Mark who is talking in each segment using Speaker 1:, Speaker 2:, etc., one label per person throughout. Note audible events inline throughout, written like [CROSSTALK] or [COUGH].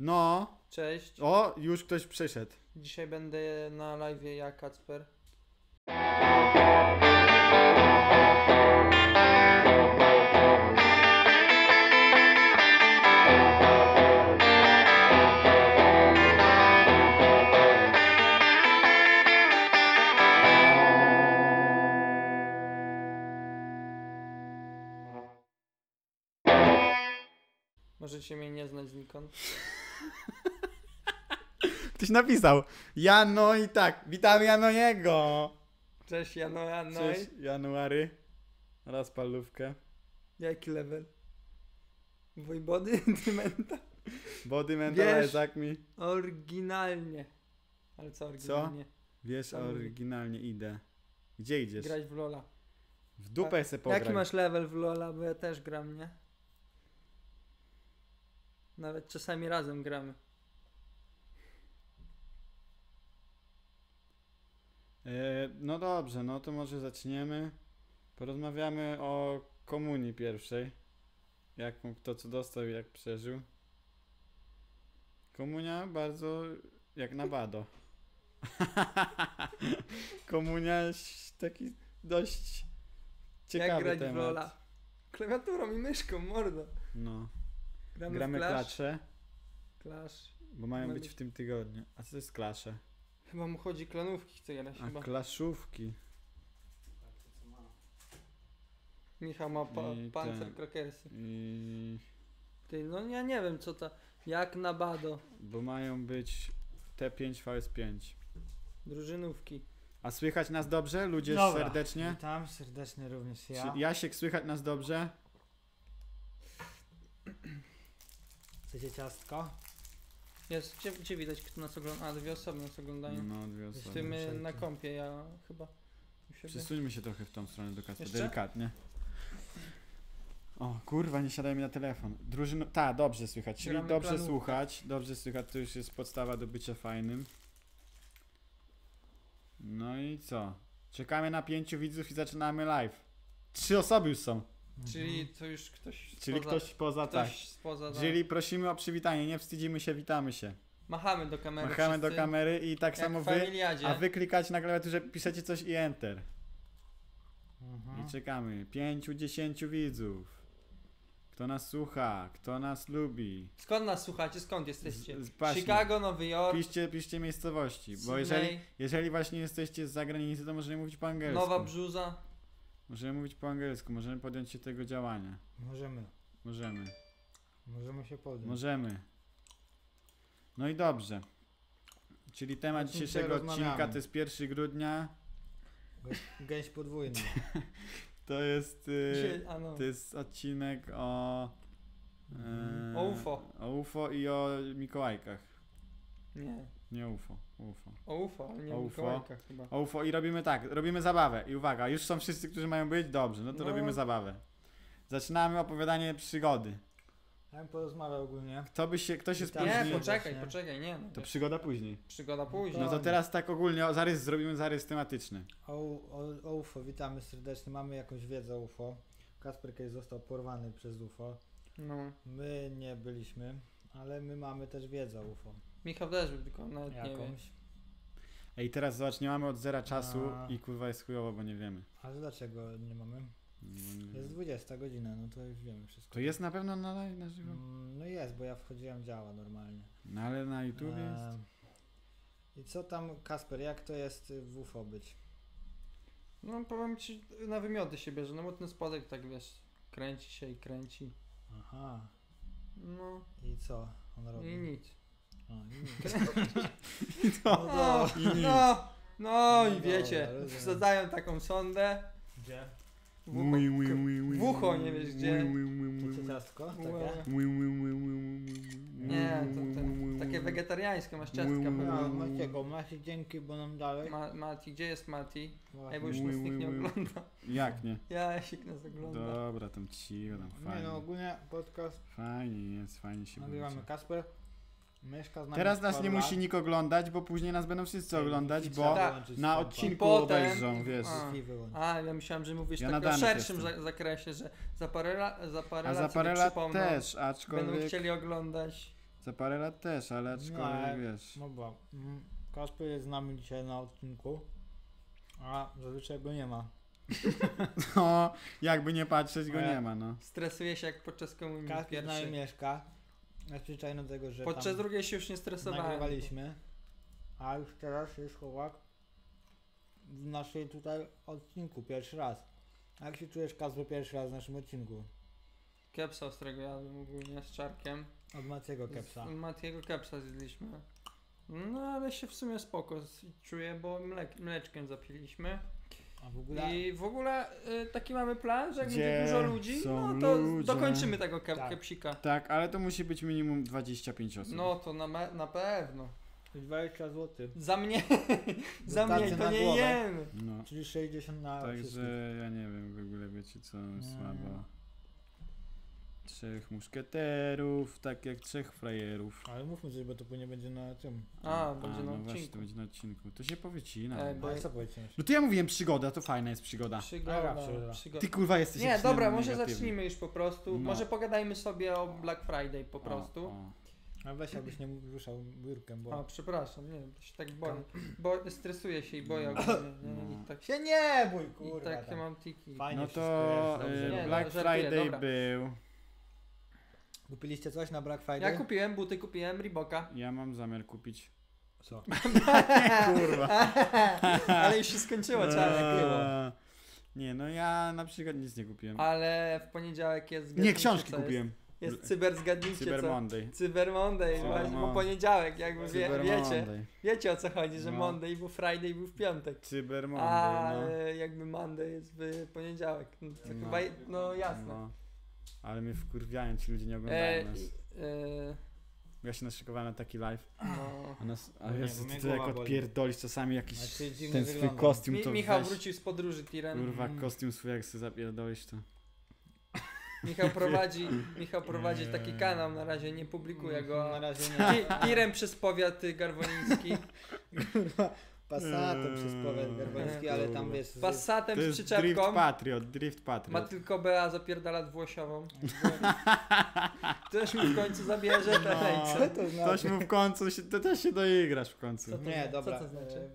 Speaker 1: No,
Speaker 2: Cześć.
Speaker 1: o, już ktoś przyszedł.
Speaker 2: Dzisiaj będę na live ja, Kacper. Możecie mnie nie znać znikąd.
Speaker 1: Ktoś napisał. Jano i tak, witam Janojego.
Speaker 2: Cześć, Jano, Jano.
Speaker 1: Cześć, no January. Raz palówkę.
Speaker 2: Jaki level? Wojbody [LAUGHS] Dymenta?
Speaker 1: Body mental,
Speaker 2: Wiesz-
Speaker 1: Isaac mi.
Speaker 2: Oryginalnie. Ale co oryginalnie?
Speaker 1: Wiesz,
Speaker 2: Co mówi?
Speaker 1: oryginalnie idę. Gdzie idziesz?
Speaker 2: Grać w Lola.
Speaker 1: W dupę se pograj.
Speaker 2: Jaki masz level w Lola? Bo ja też gram, nie? Nawet czasami razem gramy.
Speaker 1: E, no dobrze, no to może zaczniemy. Porozmawiamy o komunii pierwszej. Jak mu- kto co dostał i jak przeżył. Komunia bardzo jak na bado. [LAUGHS] Komunia ś- taki dość ciekawy
Speaker 2: Jak grać
Speaker 1: temat.
Speaker 2: w Lola? Klawiaturą i myszką, mordo.
Speaker 1: No.
Speaker 2: Gramy,
Speaker 1: Gramy
Speaker 2: w Clash.
Speaker 1: klacze,
Speaker 2: Clash.
Speaker 1: bo mają
Speaker 2: Mamy
Speaker 1: być
Speaker 2: być-
Speaker 1: w tym tygodniu. A co to jest klasze?
Speaker 2: Chyba mu chodzi klanówki, chce grać
Speaker 1: A
Speaker 2: chyba.
Speaker 1: klaszówki.
Speaker 2: Michał ma pa-
Speaker 1: I
Speaker 2: pancer
Speaker 1: ten.
Speaker 2: krakersy.
Speaker 1: I...
Speaker 2: Ty, no ja nie wiem co to. Jak na bado.
Speaker 1: Bo mają być T5 VS5.
Speaker 2: Drużynówki.
Speaker 1: A słychać nas dobrze? Ludzie
Speaker 3: Dobra.
Speaker 1: serdecznie?
Speaker 3: Witam serdecznie również ja.
Speaker 1: Czy Jasiek, słychać nas dobrze?
Speaker 3: Chcecie ciastko?
Speaker 2: Jest, gdzie, gdzie widać, kto nas ogląda? A, dwie osoby nas oglądają.
Speaker 1: No, dwie
Speaker 2: W
Speaker 1: osoby.
Speaker 2: tym y,
Speaker 3: wszelkie.
Speaker 2: na kąpie ja chyba. u siebie.
Speaker 1: Przesuńmy się trochę w tą stronę do Kasper,
Speaker 2: Jeszcze?
Speaker 1: delikatnie. O, kurwa, nie siadaj mi na telefon. Drużyno... Ta, dobrze słychać, czyli
Speaker 2: Gramy
Speaker 1: dobrze
Speaker 2: planówkę.
Speaker 1: słuchać. Dobrze słychać, to już jest podstawa do bycia fajnym. No i co? Czekamy na pięciu widzów i zaczynamy live. Trzy osoby już są,
Speaker 2: Czyli to już ktoś.
Speaker 1: Mhm. czyli
Speaker 2: spoza,
Speaker 1: ktoś poza tak.
Speaker 2: ktoś spoza. Tak.
Speaker 1: Czyli prosimy o przywitanie, nie wstydzimy się, witamy się.
Speaker 2: Machamy do kamery.
Speaker 1: Machamy do
Speaker 2: wszyscy,
Speaker 1: kamery i tak
Speaker 2: Jak
Speaker 1: samo
Speaker 2: w
Speaker 1: wy,
Speaker 2: Familiadzie.
Speaker 1: a wy klikacie na klawiaturze, piszecie coś i enter.
Speaker 3: Mhm.
Speaker 1: I czekamy. Pięciu, dziesięciu widzów. Kto nas słucha, kto nas lubi.
Speaker 2: Skąd nas słuchacie? Skąd jesteście?
Speaker 1: Z- z- właśnie.
Speaker 2: Chicago, Nowy Jork,
Speaker 1: Piszcie, piszcie miejscowości, bo
Speaker 2: Sydney.
Speaker 1: jeżeli, jeżeli właśnie jesteście z zagranicy, to możemy mówić po angielsku.
Speaker 2: Nowa Brzuza.
Speaker 1: Możemy mówić po angielsku, możemy podjąć się tego działania.
Speaker 3: Możemy.
Speaker 1: Możemy.
Speaker 3: Możemy się podjąć.
Speaker 1: Możemy. No i dobrze. Czyli temat
Speaker 3: O czym dzisiaj
Speaker 1: dzisiejszego odcinka
Speaker 3: rozmawiamy?
Speaker 1: to jest 1 grudnia.
Speaker 3: Gę- Gęś podwójna.
Speaker 1: To jest... y,
Speaker 2: Dzisiaj, a no.
Speaker 1: To jest odcinek o. e,
Speaker 2: O UFO.
Speaker 1: O UFO i o Mikołajkach.
Speaker 2: Nie.
Speaker 1: Nie UFO, UFO.
Speaker 2: O UFO, ale nie
Speaker 1: O
Speaker 2: o
Speaker 1: UFO.
Speaker 2: Mikołajka chyba.
Speaker 1: O UFO i robimy tak, robimy zabawę. I uwaga, już są wszyscy, którzy mają być? Dobrze, no to
Speaker 2: No.
Speaker 1: robimy zabawę. Zaczynamy opowiadanie przygody.
Speaker 3: Ja bym porozmawiał ogólnie.
Speaker 1: Kto by się, kto się
Speaker 3: Nie, Tam
Speaker 2: nie,
Speaker 1: spóźni,
Speaker 3: po-
Speaker 2: poczekaj,
Speaker 3: nie.
Speaker 2: poczekaj, nie. No,
Speaker 1: to
Speaker 2: wiesz,
Speaker 1: przygoda później.
Speaker 2: przygoda później.
Speaker 1: No to teraz tak ogólnie, o, zarys, zrobimy zarys tematyczny.
Speaker 3: O, o, o UFO, witamy serdecznie. Mamy jakąś wiedzę o UFO. Kasper kiedyś został porwany przez UFO.
Speaker 2: No.
Speaker 3: My nie byliśmy, ale my mamy też wiedzę o UFO.
Speaker 2: Michał też był, tylko nawet nie wiem.
Speaker 3: Jakąś.
Speaker 1: Ej, teraz zobacz, nie mamy od zera czasu
Speaker 3: A.
Speaker 1: i kurwa jest chujowo, bo nie wiemy.
Speaker 3: Ale dlaczego nie mamy? Jest 20 godzina, no to już wiemy wszystko.
Speaker 1: To jest na pewno na, live, na żywo?
Speaker 3: Mm, No jest, bo ja wchodziłem działa normalnie.
Speaker 1: No ale na YouTube jest.
Speaker 3: Eee, I co tam, Kasper, jak to jest y, w UFO być?
Speaker 2: No powiem ci, na wymioty się bierze, no bo ten spodek tak wiesz, kręci się i kręci.
Speaker 3: Aha,
Speaker 2: No
Speaker 3: i co on robi?
Speaker 2: i nic.
Speaker 3: O, i nic. No
Speaker 2: No,
Speaker 3: dobra.
Speaker 2: no, no i
Speaker 3: No
Speaker 2: wiecie,
Speaker 3: dobra, rozumiem.
Speaker 2: wsadzają taką sondę.
Speaker 3: Gdzie?
Speaker 2: W ucho, w ucho nie wiesz gdzie.
Speaker 3: Chcecie ciastko? Takie?
Speaker 2: Nie, to, te- takie wegetariańskie masz ciastka pewnie.
Speaker 3: No, Maciego, Maciek, dzięki, bo nam dalej.
Speaker 2: Ma, Mati, gdzie jest Mati? Ej, bo
Speaker 3: Właśnie.
Speaker 2: już nas nikt nie ogląda.
Speaker 1: Jak nie?
Speaker 2: Ja się nas ogląda.
Speaker 1: Dobra, tam cicho, tam
Speaker 3: Nie no,
Speaker 1: fajnie.
Speaker 3: ogólnie podcast
Speaker 1: Fajnie jest, fajnie się
Speaker 3: nagrywamy.
Speaker 1: bawicie.
Speaker 3: Kasper mieszka z nami
Speaker 1: Teraz
Speaker 3: od
Speaker 1: nas
Speaker 3: paru
Speaker 1: nie
Speaker 3: lat.
Speaker 1: musi nikt oglądać, bo później nas będą wszyscy
Speaker 3: I
Speaker 1: oglądać,
Speaker 3: trzeba
Speaker 1: bo
Speaker 2: Tak.
Speaker 3: wyłączyć
Speaker 1: na
Speaker 3: Spotify.
Speaker 1: odcinku
Speaker 2: potem-
Speaker 1: obejrzą, wiesz.
Speaker 2: A.
Speaker 3: I wyłączyć.
Speaker 2: A, ja myślałem, że mówisz
Speaker 1: Ja
Speaker 2: tak
Speaker 1: na
Speaker 2: o
Speaker 1: danych
Speaker 2: szerszym
Speaker 1: jestem.
Speaker 2: za, zakresie, że za parę, la, za parę
Speaker 1: A
Speaker 2: lat
Speaker 1: za
Speaker 2: sobie
Speaker 1: parę lat
Speaker 2: przypomną,
Speaker 1: też,
Speaker 2: Będą
Speaker 1: aczkolwiek
Speaker 2: chcieli oglądać.
Speaker 1: Za parę lat też, ale aczkolwiek
Speaker 3: No, ale-
Speaker 1: wiesz. [LAUGHS]
Speaker 3: No bo mm, Kasper jest z nami dzisiaj na odcinku, a zazwyczaj go nie ma.
Speaker 1: No, jakby nie patrzeć go
Speaker 3: Ale-
Speaker 1: nie ma, no.
Speaker 2: Stresuje się jak podczas komunii
Speaker 3: Kasper z nami
Speaker 2: pierwszej.
Speaker 3: mieszka, jest przyzwyczajony do tego, że
Speaker 2: Podczas
Speaker 3: tam
Speaker 2: drugiej się już nie stresowałem.
Speaker 3: nagrywaliśmy, a już teraz jest chłopak w naszej tutaj odcinku, pierwszy raz. Jak się czujesz Kasper pierwszy raz w naszym odcinku?
Speaker 2: Kepsa ostrego jadłem ogólnie z czarkiem.
Speaker 3: Od Maciego Kepsa.
Speaker 2: Z Matiego kepsa zjedliśmy. No ale się w sumie spoko z- czuję, bo mlek, mleczkiem zapiliśmy.
Speaker 3: A w ogóle...
Speaker 2: I w ogóle y, taki mamy plan, że jak
Speaker 1: Gdzie
Speaker 2: będzie dużo ludzi,
Speaker 1: są
Speaker 2: no to
Speaker 1: ludzie?
Speaker 2: dokończymy tego kep,
Speaker 3: Tak.
Speaker 2: kepsika.
Speaker 1: Tak, ale to musi być minimum 25 osób.
Speaker 2: No to na, me- na pewno.
Speaker 3: 20 zł.
Speaker 2: Za mnie, za
Speaker 3: Wystarczy
Speaker 2: mnie to
Speaker 3: na
Speaker 2: nie
Speaker 3: głowę.
Speaker 2: jemy.
Speaker 1: No.
Speaker 3: Czyli 60 na wszystkich.
Speaker 1: Także ja nie wiem, w ogóle wiecie co, słabo. Trzech muszkieterów, tak jak trzech frajerów.
Speaker 3: Ale mówmy coś, bo to później będzie na tym.
Speaker 2: A, będzie na
Speaker 1: no właśnie, to
Speaker 2: odcinku.
Speaker 1: będzie na odcinku. To się powycina.
Speaker 2: Ej,
Speaker 3: Bo
Speaker 2: Bo-
Speaker 3: jak co powiedziałeś?
Speaker 1: No to ja mówiłem przygoda, to fajna jest przygoda.
Speaker 2: Przygoda,
Speaker 3: Dobra, przygoda.
Speaker 2: przygoda.
Speaker 1: Ty kurwa jesteś
Speaker 2: Nie,
Speaker 1: jakiś
Speaker 2: dobra, może
Speaker 1: negatywny.
Speaker 2: zacznijmy już po prostu.
Speaker 1: No.
Speaker 2: Może pogadajmy sobie o Black Friday po
Speaker 1: O,
Speaker 2: prostu.
Speaker 1: o.
Speaker 3: A weź, jakbyś nie ruszał biurkiem,
Speaker 2: A,
Speaker 3: bo...
Speaker 2: przepraszam, nie, bo się tak boję. Bo stresuję się i boję ogólnie. nie?
Speaker 1: No.
Speaker 2: I tak,
Speaker 3: Się nie bój,
Speaker 2: i
Speaker 3: kurwa.
Speaker 2: tak
Speaker 3: tam.
Speaker 2: mam tiki.
Speaker 3: Fajnie
Speaker 1: No
Speaker 3: wszystko
Speaker 1: to
Speaker 3: jest, dobrze.
Speaker 1: y,
Speaker 2: Nie, no,
Speaker 1: Black
Speaker 2: żartuję,
Speaker 1: Friday
Speaker 2: dobra.
Speaker 1: był.
Speaker 3: Kupiliście coś na Black Friday?
Speaker 2: Ja kupiłem buty, kupiłem Reeboka.
Speaker 1: Ja mam zamiar kupić.
Speaker 3: Co?
Speaker 1: Kurwa.
Speaker 2: [LAUGHS] Ale już się skończyło, czarne było.
Speaker 1: Eee, Nie, no ja na przykład nic nie kupiłem.
Speaker 2: Ale w poniedziałek jest
Speaker 1: Nie,
Speaker 2: zgadnijcie,
Speaker 1: książki
Speaker 2: co jest.
Speaker 1: kupiłem.
Speaker 2: Jest cyber zgadnijcie
Speaker 1: Cyber
Speaker 2: co.
Speaker 1: Monday.
Speaker 2: Cyber Monday,
Speaker 1: Cyber
Speaker 2: właśnie, bo
Speaker 1: Mon-
Speaker 2: poniedziałek, jakby wie,
Speaker 1: Cyber
Speaker 2: wiecie.
Speaker 1: Monday.
Speaker 2: Wiecie o co chodzi, że
Speaker 1: No.
Speaker 2: Monday był Friday był w piątek.
Speaker 1: Cyber
Speaker 2: A
Speaker 1: Monday, no.
Speaker 2: e, jakby Monday jest w poniedziałek. No, to
Speaker 1: No.
Speaker 2: chyba, no jasne.
Speaker 1: No. Ale mnie wkurwiają ci ludzie, nie
Speaker 2: E,
Speaker 1: oglądają nas.
Speaker 2: i- e,
Speaker 1: Ja się naszykowałem na taki live.
Speaker 2: no.
Speaker 1: A, nas, a
Speaker 3: No nie,
Speaker 1: Jezu,
Speaker 3: bo mnie
Speaker 1: ty jak
Speaker 3: głowa boli.
Speaker 1: odpierdolisz czasami jakiś
Speaker 3: A ty dziwnie
Speaker 1: ten swój
Speaker 3: wyglądasz.
Speaker 1: kostium,
Speaker 2: Mi,
Speaker 1: to
Speaker 2: Michał
Speaker 1: weź,
Speaker 2: wrócił z podróży tirem.
Speaker 1: kurwa,
Speaker 3: Mm.
Speaker 1: kostium swój jak sobie zapierdolisz, to... [LAUGHS]
Speaker 2: Michał prowadzi, Michał prowadzi taki kanał, na razie nie publikuje go.
Speaker 3: Na
Speaker 2: a
Speaker 3: razie nie.
Speaker 2: [LAUGHS] ti- Tirem przez powiat y, garwoliński,
Speaker 3: Passatem przez powiat garbański, ale tam wiesz... z-
Speaker 1: Eee, To
Speaker 2: Passatem z
Speaker 1: jest Drift
Speaker 2: przyczepką,
Speaker 1: Patriot, Drift
Speaker 2: ma
Speaker 1: Patriot.
Speaker 2: tylko Bea zapierdala
Speaker 1: [LAUGHS]
Speaker 2: dwłosiową. Też mi w końcu zabierze te
Speaker 1: No.
Speaker 3: [LAUGHS] Co
Speaker 2: lejce.
Speaker 3: to
Speaker 1: Coś
Speaker 3: znaczy?
Speaker 1: mu w końcu, się, to też się doigrasz w
Speaker 2: Co
Speaker 1: końcu.
Speaker 2: to
Speaker 3: Nie,
Speaker 2: zna-
Speaker 3: dobra.
Speaker 2: co to znaczy?
Speaker 3: e,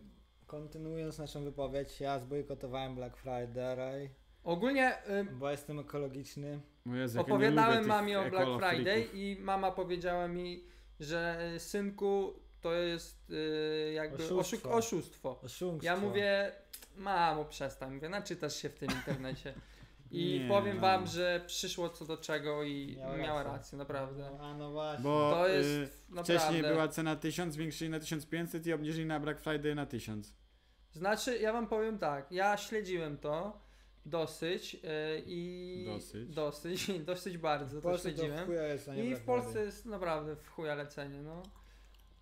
Speaker 3: Kontynuując naszą wypowiedź, ja zbojkotowałem Black Friday,
Speaker 2: Ogólnie y,
Speaker 3: bo jestem ekologiczny.
Speaker 1: O Jezu, jak ja nie lubię
Speaker 2: Opowiadałem
Speaker 1: tych
Speaker 2: mamie o Black
Speaker 1: ekolofrików.
Speaker 2: Friday i mama powiedziała mi, że y, synku to jest y, jakby oszustwo.
Speaker 3: Oszustwo.
Speaker 2: oszustwo.
Speaker 3: Oszustwo.
Speaker 2: Ja mówię, mamo przestań, mówię, naczytasz się w tym internecie.
Speaker 1: [LAUGHS]
Speaker 2: I
Speaker 1: Nie,
Speaker 2: powiem
Speaker 1: no.
Speaker 2: wam, że przyszło co do czego i
Speaker 3: Miała
Speaker 2: miała,
Speaker 3: rację.
Speaker 2: rację. naprawdę.
Speaker 3: A no właśnie.
Speaker 1: Bo
Speaker 2: To jest
Speaker 1: y,
Speaker 2: naprawdę.
Speaker 1: wcześniej była cena 1000, zwiększyli na 1500 i obniżyli na Black Friday na 1000.
Speaker 2: Znaczy, ja wam powiem tak, ja śledziłem to dosyć y, i...
Speaker 1: Dosyć.
Speaker 2: Dosyć, [LAUGHS] dosyć bardzo
Speaker 3: W
Speaker 2: to
Speaker 3: Polsce to w
Speaker 2: śledziłem.
Speaker 3: chuja jest, a nie
Speaker 2: I
Speaker 3: Black
Speaker 2: w Polsce
Speaker 3: Friday.
Speaker 2: jest naprawdę w chuja lecenie, no.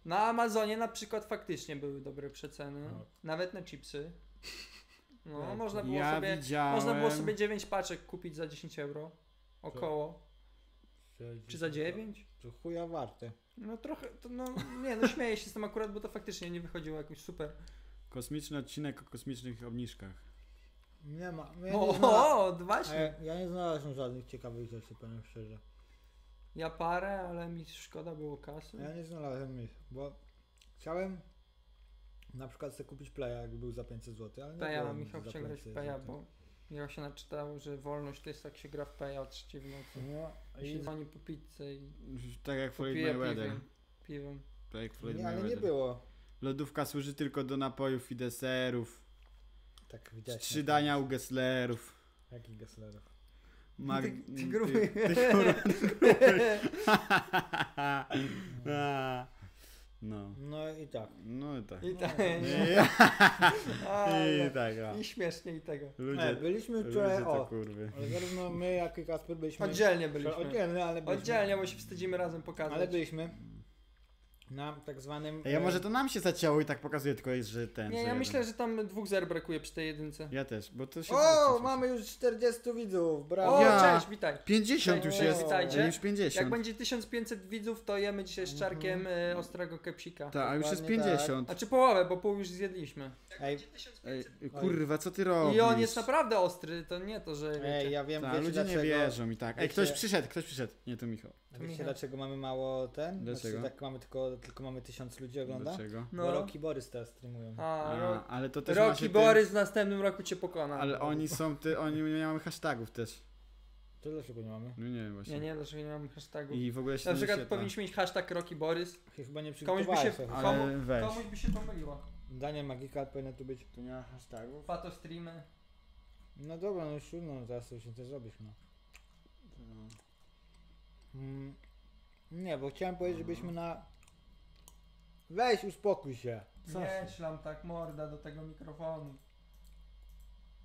Speaker 2: Na Amazonie na przykład faktycznie były dobre przeceny,
Speaker 3: No.
Speaker 2: nawet na chipsy. No,
Speaker 3: Tak.
Speaker 2: można było
Speaker 1: Ja
Speaker 2: sobie...
Speaker 1: widziałem...
Speaker 2: Można było sobie 9 paczek kupić za 10 euro. Około. Czy za 9?
Speaker 3: To chuja warte.
Speaker 2: No trochę, to [LAUGHS] no, nie no śmieję się z tym akurat, bo to faktycznie nie wychodziło jakoś super.
Speaker 1: Kosmiczny odcinek o kosmicznych obniżkach.
Speaker 3: Nie ma. Ja nie, E. znalazłem,
Speaker 2: O, o, właśnie.
Speaker 3: ja nie znalazłem żadnych ciekawych rzeczy, powiem szczerze.
Speaker 2: Ja parę, ale mi szkoda było
Speaker 3: Ja
Speaker 2: kasy.
Speaker 3: nie znalazłem ich, bo chciałem na przykład sobie kupić Playa, jakby był za 500 zł, ale nie
Speaker 2: Peja,
Speaker 3: było
Speaker 2: Michał
Speaker 3: za
Speaker 2: chciał grać
Speaker 3: 500
Speaker 2: w Peja,
Speaker 3: złotych.
Speaker 2: bo Michał się naczytał, że wolność to jest jak się gra w Peja o 3 w nocy.
Speaker 3: No,
Speaker 2: I się
Speaker 3: i,
Speaker 2: dzwoni po pizzę i
Speaker 1: Tak jak Floyd
Speaker 2: pije
Speaker 1: Mayweather.
Speaker 2: piwem. piwem.
Speaker 1: Tak jak Floyd
Speaker 3: nie, ale nie
Speaker 1: Mayweather.
Speaker 3: było
Speaker 1: Lodówka służy tylko do napojów i deserów.
Speaker 3: tak widać.
Speaker 1: Trzy dania u Gesslerów.
Speaker 3: Jakich Gesslerów?
Speaker 1: Mar-
Speaker 2: Ty- ty gruby.
Speaker 1: Ty, ty
Speaker 2: [LAUGHS]
Speaker 1: kurwa, [LAUGHS] A. No.
Speaker 3: No i tak.
Speaker 1: No i tak.
Speaker 2: I
Speaker 1: [LAUGHS]
Speaker 2: tak.
Speaker 1: I,
Speaker 2: Ale-
Speaker 1: i tak, a.
Speaker 2: I śmiesznie i tego.
Speaker 3: E,
Speaker 1: Ludzie, tak-
Speaker 3: byliśmy wczoraj,
Speaker 1: ludzie to
Speaker 3: o,
Speaker 1: kurwy.
Speaker 3: ale zarówno my, jak i Kasper byliśmy...
Speaker 2: Oddzielnie byliśmy.
Speaker 3: Oddzielnie, ale byliśmy.
Speaker 2: Oddzielnie, bo się wstydzimy razem pokazać.
Speaker 3: Ale byliśmy na tak zwanym...
Speaker 1: Ej, a
Speaker 3: e,
Speaker 1: może to nam się zacięło i tak pokazuje tylko, jest, że ten.
Speaker 2: Nie,
Speaker 1: że
Speaker 2: ja
Speaker 1: jeden.
Speaker 2: myślę, że tam dwóch zer brakuje przy tej jedynce.
Speaker 1: Ja też, bo to się...
Speaker 3: O, mamy już 40 widzów, brawo.
Speaker 2: O,
Speaker 1: Ja.
Speaker 2: cześć, witaj.
Speaker 1: 50 już
Speaker 2: Cześć,
Speaker 1: jest.
Speaker 2: witajcie.
Speaker 1: Już 50.
Speaker 2: Jak będzie 1500 widzów, to jemy dzisiaj z czarkiem e, ostrego kepsika.
Speaker 1: Mhm. Tak, a już jest
Speaker 3: Dokładnie tak.
Speaker 1: 50.
Speaker 2: A czy połowę, bo pół już zjedliśmy.
Speaker 3: Ej,
Speaker 1: Ej, kurwa, co ty robisz?
Speaker 2: I on jest naprawdę ostry, to nie to, że
Speaker 3: ej,
Speaker 2: wiecie.
Speaker 3: ja wiem,
Speaker 1: Ta,
Speaker 3: wiecie
Speaker 1: ludzie
Speaker 3: dlaczego.
Speaker 1: nie wierzą i tak. Ej,
Speaker 3: Wiecie-
Speaker 1: ktoś przyszedł, ktoś przyszedł. Nie, to Michał.
Speaker 3: Wiecie
Speaker 2: Michał-
Speaker 3: dlaczego mamy mało ten?
Speaker 1: Dlaczego?
Speaker 3: Znaczy, tak mamy tylko, tylko mamy tysiąc ludzi ogląda?
Speaker 1: Dlaczego?
Speaker 3: No. Bo Rocky Borys teraz streamują.
Speaker 2: A,
Speaker 1: A,
Speaker 2: Rock,
Speaker 1: ale to też macie
Speaker 2: Rocky
Speaker 1: te-
Speaker 2: Borys w następnym roku cię pokona.
Speaker 1: Ale oni są, ty, oni nie mamy hashtagów też.
Speaker 3: To dlaczego nie mamy?
Speaker 1: No nie wiem właśnie.
Speaker 2: Nie, nie, dlaczego nie mam hashtagu?
Speaker 1: I w ogóle się
Speaker 2: Na
Speaker 1: nie
Speaker 2: przykład
Speaker 1: wyświetla.
Speaker 2: powinniśmy mieć hashtag Rocky Borys.
Speaker 3: Chyba
Speaker 2: Komuś by
Speaker 3: nie
Speaker 2: się...
Speaker 3: przygotowałeś sobie.
Speaker 1: Ale
Speaker 2: Komu,
Speaker 1: weź.
Speaker 2: komuś by się pomyliło.
Speaker 3: Danie Magika powinno tu być.
Speaker 1: Tu nie ma hashtagów?
Speaker 2: Fato streamy.
Speaker 3: No dobra, no już no, teraz to już nie zrobisz, no. Mm. Nie, bo chciałem powiedzieć,
Speaker 1: No.
Speaker 3: żebyśmy na... Weź, uspokój się.
Speaker 1: Co
Speaker 2: Nie
Speaker 1: się?
Speaker 2: szlam tak morda do tego mikrofonu.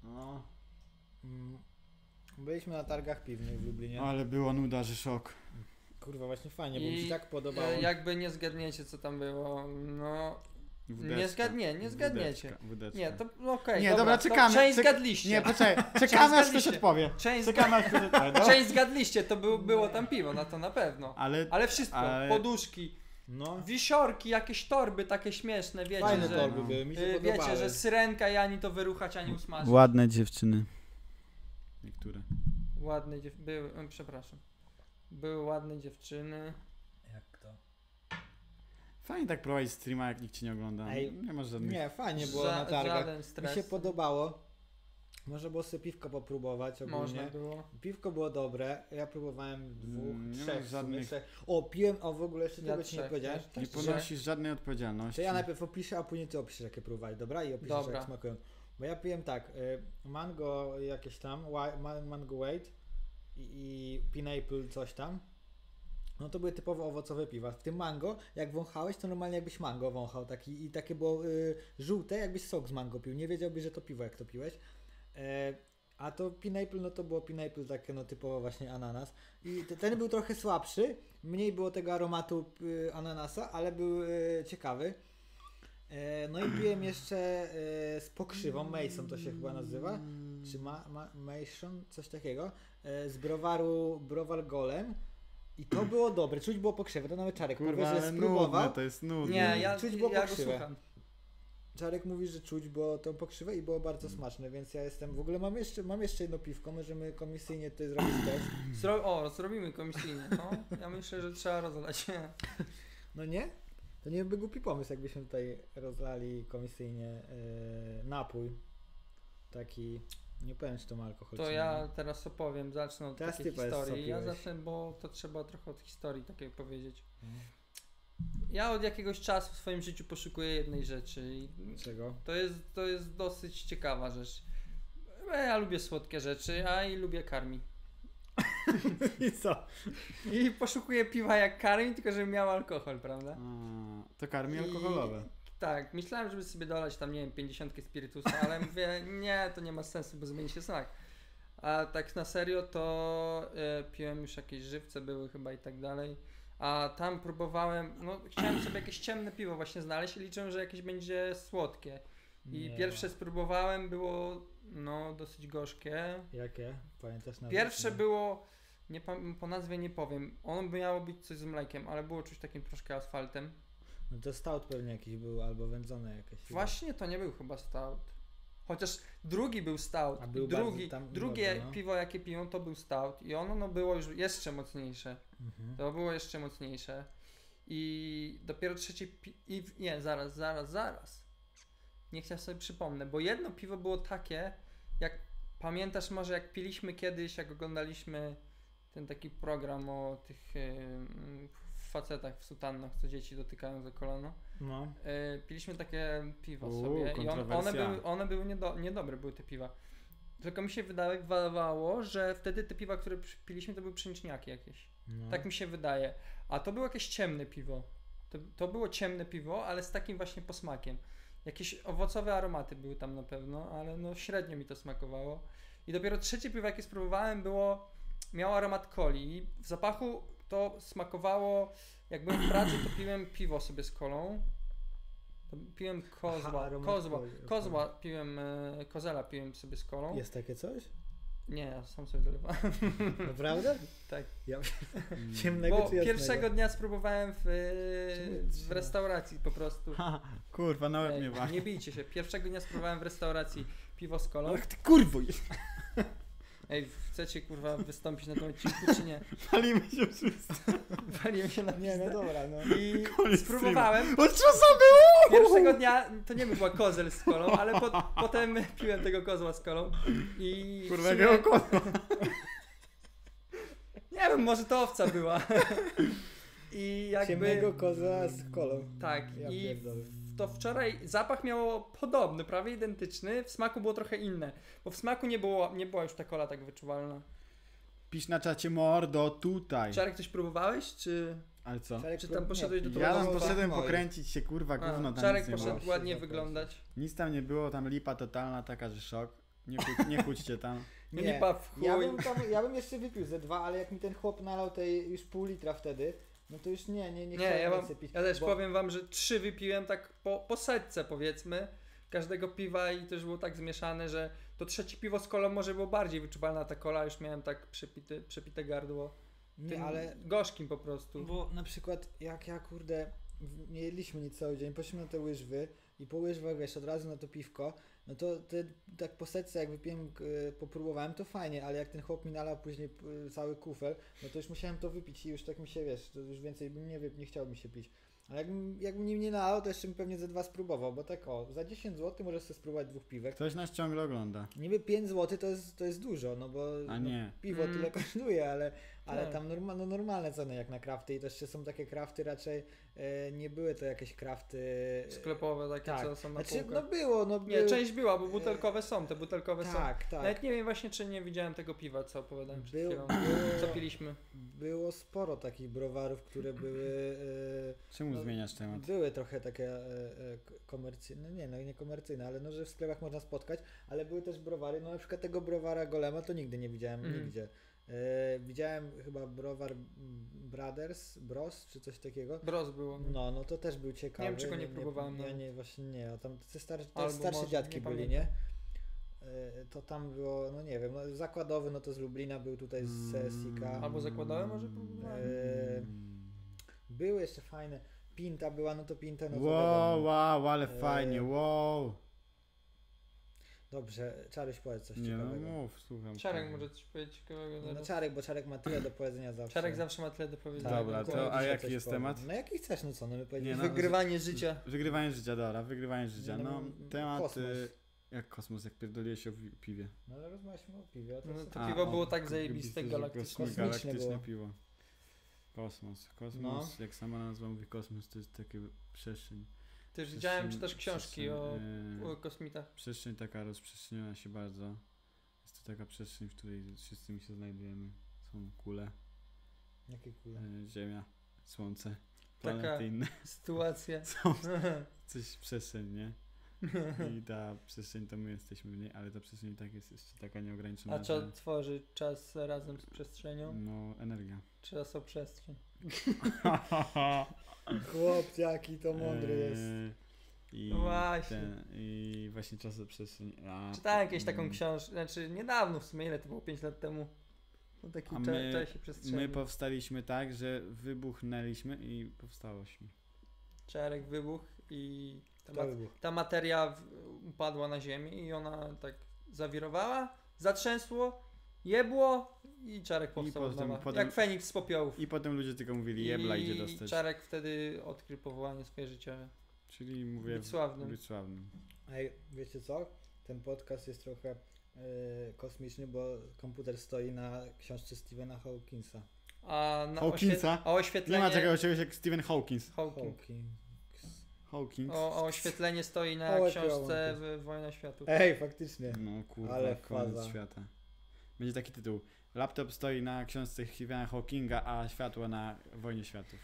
Speaker 1: No.
Speaker 3: Mm. Byliśmy na targach piwnych w Lublinie.
Speaker 1: Ale była nuda, że szok.
Speaker 3: Kurwa, właśnie fajnie, bo mi
Speaker 2: I-
Speaker 3: się tak podobało.
Speaker 2: E, Jakby nie zgadniecie co tam było, no... Nie zgadnie, nie zgadniecie.
Speaker 1: Wódeczka, wódeczka.
Speaker 2: Nie, to okej,
Speaker 1: Nie,
Speaker 2: dobra,
Speaker 1: dobra, czekamy,
Speaker 2: No, część
Speaker 1: czek-
Speaker 2: zgadliście.
Speaker 1: Nie,
Speaker 2: [LAUGHS]
Speaker 1: poczekaj, czekamy aż ktoś
Speaker 2: zgadliście.
Speaker 1: odpowie.
Speaker 2: Część, zga-
Speaker 1: Czekamy aż ktoś odpowie, dobra?
Speaker 2: część zgadliście, to był, było tam piwo, na to na pewno.
Speaker 1: Ale
Speaker 2: Ale wszystko,
Speaker 1: Ale-
Speaker 2: poduszki,
Speaker 3: No,
Speaker 2: wisiorki, jakieś torby takie śmieszne, wiecie,
Speaker 3: fajne
Speaker 2: że...
Speaker 3: torby
Speaker 1: no.
Speaker 3: były, mi się
Speaker 2: y,
Speaker 3: podobały.
Speaker 2: Wiecie, że syrenka i ani to wyruchać, ani usmażyć.
Speaker 1: Ładne dziewczyny. Niektóre.
Speaker 2: Ładne dziew... były, em, przepraszam. Były ładne dziewczyny.
Speaker 3: Jak to?
Speaker 1: Fajnie tak prowadzić streama, jak nikt cię nie ogląda.
Speaker 3: Ej,
Speaker 1: nie masz żadnych...
Speaker 3: Nie, fajnie było
Speaker 2: Ża-
Speaker 3: na targach.
Speaker 2: Żaden
Speaker 3: Mi
Speaker 2: stres.
Speaker 3: się podobało. Można było sobie piwko popróbować ogólnie.
Speaker 2: Można było.
Speaker 3: Piwko było dobre, ja próbowałem dwóch,
Speaker 1: Mm, nie
Speaker 3: trzech,
Speaker 1: mam
Speaker 3: w sumie,
Speaker 1: żadnych-
Speaker 3: trzech. O, piłem, o w ogóle jeszcze
Speaker 2: Ja
Speaker 3: tego ci nie
Speaker 2: trzech Tak
Speaker 3: powiedziałem.
Speaker 2: też.
Speaker 1: Nie
Speaker 2: Że-
Speaker 1: ponosisz żadnej odpowiedzialności.
Speaker 3: To ja najpierw opiszę, a później ty opiszesz jakie próbowałeś, dobra? I opiszesz
Speaker 2: Dobra.
Speaker 3: jak smakują. Bo ja piłem tak, y, mango jakieś tam, wa- ma- mango white i, i pineapple coś tam. No to były typowo owocowe piwa. W tym mango, jak wąchałeś, to normalnie jakbyś mango wąchał taki i takie było y, żółte, jakbyś sok z mango pił. Nie wiedziałbyś, że to piwo, jak to piłeś. E, a to pineapple, no to było pineapple takie no typowo właśnie ananas. I te- ten był trochę słabszy, mniej było tego aromatu y, ananasa, ale był y, ciekawy. E, no i piłem jeszcze e, z pokrzywą, Mason to się chyba nazywa, czy ma, ma, Mason, coś takiego, e, z browaru Browar Golem. I to było dobre, czuć było pokrzywę, to nawet Czarek mówi,
Speaker 1: Kurwa,
Speaker 3: że
Speaker 1: ale nudne,
Speaker 3: spróbował.
Speaker 1: to jest nudne.
Speaker 2: Nie, ja,
Speaker 3: Czuć było
Speaker 2: ja go
Speaker 3: pokrzywe.
Speaker 2: słucham.
Speaker 3: Czarek mówi, że czuć było tą pokrzywę i było bardzo smaczne, więc ja jestem, w ogóle mam jeszcze, mam jeszcze jedno piwko, możemy komisyjnie tutaj zrobić test.
Speaker 2: Zro... O, zrobimy komisyjnie, no. Ja myślę, że trzeba rozlać.
Speaker 3: No nie? To nie byłby głupi pomysł, jakbyśmy tutaj rozlali komisyjnie yy, napój. Taki, nie powiem, czy to ma alkohol.
Speaker 2: To
Speaker 3: czy
Speaker 2: ja teraz opowiem, zacznę od
Speaker 3: Teraz
Speaker 2: takiej
Speaker 3: ty powiedz, co
Speaker 2: historii. Ja
Speaker 3: piłeś.
Speaker 2: zacznę, bo to trzeba trochę od historii takiej powiedzieć.
Speaker 3: Mhm.
Speaker 2: Ja od jakiegoś czasu w swoim życiu poszukuję jednej rzeczy i
Speaker 3: nie. Czego?
Speaker 2: to jest, to jest dosyć ciekawa rzecz. E, Ja lubię słodkie rzeczy, a i lubię karmi.
Speaker 3: I co?
Speaker 2: I poszukuję piwa jak karmi, tylko żebym miał alkohol, prawda?
Speaker 1: A, to karmi
Speaker 2: I-
Speaker 1: alkoholowe.
Speaker 2: Tak, myślałem, żeby sobie dolać tam, nie wiem, 50 spirytusa, ale mówię, nie, to nie ma sensu, bo zmieni się smak. A tak na serio, to e, piłem już jakieś żywce były chyba i tak dalej. A tam próbowałem, no chciałem sobie jakieś ciemne piwo właśnie znaleźć i liczyłem, że jakieś będzie słodkie. I
Speaker 3: Nie.
Speaker 2: pierwsze spróbowałem, było no dosyć gorzkie.
Speaker 3: Jakie? Pamiętasz na
Speaker 2: Pierwsze
Speaker 3: nie?
Speaker 2: było, nie, pam- po nazwie nie powiem, ono miało być coś z mlekiem, ale było czuć takim troszkę asfaltem.
Speaker 3: No to stout pewnie jakiś był, albo wędzone jakieś.
Speaker 2: Właśnie to nie był chyba stout. Chociaż drugi był stout.
Speaker 3: A był
Speaker 2: drugi,
Speaker 3: bardzo tam-
Speaker 2: drugie
Speaker 3: bardzo, no.
Speaker 2: piwo, jakie piją, to był stout. I ono no, było już jeszcze mocniejsze.
Speaker 3: Mhm.
Speaker 2: To było jeszcze mocniejsze. I dopiero trzecie pi- i w- Nie, zaraz, zaraz, zaraz. Niech ja sobie przypomnę, bo jedno piwo było takie, jak pamiętasz może jak piliśmy kiedyś, jak oglądaliśmy ten taki program o tych ym, facetach w sutannach, co dzieci dotykają za kolano.
Speaker 3: No.
Speaker 2: E, piliśmy takie piwo
Speaker 1: Uuu,
Speaker 2: sobie i on, one
Speaker 1: kontrowersja.
Speaker 2: były, one były niedo, niedobre, były te piwa. Tylko mi się wydawało, że wtedy te piwa, które przy- piliśmy, to były pszeniczniaki jakieś.
Speaker 3: no.
Speaker 2: Tak mi się wydaje. A to było jakieś ciemne piwo. To, to było ciemne piwo, ale z takim właśnie posmakiem. Jakieś owocowe aromaty były tam na pewno, ale no średnio mi to smakowało. I dopiero trzecie piwo, jakie spróbowałem, było. miało aromat coli. I w zapachu to smakowało. Jak byłem w pracy, to piłem piwo sobie z kolą. To piłem kozła.
Speaker 3: aromat
Speaker 2: kozła,
Speaker 3: coli, okej.
Speaker 2: kozła piłem, e, kozela piłem sobie z kolą.
Speaker 3: Jest takie coś?
Speaker 2: Nie, ja sam sobie dolewałem. [LAUGHS]
Speaker 3: Naprawdę?
Speaker 2: tak.
Speaker 3: Ja
Speaker 1: Mm.
Speaker 3: [LAUGHS] ciemnego
Speaker 2: Bo
Speaker 3: czy jasnego?
Speaker 2: pierwszego dnia spróbowałem w,
Speaker 3: Czemu jest
Speaker 2: w restauracji po prostu.
Speaker 1: Ha, Mm. kurwa, nawet mnie
Speaker 2: Ej,
Speaker 1: właśnie.
Speaker 3: no,
Speaker 2: nie bijcie się. Pierwszego dnia spróbowałem w restauracji piwo z kolą.
Speaker 1: Ach ty kurwo!
Speaker 2: Ej, chcecie kurwa wystąpić na tym odcinku,
Speaker 1: [LAUGHS]
Speaker 2: czy nie?
Speaker 1: Palimy się wszyscy.
Speaker 2: Waliłem się na
Speaker 3: Nie, no dobra, no.
Speaker 2: I
Speaker 1: [LAUGHS] Koniec
Speaker 2: spróbowałem.
Speaker 1: Od czasu
Speaker 2: Pierwszego dnia to nie był chyba kozel z kolą, ale po, potem [LAUGHS] piłem tego kozła z kolą. I w
Speaker 1: Kurwa,
Speaker 2: sumie-
Speaker 1: jakiego kozła.
Speaker 2: Nie wiem, może to owca była. [LAUGHS] I jakby.
Speaker 3: Ciemnego koza z kolą.
Speaker 2: Tak,
Speaker 3: Ja
Speaker 2: i
Speaker 3: pierdolę.
Speaker 2: w- to wczoraj zapach miało podobny, prawie identyczny, w smaku było trochę inne, bo w smaku nie, było, nie była już ta kola tak wyczuwalna.
Speaker 1: Pisz na czacie mordo tutaj.
Speaker 2: Czarek, coś próbowałeś, czy...
Speaker 1: Ale co?
Speaker 3: Czarek,
Speaker 2: Czy tam poszedłeś do
Speaker 1: Ja
Speaker 2: towarzystwa?
Speaker 1: tam
Speaker 3: Moje.
Speaker 1: poszedłem pokręcić się,
Speaker 3: Tak,
Speaker 1: kurwa,
Speaker 2: A,
Speaker 1: gówno tam
Speaker 2: Czarek
Speaker 1: nic nie
Speaker 2: poszedł
Speaker 1: było.
Speaker 3: ma.
Speaker 2: ładnie
Speaker 3: Się
Speaker 2: wyglądać.
Speaker 1: Nic tam nie było, tam lipa totalna taka, że szok. Nie, chuć, nie chućcie tam.
Speaker 2: Nie,
Speaker 3: Nie,
Speaker 2: lipa w chuj.
Speaker 3: Ja bym, tam, ja bym jeszcze wypił ze dwa, ale jak mi ten chłop nalał tej już pół litra wtedy, no to już nie, nie, nie
Speaker 2: Nie,
Speaker 3: chciałem
Speaker 2: ja, wam,
Speaker 3: więcej pić.
Speaker 2: ja też
Speaker 3: bo-
Speaker 2: powiem wam, że trzy wypiłem tak po, po setce powiedzmy każdego piwa i też było tak zmieszane, że to trzecie piwo z kolą może było bardziej wyczuwalna ta kola, już miałem tak przepite, przepite gardło. Tym
Speaker 3: Nie, ale
Speaker 2: gorzkim po prostu.
Speaker 3: Bo na przykład jak ja kurde w- nie jedliśmy nic cały dzień, poszliśmy na te łyżwy i po łyżwach wiesz, od razu na to piwko, no to te, tak po setce jak wypiłem, k- y, popróbowałem to fajnie, ale jak ten chłop mi nalał później y, cały kufel, no to już musiałem to wypić i już tak mi się wiesz, to już więcej bym nie, wyp- nie chciał mi się pić. Ale jakbym, jakbym nim nie nalał, to jeszcze bym pewnie ze dwa spróbował, bo tak o, za 10 zł możesz sobie spróbować dwóch piwek.
Speaker 1: Ktoś nas ciągle ogląda.
Speaker 3: Niby 5 zł to jest, to jest dużo, no bo
Speaker 1: A
Speaker 3: no,
Speaker 1: nie.
Speaker 3: piwo
Speaker 2: Mm.
Speaker 3: tyle kosztuje, ale, ale
Speaker 2: Tak.
Speaker 3: tam norma, no normalne ceny jak na krafty i też jeszcze są takie krafty raczej, e, nie były to jakieś krafty... e,
Speaker 2: Sklepowe takie,
Speaker 3: tak.
Speaker 2: co są na
Speaker 3: Znaczy, no
Speaker 2: półkach.
Speaker 3: było, no
Speaker 2: Nie,
Speaker 3: był-
Speaker 2: część była, bo butelkowe są, te butelkowe są.
Speaker 3: y, Tak, tak.
Speaker 2: Nawet nie wiem właśnie, czy nie widziałem tego piwa, co opowiadałem przed
Speaker 3: Był-
Speaker 2: chwilą.
Speaker 3: było-
Speaker 2: Co piliśmy.
Speaker 3: Było sporo takich browarów, które były...
Speaker 1: Czemu
Speaker 3: No,
Speaker 1: zmieniasz
Speaker 3: E,
Speaker 1: temat?
Speaker 3: były trochę takie e, e, k- komercyjne, nie no nie komercyjne, ale no, że w sklepach można spotkać, ale były też browary, no na przykład tego browara Golema to nigdy nie widziałem
Speaker 2: Mhm.
Speaker 3: nigdzie. E, widziałem chyba browar mm, Brothers, Bros czy coś takiego,
Speaker 2: Bros było.
Speaker 3: No, no to też był ciekawy.
Speaker 2: wiem, czy go nie próbowałem
Speaker 3: Ja
Speaker 2: nawet.
Speaker 3: nie, właśnie nie, a tam te starsze, te
Speaker 2: Albo
Speaker 3: starsze
Speaker 2: może,
Speaker 3: dziadki
Speaker 2: nie
Speaker 3: byli,
Speaker 2: pamiętam.
Speaker 3: nie? Y, To tam było, no nie wiem, no, zakładowy, no to z Lublina był tutaj z
Speaker 1: Mm.
Speaker 3: CSIK.
Speaker 2: Albo zakładałem, może próbowałem.
Speaker 3: Y, były jeszcze fajne. Pinta była, no to pinta, no to
Speaker 1: Wow,
Speaker 3: wiadomo.
Speaker 1: wow, ale
Speaker 3: E,
Speaker 1: fajnie, wow.
Speaker 3: Dobrze, Czaryś powiedz coś
Speaker 1: Nie no,
Speaker 3: ciekawego.
Speaker 1: mów, słucham.
Speaker 2: Czarek może coś powiedzieć ciekawego
Speaker 3: tak. No
Speaker 2: zaraz.
Speaker 3: Czarek, bo Czarek ma tyle do powiedzenia zawsze.
Speaker 2: Czarek zawsze ma tyle do powiedzenia.
Speaker 1: Dobra,
Speaker 3: no
Speaker 1: to-
Speaker 3: dzisiaj
Speaker 1: a jaki
Speaker 3: coś
Speaker 1: jest
Speaker 3: powiem.
Speaker 1: temat?
Speaker 3: No jaki chcesz, no co, no my powiedzieliśmy.
Speaker 1: no,
Speaker 3: wygrywa...
Speaker 2: Wygrywanie życia.
Speaker 1: Wygrywanie życia, dobra, wygrywanie życia.
Speaker 3: Nie, no,
Speaker 1: No,
Speaker 3: mm,
Speaker 1: temat...
Speaker 3: kosmos.
Speaker 1: y, Jak kosmos, jak pierdoliłeś się o wi- piwie.
Speaker 3: No ale rozmawialiśmy o piwie, a to
Speaker 2: No,
Speaker 3: jest...
Speaker 2: to
Speaker 1: A,
Speaker 2: piwo
Speaker 1: o,
Speaker 2: było tak
Speaker 1: k-
Speaker 2: zajebiste,
Speaker 1: że
Speaker 2: galaktyczne.
Speaker 1: kosmi-
Speaker 3: Kosmiczne
Speaker 1: Galaktyczne
Speaker 3: było.
Speaker 1: piwo. Kosmos. Kosmos,
Speaker 2: No.
Speaker 1: jak sama nazwa mówi, kosmos to jest takie przestrzeń.
Speaker 2: Też
Speaker 1: przestrzeń-
Speaker 2: widziałem czy też książki o,
Speaker 1: przestrzeń, e,
Speaker 2: o kosmitach.
Speaker 1: Przestrzeń taka rozprzestrzeniona się bardzo. Jest to taka przestrzeń, w której wszyscy mi się znajdujemy. Są kule,
Speaker 3: Jakie kule.
Speaker 1: e, ziemia, słońce,
Speaker 2: Taka-
Speaker 1: planety inne. [LAUGHS]
Speaker 2: Sytuacja.
Speaker 1: Są coś przestrzeń, nie?
Speaker 2: [LAUGHS]
Speaker 1: I ta przestrzeń to my jesteśmy w niej, ale ta przestrzeń tak jest jeszcze taka nieograniczona.
Speaker 2: A co
Speaker 1: że-
Speaker 2: tworzy czas razem z przestrzenią?
Speaker 1: No,
Speaker 2: [LAUGHS]
Speaker 1: energia.
Speaker 2: Czas o przestrzeń.
Speaker 3: Chłop, jaki to mądry jest.
Speaker 1: Eee, I
Speaker 2: No Właśnie.
Speaker 1: Ten, I właśnie czas o przestrzeń. A,
Speaker 2: Czytałem kiedyś taką
Speaker 1: mm,
Speaker 2: książkę, znaczy niedawno w sumie, ile to było, 5 lat temu. O
Speaker 1: A
Speaker 2: takim
Speaker 1: my-
Speaker 2: cza- czasie przestrzeni.
Speaker 1: My powstaliśmy tak, że wybuchnęliśmy i powstałośmy.
Speaker 2: Czarek wybuchł i ta,
Speaker 3: To
Speaker 2: ma-
Speaker 3: wybuch.
Speaker 2: ta materia w- upadła na ziemię i ona tak zawirowała, zatrzęsło, jebło i Czarek powstał od
Speaker 1: potem-
Speaker 2: nowa.
Speaker 1: potem-
Speaker 2: Jak Feniks z popiołów.
Speaker 1: I potem ludzie tylko mówili, jebla idzie dostać.
Speaker 2: Czarek wtedy odkrył powołanie swoje życiowe.
Speaker 1: Czyli mówię,
Speaker 2: Być sławnym.
Speaker 1: Być sławnym.
Speaker 3: Ej, wiecie co? Ten podcast jest trochę e, kosmiczny, bo komputer stoi na książce Stephena Hawkinsa.
Speaker 2: A na
Speaker 1: Hawkinsa?
Speaker 2: oświe- a
Speaker 1: Nie
Speaker 2: oświetlenie...
Speaker 1: ma takiego czegoś jak Stephen Hawkins.
Speaker 2: Hawking.
Speaker 3: Hawkins.
Speaker 1: Hawkins.
Speaker 2: O, o oświetlenie stoi na
Speaker 3: Hałek
Speaker 2: książce
Speaker 3: Hałek.
Speaker 2: w Wojna Światów.
Speaker 3: Ej, faktycznie.
Speaker 1: No kurwa,
Speaker 3: Ale
Speaker 1: koniec
Speaker 3: faza.
Speaker 1: świata. Będzie taki tytuł. Laptop stoi na książce Stephena Hawkinga, a światło na Wojnie Światów.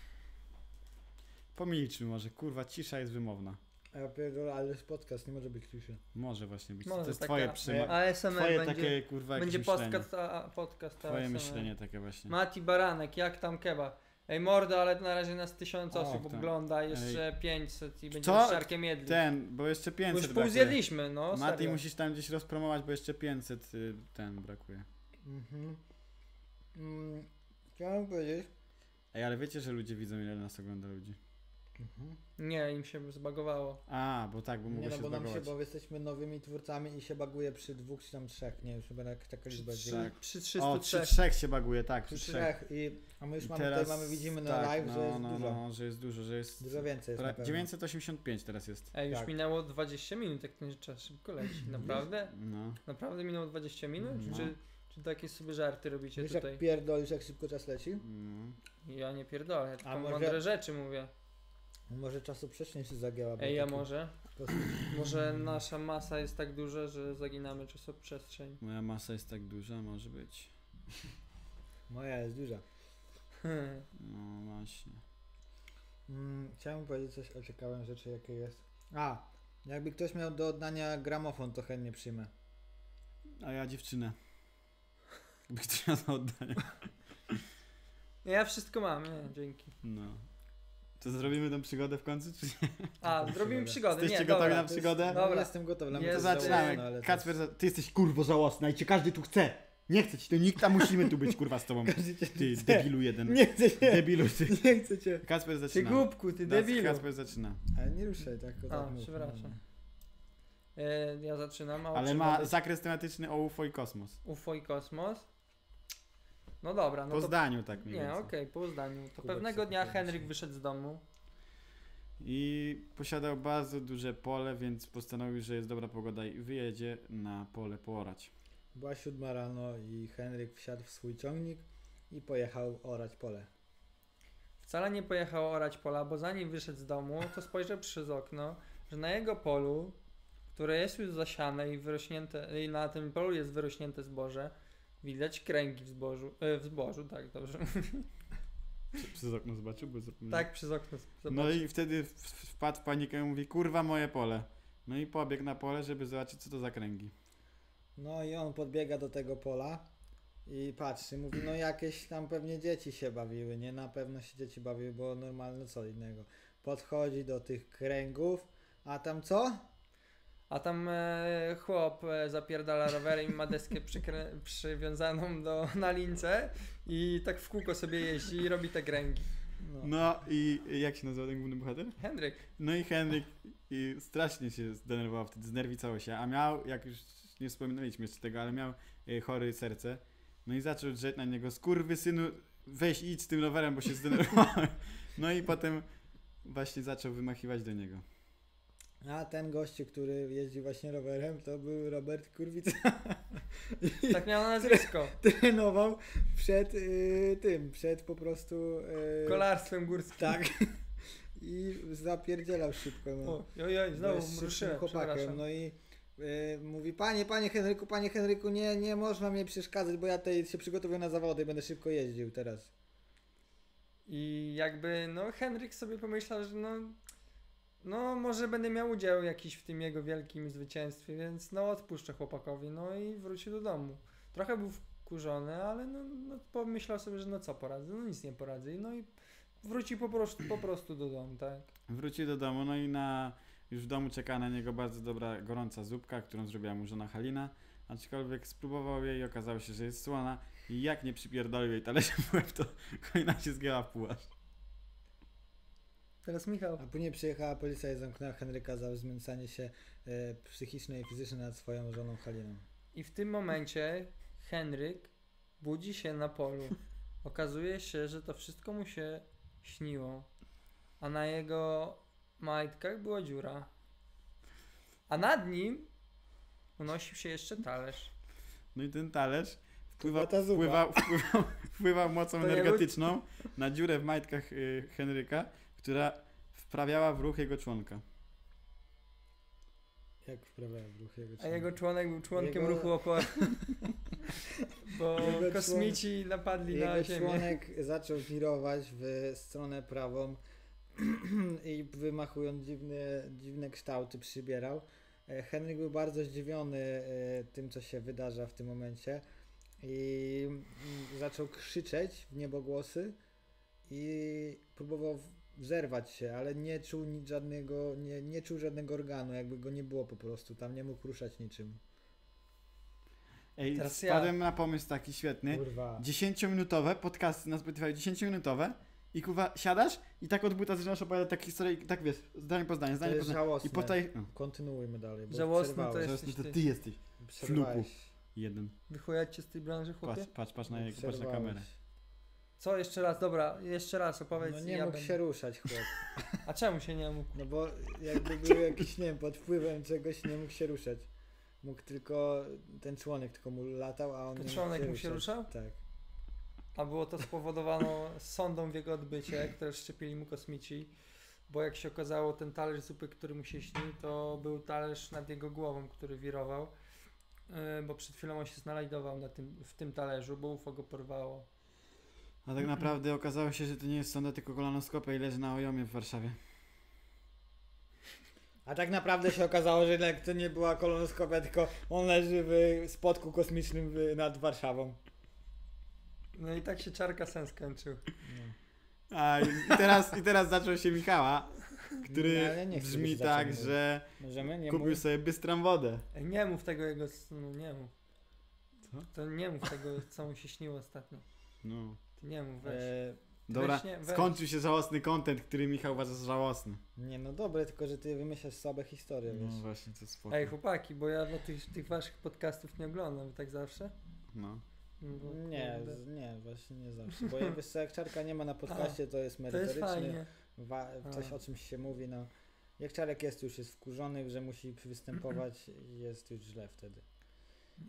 Speaker 1: Pomilczmy może, kurwa, cisza jest wymowna.
Speaker 3: A Ja pierdolę, ale jest podcast, nie może być ciszy.
Speaker 1: Może właśnie być.
Speaker 2: Może
Speaker 1: to jest
Speaker 2: taka-
Speaker 1: twoje przyma...
Speaker 2: A SMR
Speaker 1: Twoje
Speaker 2: będzie...
Speaker 1: takie kurwa jakieś
Speaker 2: Będzie
Speaker 1: myślenie.
Speaker 2: podcast, a, a podcast a
Speaker 1: Twoje
Speaker 2: SMR.
Speaker 1: myślenie takie właśnie.
Speaker 2: Mati Baranek, jak tam kebab? Ej mordo, ale na razie nas tysiąc
Speaker 1: O,
Speaker 2: osób
Speaker 1: tak.
Speaker 2: ogląda, jeszcze 500 i będziemy
Speaker 1: Co?
Speaker 2: z Czarkiem jedli.
Speaker 1: Ten, bo jeszcze
Speaker 2: Bo
Speaker 1: 500
Speaker 2: już pół
Speaker 1: brakuje.
Speaker 2: zjedliśmy, no
Speaker 1: Mati
Speaker 2: serio.
Speaker 1: musisz tam gdzieś rozpromować, bo jeszcze 500 y, ten brakuje.
Speaker 3: Mhm. Mm, chciałem powiedzieć,
Speaker 1: Ej, ale wiecie, że ludzie widzą ile nas ogląda ludzi.
Speaker 3: Mhm.
Speaker 2: Nie, im się zbagowało.
Speaker 1: A, bo tak, bo
Speaker 3: Nie
Speaker 1: mogło
Speaker 3: no,
Speaker 1: się
Speaker 3: bo nam się,
Speaker 1: zbagować.
Speaker 3: bo jesteśmy nowymi twórcami i się baguje przy dwóch czy tam trzech, nie wiem, chyba tak, taka
Speaker 2: Przy,
Speaker 3: liczba
Speaker 2: trzy,
Speaker 3: jest.
Speaker 1: tak.
Speaker 2: przy
Speaker 1: O,
Speaker 2: 303.
Speaker 1: przy trzech się baguje, tak,
Speaker 3: Przy
Speaker 1: przy trzech.
Speaker 3: trzech i a my już
Speaker 1: I
Speaker 3: mamy, tutaj mamy, widzimy na
Speaker 1: tak,
Speaker 3: live,
Speaker 1: no,
Speaker 3: że jest
Speaker 1: no,
Speaker 3: dużo,
Speaker 1: No, że jest dużo, że jest...
Speaker 3: dużo więcej jest
Speaker 1: pra-
Speaker 3: na pewno.
Speaker 1: 985 teraz jest.
Speaker 2: Ej, już
Speaker 3: tak.
Speaker 2: minęło 20 minut, jak ten czas szybko leci. Naprawdę?
Speaker 1: No.
Speaker 2: Naprawdę minęło 20 minut?
Speaker 1: No.
Speaker 2: Czy, czy takie sobie żarty robicie
Speaker 3: Wiesz
Speaker 2: tutaj?
Speaker 3: jak pierdolisz, jak szybko czas leci?
Speaker 1: no.
Speaker 2: Ja nie pierdolę, tylko
Speaker 3: może-
Speaker 2: mądre rzeczy mówię.
Speaker 3: No Może czasu przestrzeń się zagięła. bo
Speaker 2: Ej, a
Speaker 3: taki-
Speaker 2: może?
Speaker 3: to-
Speaker 2: Może nasza masa jest tak duża, że zaginamy czasoprzestrzeń.
Speaker 1: Moja masa jest tak duża, może być.
Speaker 3: Moja jest duża.
Speaker 2: Hmm.
Speaker 1: No właśnie.
Speaker 3: Mm, chciałem powiedzieć coś o ciekawym rzeczy, jakie jest. A, jakby ktoś miał do oddania gramofon, to chętnie przyjmę.
Speaker 1: A ja dziewczynę. [LAUGHS] By chciała za oddanie.
Speaker 2: [LAUGHS] Ja wszystko mam, nie, dzięki.
Speaker 1: No. To zrobimy tą przygodę w końcu, czy nie?
Speaker 2: A,
Speaker 3: Proszę
Speaker 2: zrobimy
Speaker 3: bardzo.
Speaker 2: przygodę,
Speaker 1: Jesteście
Speaker 2: nie,
Speaker 1: gotowi
Speaker 2: dobra.
Speaker 1: na przygodę?
Speaker 2: Dobra.
Speaker 3: Dobra. no, Jestem gotowy. dla mnie
Speaker 1: To
Speaker 2: Jest,
Speaker 3: jest
Speaker 1: zaczynamy.
Speaker 3: żałosne, no, ale to
Speaker 1: Kacper, za... ty jesteś kurwo żałosna i cię każdy tu chce. Nie chce ci to nikt, a musimy tu być kurwa z tobą.
Speaker 3: [LAUGHS] Każdy cię
Speaker 1: Ty
Speaker 3: chce.
Speaker 1: debilu jeden.
Speaker 3: Nie chcę cię.
Speaker 1: Debilu ty.
Speaker 3: Nie chcę cię.
Speaker 1: Kacper
Speaker 2: Ty
Speaker 1: zaczyna.
Speaker 2: głupku, ty
Speaker 1: Das-
Speaker 2: debilu.
Speaker 1: Kacper zaczyna.
Speaker 3: Ale nie ruszaj tak. no.
Speaker 2: A, przepraszam. E, ja zaczynam, a o
Speaker 1: Ale
Speaker 2: czym
Speaker 1: ma
Speaker 2: będzie?
Speaker 1: zakres tematyczny o UFO i kosmos.
Speaker 2: UFO i kosmos. No dobra, no
Speaker 1: Po
Speaker 2: to...
Speaker 1: zdaniu tak mniej
Speaker 2: Nie,
Speaker 1: więcej.
Speaker 2: okej, po zdaniu. To
Speaker 3: Kubek
Speaker 2: pewnego dnia
Speaker 3: sobie
Speaker 2: Henryk wyszedł z domu.
Speaker 1: I posiadał bardzo duże pole, więc postanowił, że jest dobra pogoda i wyjedzie na pole poorać.
Speaker 3: Była siódma rano i Henryk wsiadł w swój ciągnik i pojechał orać pole.
Speaker 2: Wcale nie pojechał orać pola, bo zanim wyszedł z domu, to spojrzał przez okno, że na jego polu, które jest już zasiane i wyrośnięte, i na tym polu jest wyrośnięte zboże, widać kręgi w zbożu, e, w zbożu, tak, dobrze.
Speaker 1: Mhm. Przez okno zobaczył, bo zapomniał.
Speaker 2: tak, przez okno.
Speaker 1: No i wtedy w- w- wpadł w panikę i mówi, kurwa moje pole. No i pobiegł na pole, żeby zobaczyć co to za kręgi.
Speaker 3: No i on podbiega do tego pola i patrzy, mówi, no jakieś tam pewnie dzieci się bawiły, nie? Na pewno się dzieci bawiły, bo normalne co innego. Podchodzi do tych kręgów, a tam co?
Speaker 2: A tam e, chłop e, zapierdala rowerem i ma deskę przykrę- przywiązaną do, na lince i tak w kółko sobie jeździ i robi te kręgi.
Speaker 3: No.
Speaker 1: No i jak się nazywa ten główny bohater?
Speaker 2: Henryk,
Speaker 1: No i Henryk i strasznie się zdenerwował wtedy, znerwicało się, a miał, jak już nie wspominaliśmy jeszcze tego, ale miał e, chory serce. No i zaczął drzeć na niego, skurwy synu, weź idź z tym rowerem, bo się zdenerwowałem. No i potem właśnie zaczął wymachiwać do niego.
Speaker 3: A ten gościu, który jeździ właśnie rowerem, to był Robert Kurwica. [LAUGHS]
Speaker 2: tak miał nazwisko.
Speaker 3: Trenował przed y, tym, przed po prostu... Y,
Speaker 2: Kolarstwem górskim.
Speaker 3: Tak. I zapierdzielał szybko. No.
Speaker 2: O, oj, oj,
Speaker 3: Bo jest
Speaker 2: znowu
Speaker 3: szybkim
Speaker 2: ruszyłem, przepraszam.
Speaker 3: chłopakiem. No i y, mówi, panie, panie Henryku, panie Henryku, nie, nie można mnie przeszkadzać, bo ja tutaj się przygotowuję na zawody i będę szybko jeździł teraz.
Speaker 2: I jakby, no Henryk sobie pomyślał, że no, no może będę miał udział jakiś w tym jego wielkim zwycięstwie, więc no odpuszczę chłopakowi, no i wrócił do domu. Trochę był wkurzony, ale no, no pomyślał sobie, że no co poradzę, no nic nie poradzę, no i wrócił po prostu, po prostu do domu, tak.
Speaker 1: Wrócił do domu, no i na, już w domu czeka na niego bardzo dobra, gorąca zupka, którą zrobiła mu żona Halina. Aczkolwiek spróbował jej i okazało się, że jest słona. I jak nie przypierdolił jej talerzem w łeb, to [LAUGHS] Halina się zgięła w pół aż.
Speaker 2: Teraz Michał.
Speaker 3: A później przyjechała policja i zamknęła Henryka za znęcanie się y, psychiczne i fizyczne nad swoją żoną Haliną.
Speaker 2: I w tym momencie Henryk budzi się na polu. Okazuje się, że to wszystko mu się śniło. A na jego majtkach była dziura. A nad nim unosił się jeszcze talerz.
Speaker 1: No i ten talerz wpływa,
Speaker 3: była ta zupa.
Speaker 1: wpływa, [LAUGHS] wpływał, wpływał mocą
Speaker 2: To ja
Speaker 1: energetyczną na dziurę w majtkach y, Henryka, która wprawiała w ruch jego członka.
Speaker 3: Jak wprawiałem w ruch jego
Speaker 2: A
Speaker 3: ciała.
Speaker 2: jego członek był członkiem
Speaker 3: Jego-
Speaker 2: ruchu
Speaker 3: [LAUGHS]
Speaker 2: oporu. Bo
Speaker 3: Jego
Speaker 2: kosmici napadli na
Speaker 3: Jego
Speaker 2: Ziemię.
Speaker 3: członek zaczął wirować w stronę prawą [CLEARS THROAT] i wymachując dziwne, dziwne kształty przybierał. E, Henryk był bardzo zdziwiony e, tym, co się wydarza w tym momencie i mm, zaczął krzyczeć w niebogłosy i próbował w- zerwać się, ale nie czuł nic żadnego, nie, nie czuł żadnego organu, jakby go nie było po prostu, tam nie mógł ruszać niczym.
Speaker 1: Ej,
Speaker 2: Teraz ja.
Speaker 1: wpadłem na pomysł taki świetny.
Speaker 3: Kurwa.
Speaker 1: 10-minutowe podcasty na Spotify, 10-minutowe I kuwa, siadasz i tak od buta zaczynasz opowiadać takie historie, i tak wiesz, zdanie po zdanie, zdanie po
Speaker 3: jest
Speaker 1: zdanie.
Speaker 3: żałosne.
Speaker 1: I potem...
Speaker 3: Kontynuujmy dalej, bo
Speaker 2: Żałosne to
Speaker 3: przerwałeś.
Speaker 1: No,
Speaker 2: jesteś
Speaker 1: to
Speaker 2: ty.
Speaker 1: ty jesteś.
Speaker 3: Przerwałeś.
Speaker 1: Jeden.
Speaker 2: Wychujać cię z tej branży, chłopie?
Speaker 1: Patrz, patrz, patrz na jego, patrz na
Speaker 3: Przerwałeś.
Speaker 1: kamerę.
Speaker 2: Co, jeszcze raz, dobra, jeszcze raz opowiedz.
Speaker 3: No
Speaker 2: i
Speaker 3: nie
Speaker 2: ja
Speaker 3: mógł
Speaker 2: będę-
Speaker 3: się ruszać chłop.
Speaker 2: A czemu się nie mógł?
Speaker 3: No bo jakby był jakiś, nie wiem, pod wpływem czegoś nie mógł się ruszać. Mógł tylko, ten członek tylko mu latał, a on
Speaker 2: Ten
Speaker 3: nie
Speaker 2: członek
Speaker 3: mógł
Speaker 2: mu się ruszał?
Speaker 3: Tak.
Speaker 2: A było to spowodowano sondą w jego odbycie, które szczepili mu kosmici, bo jak się okazało, ten talerz zupy, który mu się śnił, to był talerz nad jego głową, który wirował, Yy, bo przed chwilą on się znajdował na tym, w tym talerzu, bo UFO go porwało.
Speaker 1: A tak naprawdę okazało się, że to nie jest sonda, tylko kolanoskopia i leży na ojomie w Warszawie.
Speaker 3: A tak naprawdę się okazało, że jednak to nie była kolonoskopia, tylko on leży w spotku kosmicznym w, nad Warszawą.
Speaker 2: No i tak się czarka sen skończył.
Speaker 3: No.
Speaker 1: A i teraz, i teraz zaczął się Michała, który
Speaker 3: Nie, No, ale nie chcę
Speaker 1: brzmi
Speaker 3: być
Speaker 1: tak,
Speaker 3: zaciągnięty.
Speaker 1: że
Speaker 3: Możemy? Nie
Speaker 1: kupił
Speaker 3: mówię?
Speaker 1: sobie bystrą wodę.
Speaker 2: Ej, Nie mów tego jego snu, nie mów.
Speaker 1: Co?
Speaker 2: To nie mów tego, co mu się śniło ostatnio.
Speaker 1: No.
Speaker 2: Ty nie mów, weź.
Speaker 3: E,
Speaker 1: Dobra,
Speaker 2: Weź nie- weź.
Speaker 1: skończył się żałosny content, który Michał uważa za żałosny.
Speaker 3: nie, no dobre, tylko że ty wymyślasz słabe historie,
Speaker 1: No
Speaker 3: wiesz.
Speaker 1: właśnie, to spoko.
Speaker 2: Ej, chłopaki, bo ja no, tych, tych waszych podcastów nie oglądam, wy tak zawsze?
Speaker 1: No.
Speaker 2: No bo
Speaker 3: Nie,
Speaker 2: kurde.
Speaker 3: z- nie, właśnie nie zawsze. Bo jak wiesz co, jak czarka nie ma na podcaście, to jest
Speaker 2: To jest
Speaker 3: merytorycznie.
Speaker 2: fajnie.
Speaker 3: wa- coś
Speaker 2: A.
Speaker 3: o czymś się mówi, no. Jak Czarek jest już jest wkurzony, że musi występować i jest już źle wtedy.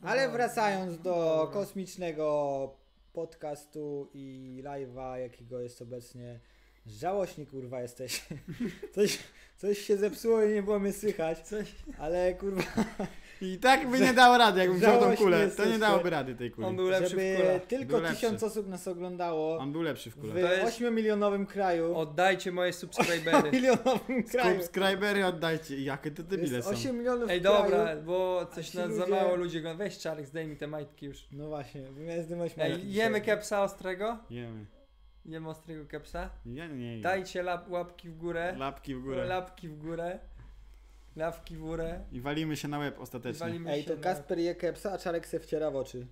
Speaker 3: Ale
Speaker 2: Dobra.
Speaker 3: wracając do
Speaker 2: Dobra.
Speaker 3: kosmicznego podcastu i live'a, jakiego jest obecnie. Żałośnik
Speaker 2: [LAUGHS]
Speaker 3: kurwa jesteś. Coś, coś się zepsuło i nie było mnie słychać,
Speaker 2: Coś,
Speaker 3: ale kurwa,
Speaker 1: I tak by nie dało rady, jakbym wziął tą
Speaker 3: Żałośnie
Speaker 1: kulę. To nie
Speaker 3: jesteście.
Speaker 1: dałoby rady tej
Speaker 2: on
Speaker 1: kuli.
Speaker 2: był lepszy w
Speaker 3: żeby
Speaker 2: kulach.
Speaker 3: tylko
Speaker 1: Był
Speaker 3: tysiąc
Speaker 1: lepszy.
Speaker 3: osób nas oglądało
Speaker 1: On był lepszy w
Speaker 3: w
Speaker 1: kule.
Speaker 2: To jest-
Speaker 3: 8-milionowym kraju.
Speaker 2: Oddajcie moje subskrybery.
Speaker 3: milionowym kraju.
Speaker 1: Subskrybery oddajcie. I Jakie to debile
Speaker 3: Jest
Speaker 1: są.
Speaker 3: 8 milionów
Speaker 2: Ej,
Speaker 3: kraju.
Speaker 2: dobra, bo
Speaker 3: A
Speaker 2: coś
Speaker 3: ci
Speaker 2: nas za
Speaker 3: ludzie-
Speaker 2: mało ludzi ogląda. Weź Czarek, zdejmij te majtki już.
Speaker 3: No właśnie, bo miałem zdymać majtki
Speaker 2: Ej, jemy
Speaker 3: dzisiaj.
Speaker 2: kepsa ostrego?
Speaker 1: Jemy.
Speaker 2: Jemy ostrego kepsa?
Speaker 1: Ja nie jem.
Speaker 2: Dajcie lap, łapki w górę.
Speaker 1: Lapki w górę.
Speaker 2: Lapki w górę. Lapki w górę.
Speaker 1: I walimy się na łeb
Speaker 2: I
Speaker 1: ostatecznie.
Speaker 2: walimy
Speaker 3: Ej,
Speaker 2: się
Speaker 3: to
Speaker 2: na-
Speaker 3: Kasper je kepsa, a Czarek se wciera w oczy.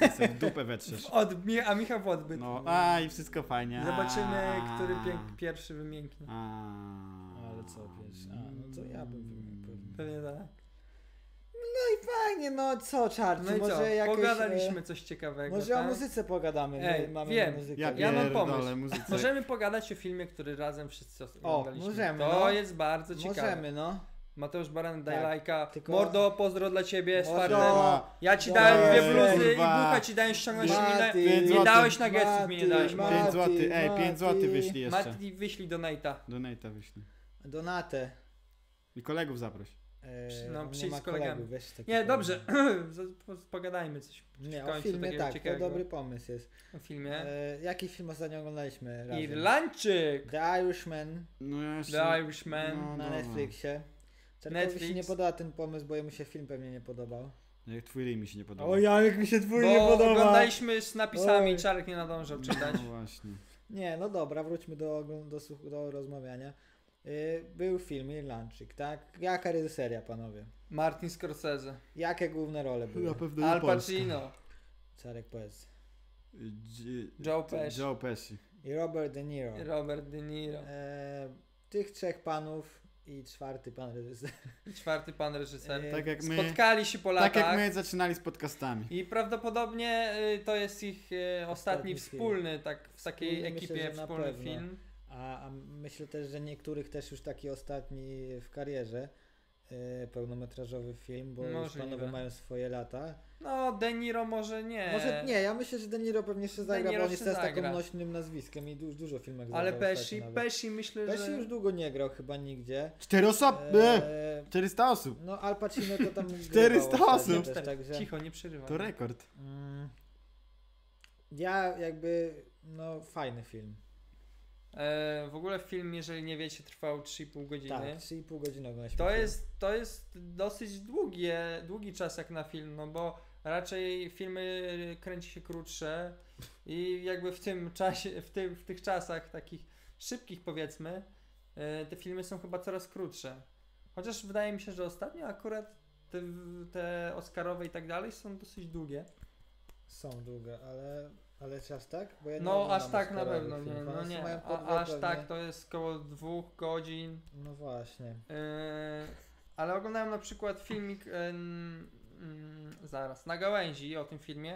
Speaker 1: Ty se w dupę
Speaker 2: [LAUGHS]
Speaker 1: wetrzesz.
Speaker 2: W odmi- a Michał w odbyt.
Speaker 1: No, a i wszystko fajnie.
Speaker 2: Zobaczymy,
Speaker 1: A.
Speaker 2: który pięk- pierwszy wymięknie.
Speaker 1: A.
Speaker 3: Ale co, pierwszy? A, no to ja bym wymienił pewnie.
Speaker 2: Pewnie tak.
Speaker 3: Fajnie, no co Czarczy,
Speaker 2: No i
Speaker 3: może
Speaker 2: co?
Speaker 3: jakieś...
Speaker 2: Pogadaliśmy coś
Speaker 3: E,
Speaker 2: ciekawego.
Speaker 3: może o
Speaker 2: tak?
Speaker 3: muzyce pogadamy,
Speaker 2: Ej,
Speaker 3: my mamy
Speaker 2: wiem.
Speaker 3: muzykę.
Speaker 1: Ja,
Speaker 2: Ja mam pomysł.
Speaker 1: pierdolę muzyce.
Speaker 2: Możemy pogadać o filmie, który razem wszyscy oglądaliśmy.
Speaker 3: możemy,
Speaker 2: To
Speaker 3: no.
Speaker 2: jest bardzo ciekawe.
Speaker 3: Możemy, no.
Speaker 2: Mateusz Baran, daj
Speaker 3: Tak,
Speaker 2: lajka.
Speaker 3: tylko-
Speaker 2: Mordo, pozdro dla ciebie,
Speaker 3: Mordo.
Speaker 2: stary.
Speaker 1: Dobra.
Speaker 2: Ja ci
Speaker 3: Dobra.
Speaker 2: dałem dwie bluzy i
Speaker 1: Kurwa.
Speaker 2: bucha ci dałem ściągnąć
Speaker 1: Pięć
Speaker 2: mi na...
Speaker 3: Mati,
Speaker 1: nie złotych.
Speaker 2: dałeś na gesty, mi nie dałeś.
Speaker 3: Mati,
Speaker 1: 5 zł, ej, 5 zł
Speaker 3: Mati.
Speaker 1: wyślij jeszcze.
Speaker 2: Mati, wyślij donata.
Speaker 1: Donate'a wyślij.
Speaker 3: Donatę.
Speaker 1: I kolegów zaproś.
Speaker 3: E,
Speaker 2: Przy- no,
Speaker 3: on nie
Speaker 2: przyjdź
Speaker 3: ma
Speaker 2: z kolegami.
Speaker 3: kolegów, wiesz, taki
Speaker 2: Nie,
Speaker 3: problem.
Speaker 2: dobrze, [CLEARS THROAT] z- po- pogadajmy coś
Speaker 3: Nie,
Speaker 2: W
Speaker 3: o
Speaker 2: końcu
Speaker 3: filmie
Speaker 2: takiego
Speaker 3: tak, to
Speaker 2: ciekawego.
Speaker 3: dobry pomysł jest.
Speaker 2: o filmie.
Speaker 3: E, jaki film ostatnio oglądaliśmy razem?
Speaker 2: Irlandczyk,
Speaker 3: The Irishman.
Speaker 1: No ja jeszcze...
Speaker 2: The Irishman.
Speaker 1: No,
Speaker 3: na
Speaker 1: dobra.
Speaker 3: Netflixie. Czarnkowi się
Speaker 2: Netflix.
Speaker 3: nie podoba ten pomysł, bo jemu się film pewnie nie podobał.
Speaker 1: No jak twój ryj mi się nie podoba.
Speaker 3: O ja, jak mi się twój nie
Speaker 2: Bo
Speaker 3: podoba!
Speaker 2: oglądaliśmy z napisami,
Speaker 3: Oj.
Speaker 2: Czarek nie nadążał czytać.
Speaker 1: No [LAUGHS] właśnie.
Speaker 3: Nie, no dobra, wróćmy do, oglą- do, słuch- do rozmawiania. Yy, był film Irlandczyk, tak? Jaka reżyseria, panowie?
Speaker 2: Martin Scorsese,
Speaker 3: Jakie główne role były?
Speaker 1: Na pewno nie
Speaker 2: Al
Speaker 1: Polska.
Speaker 2: Pacino,
Speaker 3: Czarek powiedz.
Speaker 1: Dzi-
Speaker 2: Joe Pesci.
Speaker 1: Joe Pesci.
Speaker 3: I Robert De Niro.
Speaker 2: Robert De Niro.
Speaker 3: E, tych trzech panów i czwarty pan reżyser.
Speaker 2: I czwarty pan reżyser.
Speaker 3: E,
Speaker 1: Tak jak my...
Speaker 2: Spotkali się po latach.
Speaker 1: Tak jak my zaczynali z podcastami.
Speaker 2: I prawdopodobnie y, to jest ich y, ostatni
Speaker 3: Ostatni film.
Speaker 2: wspólny, tak w takiej
Speaker 3: Wspólny,
Speaker 2: ekipie
Speaker 3: myślę, że na
Speaker 2: wspólny
Speaker 3: pewno.
Speaker 2: film.
Speaker 3: A, a myślę też, że niektórych też już taki ostatni w karierze. e, Pełnometrażowy film, bo już
Speaker 2: Możliwe.
Speaker 3: panowie mają swoje lata.
Speaker 2: No, De Niro może nie.
Speaker 3: Może nie, ja myślę, że De Niro pewnie się zagra,
Speaker 2: Niro
Speaker 3: bo on jest
Speaker 2: E, się
Speaker 3: teraz takim
Speaker 2: zagra.
Speaker 3: nośnym nazwiskiem i du- już dużo filmów
Speaker 2: Ale
Speaker 3: zagrał
Speaker 2: Pesci,
Speaker 3: ostatnio nawet.
Speaker 2: Pesci myślę,
Speaker 3: Pesci
Speaker 2: że...
Speaker 3: już długo nie grał chyba nigdzie.
Speaker 1: Cztery osoby!
Speaker 3: Eee,
Speaker 1: 400 osób.
Speaker 3: no Al Pacino to tam
Speaker 1: 400 osób!
Speaker 3: grywał ostatnio
Speaker 2: Cztery.
Speaker 3: Też, także,
Speaker 2: Cicho, nie przerywam.
Speaker 1: To rekord.
Speaker 3: mm, ja jakby, no fajny film.
Speaker 2: E, w ogóle film, jeżeli nie wiecie, trwał 3,5 godziny.
Speaker 3: Tak, 3,5 godziny oglądaliśmy.
Speaker 2: To
Speaker 3: film.
Speaker 2: jest, to jest dosyć długie, długi czas jak na film, no bo raczej filmy y, kręci się krótsze i jakby w tym czasie, w, tym, w tych czasach takich szybkich powiedzmy, e, te filmy są chyba coraz krótsze. Chociaż wydaje mi się, że ostatnio akurat te, te Oscarowe i tak dalej są dosyć długie.
Speaker 3: Są długie, ale Ale aż tak? Bo ja nie
Speaker 2: No
Speaker 3: oglądam
Speaker 2: aż tak na
Speaker 3: Oscarowych
Speaker 2: pewno nie,
Speaker 3: filmów,
Speaker 2: no
Speaker 3: one
Speaker 2: nie.
Speaker 3: mają po dwie
Speaker 2: A, aż
Speaker 3: pewnie.
Speaker 2: tak to jest około dwóch godzin.
Speaker 3: No właśnie.
Speaker 2: Yy, ale oglądałem na przykład filmik yy, mm, zaraz na gałęzi o tym filmie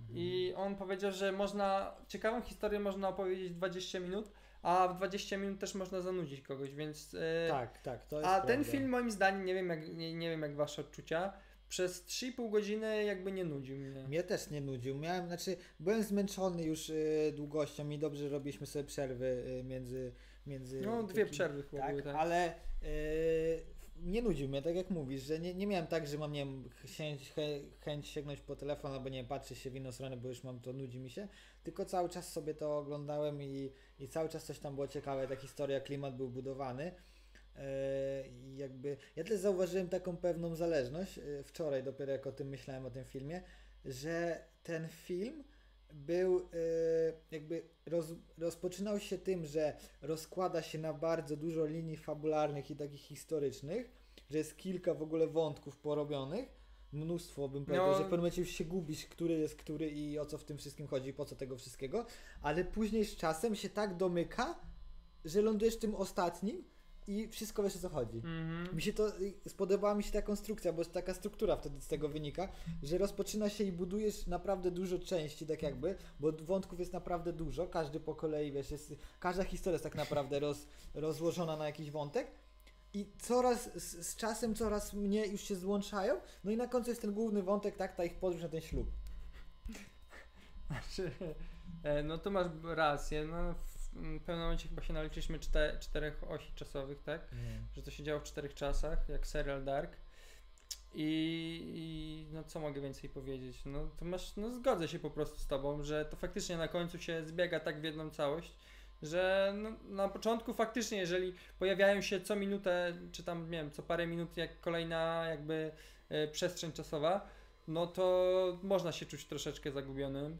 Speaker 3: Mhm.
Speaker 2: i on powiedział, że można ciekawą historię można opowiedzieć w 20 minut, a w 20 minut też można zanudzić kogoś, więc yy,
Speaker 3: Tak, tak, to
Speaker 2: a ten
Speaker 3: jest prawda.
Speaker 2: film moim zdaniem, nie wiem jak nie, nie wiem jak wasze odczucia, przez 3,5 godziny jakby nie nudził mnie.
Speaker 3: Mnie też nie nudził. Miałem, znaczy, byłem zmęczony już y, długością i dobrze robiliśmy sobie przerwy y, między, między.
Speaker 2: No dwie
Speaker 3: takimi-
Speaker 2: przerwy chyba
Speaker 3: Tak,
Speaker 2: były, tak.
Speaker 3: ale y, nie nudził mnie, tak jak mówisz, że nie, nie miałem tak, że mam, nie wiem, chęć, chę, chęć sięgnąć po telefon albo nie wiem, patrzę się w inną stronę, bo już mam to, nudzi mi się, tylko cały czas sobie to oglądałem i, i cały czas coś tam było ciekawe, ta historia, klimat był budowany. Y, I jakby ja też zauważyłem taką pewną zależność y, wczoraj, dopiero jak o tym myślałem o tym filmie, że ten film był y, jakby roz, rozpoczynał się tym, że rozkłada się na bardzo dużo linii fabularnych i takich historycznych, że jest kilka w ogóle wątków porobionych. Mnóstwo bym powiedział,
Speaker 2: No.
Speaker 3: że w pewnym momencie już się gubisz, który jest który i o co w tym wszystkim chodzi, po co tego wszystkiego, ale później z czasem się tak domyka, że lądujesz w tym ostatnim i wszystko wiesz o co chodzi.
Speaker 2: Mhm. [LAUGHS]
Speaker 3: Mi się to, y, spodobała mi się ta konstrukcja, bo taka struktura wtedy z tego wynika, że rozpoczyna się i budujesz naprawdę dużo części, tak jakby, bo wątków jest naprawdę dużo, każdy po kolei, wiesz, jest, każda historia jest tak naprawdę roz, rozłożona na jakiś wątek i coraz, z, z czasem coraz mniej już się złączają, no i na końcu jest ten główny wątek, tak, ta ich podróż na ten ślub.
Speaker 2: Znaczy, e, no tu masz rację. No, w mm, pewnym momencie chyba się naliczyliśmy czte, czterech osi czasowych, tak?
Speaker 3: Mm,
Speaker 2: Że to się działo w czterech czasach, jak serial Dark. I, I no co mogę więcej powiedzieć? No to masz, no zgodzę się po prostu z tobą, że to faktycznie na końcu się zbiega tak w jedną całość, że no, na początku faktycznie, jeżeli pojawiają się co minutę, czy tam nie wiem, co parę minut jak kolejna jakby e, przestrzeń czasowa, no to można się czuć troszeczkę zagubionym.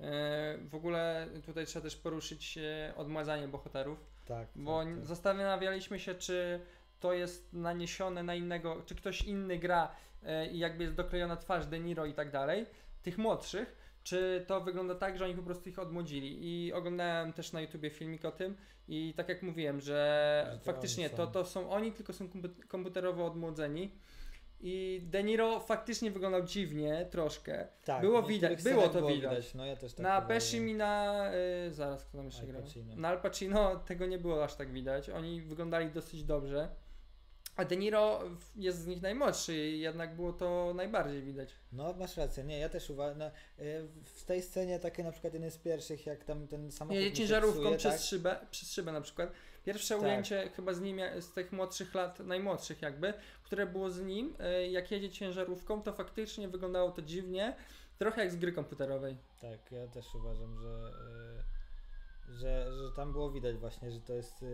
Speaker 2: E, w ogóle tutaj trzeba też poruszyć e, odmazanie bohaterów.
Speaker 3: Tak.
Speaker 2: Bo
Speaker 3: tak, tak.
Speaker 2: zastanawialiśmy się, czy to jest naniesione na innego, czy ktoś inny gra e, i jakby jest doklejona twarz De Niro i tak dalej, tych młodszych, czy to wygląda tak, że oni po prostu ich odmłodzili. I oglądałem też na YouTubie filmik o tym i tak jak mówiłem, że
Speaker 3: Że to
Speaker 2: faktycznie
Speaker 3: oni
Speaker 2: to,
Speaker 3: są.
Speaker 2: to są oni, tylko są kompu- komputerowo odmłodzeni. I De Niro faktycznie wyglądał dziwnie troszkę.
Speaker 3: Tak,
Speaker 2: było
Speaker 3: w niektórych
Speaker 2: widać- było
Speaker 3: scenach
Speaker 2: to widać.
Speaker 3: No ja też tak
Speaker 2: na
Speaker 3: uważam.
Speaker 2: Peszim i na... Y, zaraz, kto tam jeszcze
Speaker 3: Al
Speaker 2: grał?
Speaker 3: Pacino.
Speaker 2: Na Al Pacino tego nie było aż tak widać. Oni wyglądali dosyć dobrze. A De Niro w- jest z nich najmłodszy i jednak było to najbardziej widać.
Speaker 3: No masz rację, nie, ja też uważam. No, y, w tej scenie takie na przykład jeden z pierwszych, jak tam ten samochód.
Speaker 2: Jedzie
Speaker 3: mu się
Speaker 2: ciężarówką
Speaker 3: psuje,
Speaker 2: przez,
Speaker 3: tak?
Speaker 2: szybę, przez szybę na przykład. Pierwsze
Speaker 3: Tak.
Speaker 2: ujęcie chyba z nim, ja- z tych młodszych lat, najmłodszych jakby, które było z nim, y, jak jedzie ciężarówką, to faktycznie wyglądało to dziwnie. Trochę jak z gry komputerowej.
Speaker 3: Tak, ja też uważam, że, y, że, że tam było widać właśnie, że to jest y,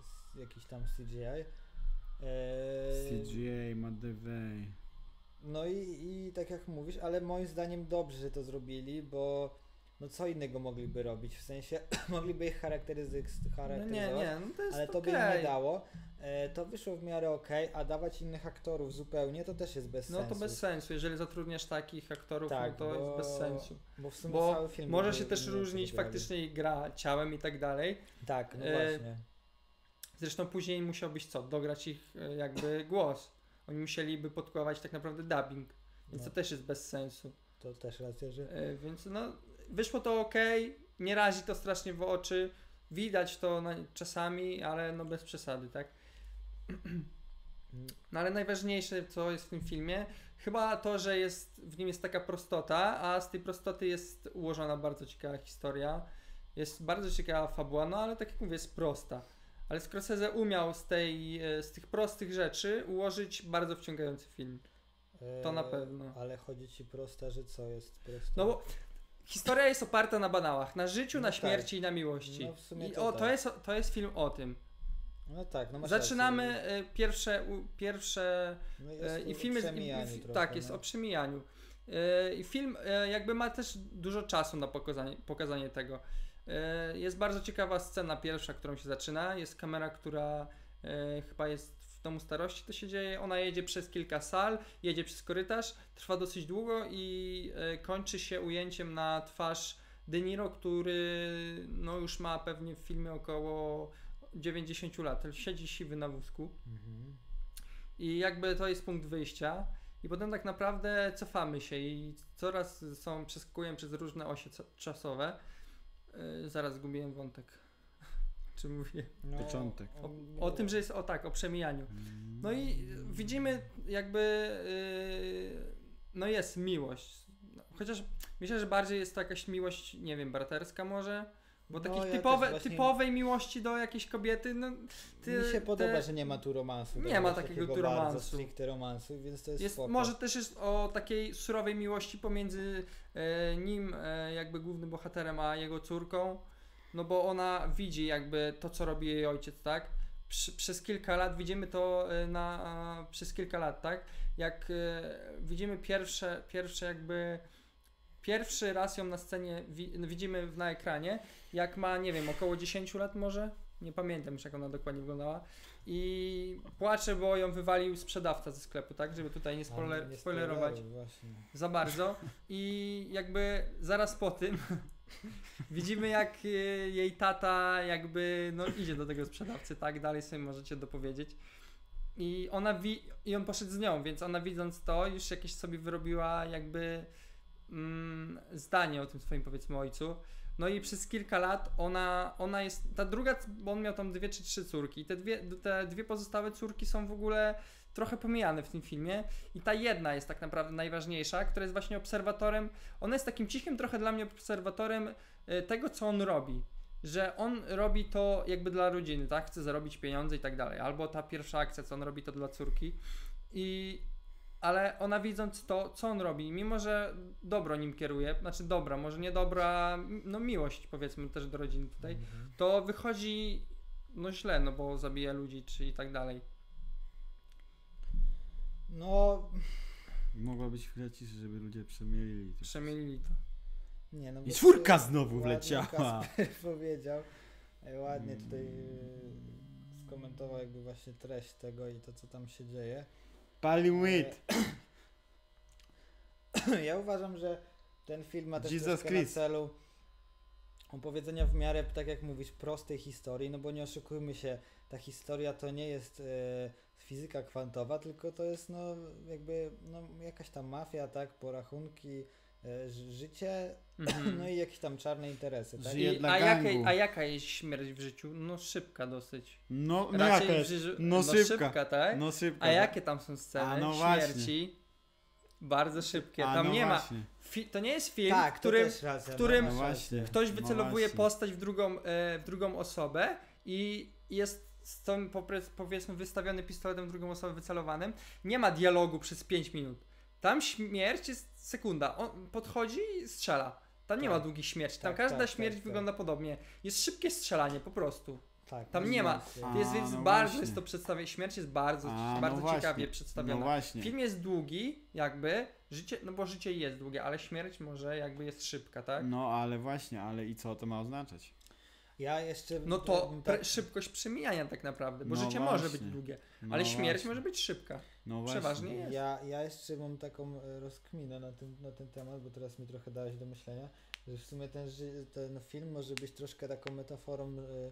Speaker 3: s- jakiś tam CGI. Y,
Speaker 1: CGI, Madeway.
Speaker 3: No i, i tak jak mówisz, ale moim zdaniem dobrze, że to zrobili, bo no co innego mogliby robić? W sensie [COUGHS] mogliby ich charakteryzyk-
Speaker 2: No
Speaker 3: charakteryzować.
Speaker 2: nie, nie, no to jest
Speaker 3: ale to by im
Speaker 2: okej.
Speaker 3: nie dało. E, to wyszło w miarę okej, a dawać innych aktorów zupełnie to też jest bez
Speaker 2: No
Speaker 3: sensu.
Speaker 2: to bez sensu, jeżeli zatrudniasz takich aktorów,
Speaker 3: Tak,
Speaker 2: no to
Speaker 3: bo-
Speaker 2: jest bez sensu.
Speaker 3: Bo w sumie
Speaker 2: Bo
Speaker 3: cały film
Speaker 2: może
Speaker 3: by-
Speaker 2: się też
Speaker 3: by nie
Speaker 2: różnić
Speaker 3: przegrali.
Speaker 2: faktycznie i gra ciałem i tak dalej.
Speaker 3: Tak, no
Speaker 2: e,
Speaker 3: właśnie.
Speaker 2: Zresztą później musiałbyś co? Dograć ich e, jakby głos. Oni musieliby podkładać tak naprawdę dubbing, więc
Speaker 3: No,
Speaker 2: to też jest bez sensu.
Speaker 3: to też racja, że.
Speaker 2: E, Więc no, wyszło to ok, nie razi to strasznie w oczy, widać to na, czasami, ale no bez przesady, tak? [CLEARS THROAT] No ale najważniejsze, co jest w tym filmie, chyba to, że jest, w nim jest taka prostota, a z tej prostoty jest ułożona bardzo ciekawa historia. Jest bardzo ciekawa fabuła, no ale tak jak mówię, jest prosta. Ale Scorsese umiał z, tej, e, z tych prostych rzeczy ułożyć bardzo wciągający film.
Speaker 3: E,
Speaker 2: to na pewno.
Speaker 3: Ale chodzi ci prosta, że co jest prosta.
Speaker 2: No bo historia jest oparta na banałach, na życiu,
Speaker 3: No
Speaker 2: na
Speaker 3: tak.
Speaker 2: śmierci i na miłości.
Speaker 3: No w sumie
Speaker 2: I
Speaker 3: to
Speaker 2: o, to,
Speaker 3: tak.
Speaker 2: jest, to jest film o tym.
Speaker 3: No tak, no masz
Speaker 2: Zaczynamy
Speaker 3: Rację.
Speaker 2: e, pierwsze, u, pierwsze
Speaker 3: No
Speaker 2: E,
Speaker 3: jest
Speaker 2: I
Speaker 3: o
Speaker 2: film jest. i- i-
Speaker 3: przemijaniu trochę,
Speaker 2: tak, jest
Speaker 3: no.
Speaker 2: o przemijaniu. E, I film e, jakby ma też dużo czasu na pokazanie, pokazanie tego. E, Jest bardzo ciekawa scena pierwsza, którą się zaczyna. Jest kamera, która e, chyba jest w domu starości, to się dzieje. Ona jedzie przez kilka sal, jedzie przez korytarz, trwa dosyć długo i e, kończy się ujęciem na twarz De Niro, który no już ma pewnie w filmie około 90 lat, siedzi siwy na wózku
Speaker 3: Mhm.
Speaker 2: i jakby to jest punkt wyjścia i potem tak naprawdę cofamy się i coraz są, przeskakujemy przez różne osie co- czasowe. Yy, zaraz zgubiłem wątek. [LAUGHS] Czy mówię?
Speaker 3: No,
Speaker 1: Początek.
Speaker 2: O, o tym, że jest o tak, o przemijaniu. No i widzimy jakby, yy, no jest miłość. No, Chociaż myślę, że bardziej jest to jakaś miłość, nie wiem, braterska może? Bo
Speaker 3: No,
Speaker 2: takiej
Speaker 3: ja też
Speaker 2: typowe,
Speaker 3: właśnie-
Speaker 2: typowej miłości do jakiejś kobiety, no ty-
Speaker 3: Mi się podoba,
Speaker 2: te-
Speaker 3: że nie ma tu romansu.
Speaker 2: Nie
Speaker 3: Jakiegoś
Speaker 2: ma takiego tu
Speaker 3: Bardzo
Speaker 2: romansu.
Speaker 3: stricte romansu, więc to jest,
Speaker 2: jest,
Speaker 3: spoko.
Speaker 2: może też jest o takiej surowej miłości pomiędzy e, nim, e, jakby głównym bohaterem, a jego córką. No bo ona widzi jakby to, co robi jej ojciec, tak? Przy, przez kilka lat widzimy to e, na, przez kilka lat, tak? Jak e, widzimy pierwsze, pierwsze jakby pierwszy raz ją na scenie wi, widzimy w- na ekranie, jak ma, nie wiem, około 10 lat może? Nie pamiętam już jak ona dokładnie wyglądała. I płacze, bo ją wywalił sprzedawca ze sklepu, tak? Żeby tutaj nie,
Speaker 3: Ale
Speaker 2: spoiler,
Speaker 3: nie
Speaker 2: spoilerować
Speaker 3: spoileruj, Właśnie.
Speaker 2: za bardzo i jakby zaraz po tym widzimy jak y, jej tata jakby no idzie do tego sprzedawcy, tak dalej sobie możecie dopowiedzieć. I ona wi- i on poszedł z nią, więc ona widząc to już jakieś sobie wyrobiła jakby mm, zdanie o tym swoim powiedzmy ojcu. No i przez kilka lat ona, ona jest, ta druga, bo on miał tam dwie czy trzy córki, te dwie, te dwie pozostałe córki są w ogóle trochę pomijane w tym filmie i ta jedna jest tak naprawdę najważniejsza, która jest właśnie obserwatorem, ona jest takim cichym trochę dla mnie obserwatorem e, tego, co on robi. Że on robi to jakby dla rodziny, tak? Chce zarobić pieniądze i tak dalej. Albo ta pierwsza akcja, co on robi, to dla córki. I ale ona widząc to, co on robi, mimo że dobro nim kieruje, znaczy dobra, może nie dobra, no miłość powiedzmy też do rodziny tutaj,
Speaker 3: Mhm.
Speaker 2: to wychodzi no źle, no bo zabija ludzi czy i tak dalej.
Speaker 3: No,
Speaker 1: Mogła być chwila ciszy, żeby ludzie przemielili. to.
Speaker 2: Przemielili to.
Speaker 3: nie no.
Speaker 1: I
Speaker 3: bo-
Speaker 1: czwórka znowu
Speaker 3: ładnie
Speaker 1: wleciała.
Speaker 3: Kasper [LAUGHS] powiedział. e, Ładnie tutaj e, skomentował jakby właśnie treść tego i to, co tam się dzieje. [CLEARS THROAT]
Speaker 1: Palim wit.
Speaker 3: Ja uważam, że ten film ma też
Speaker 1: Jesus
Speaker 3: troszkę
Speaker 1: Christ.
Speaker 3: na celu opowiedzenia w miarę, tak jak mówisz, prostej historii, no bo nie oszukujmy się, ta historia to nie jest e, fizyka kwantowa, tylko to jest no jakby no, jakaś tam mafia, tak, porachunki, e, ży- życie, [CLEARS THROAT]
Speaker 2: Mhm.
Speaker 3: no i jakieś tam czarne interesy, tak?
Speaker 1: Żyje
Speaker 2: I-
Speaker 1: dla
Speaker 2: a, jaka,
Speaker 1: gangu.
Speaker 2: a jaka jest śmierć w życiu? No szybka dosyć.
Speaker 1: No, no
Speaker 2: Raczej
Speaker 1: jaka
Speaker 2: w
Speaker 1: jest?
Speaker 2: życiu,
Speaker 1: No szybka.
Speaker 2: tak?
Speaker 1: No szybko.
Speaker 2: a jakie tam są sceny
Speaker 1: A no
Speaker 2: śmierci? Bardzo szybkie.
Speaker 1: A,
Speaker 2: Tam
Speaker 1: no
Speaker 2: nie
Speaker 1: właśnie.
Speaker 2: ma. Fi, to nie jest film,
Speaker 3: tak,
Speaker 2: w którym
Speaker 3: to też racja,
Speaker 2: w którym
Speaker 1: No właśnie.
Speaker 2: ktoś
Speaker 1: No
Speaker 2: wycelowuje
Speaker 1: właśnie.
Speaker 2: postać w drugą, e, w drugą osobę i jest z tym popre- powiedzmy wystawiony pistoletem w drugą osobę wycelowanym. Nie ma dialogu przez 5 minut. Tam śmierć jest sekunda. On podchodzi i strzela. Tam nie
Speaker 3: Tak.
Speaker 2: ma długich śmierci. Tam
Speaker 3: Tak,
Speaker 2: każda
Speaker 3: tak,
Speaker 2: śmierć
Speaker 3: tak, tak.
Speaker 2: wygląda podobnie. Jest szybkie strzelanie po prostu.
Speaker 3: tak,
Speaker 2: tam nie ma.
Speaker 3: rację.
Speaker 1: A,
Speaker 2: jest, więc
Speaker 1: no
Speaker 2: bardzo
Speaker 1: właśnie.
Speaker 2: jest to przedstawienie. Śmierć jest bardzo,
Speaker 1: A, no
Speaker 2: bardzo
Speaker 1: właśnie.
Speaker 2: ciekawie
Speaker 1: No
Speaker 2: przedstawiona.
Speaker 1: właśnie.
Speaker 2: Film jest długi, jakby. Życie, no bo życie jest długie, ale śmierć może jakby jest szybka, tak?
Speaker 1: No ale właśnie, ale i co to ma oznaczać?
Speaker 3: Ja jeszcze... tak,
Speaker 2: No to
Speaker 3: bym
Speaker 2: pre- szybkość przemijania tak naprawdę, bo
Speaker 1: No
Speaker 2: życie
Speaker 1: właśnie.
Speaker 2: może być długie,
Speaker 1: No
Speaker 2: ale śmierć
Speaker 1: właśnie.
Speaker 2: może być szybka.
Speaker 1: no
Speaker 2: przeważnie
Speaker 1: właśnie.
Speaker 2: nie jest.
Speaker 3: Ja, ja jeszcze mam taką e, rozkminę na ten, na ten temat, bo teraz mi trochę dałeś do myślenia, że w sumie ten, ży- ten film może być troszkę taką metaforą e,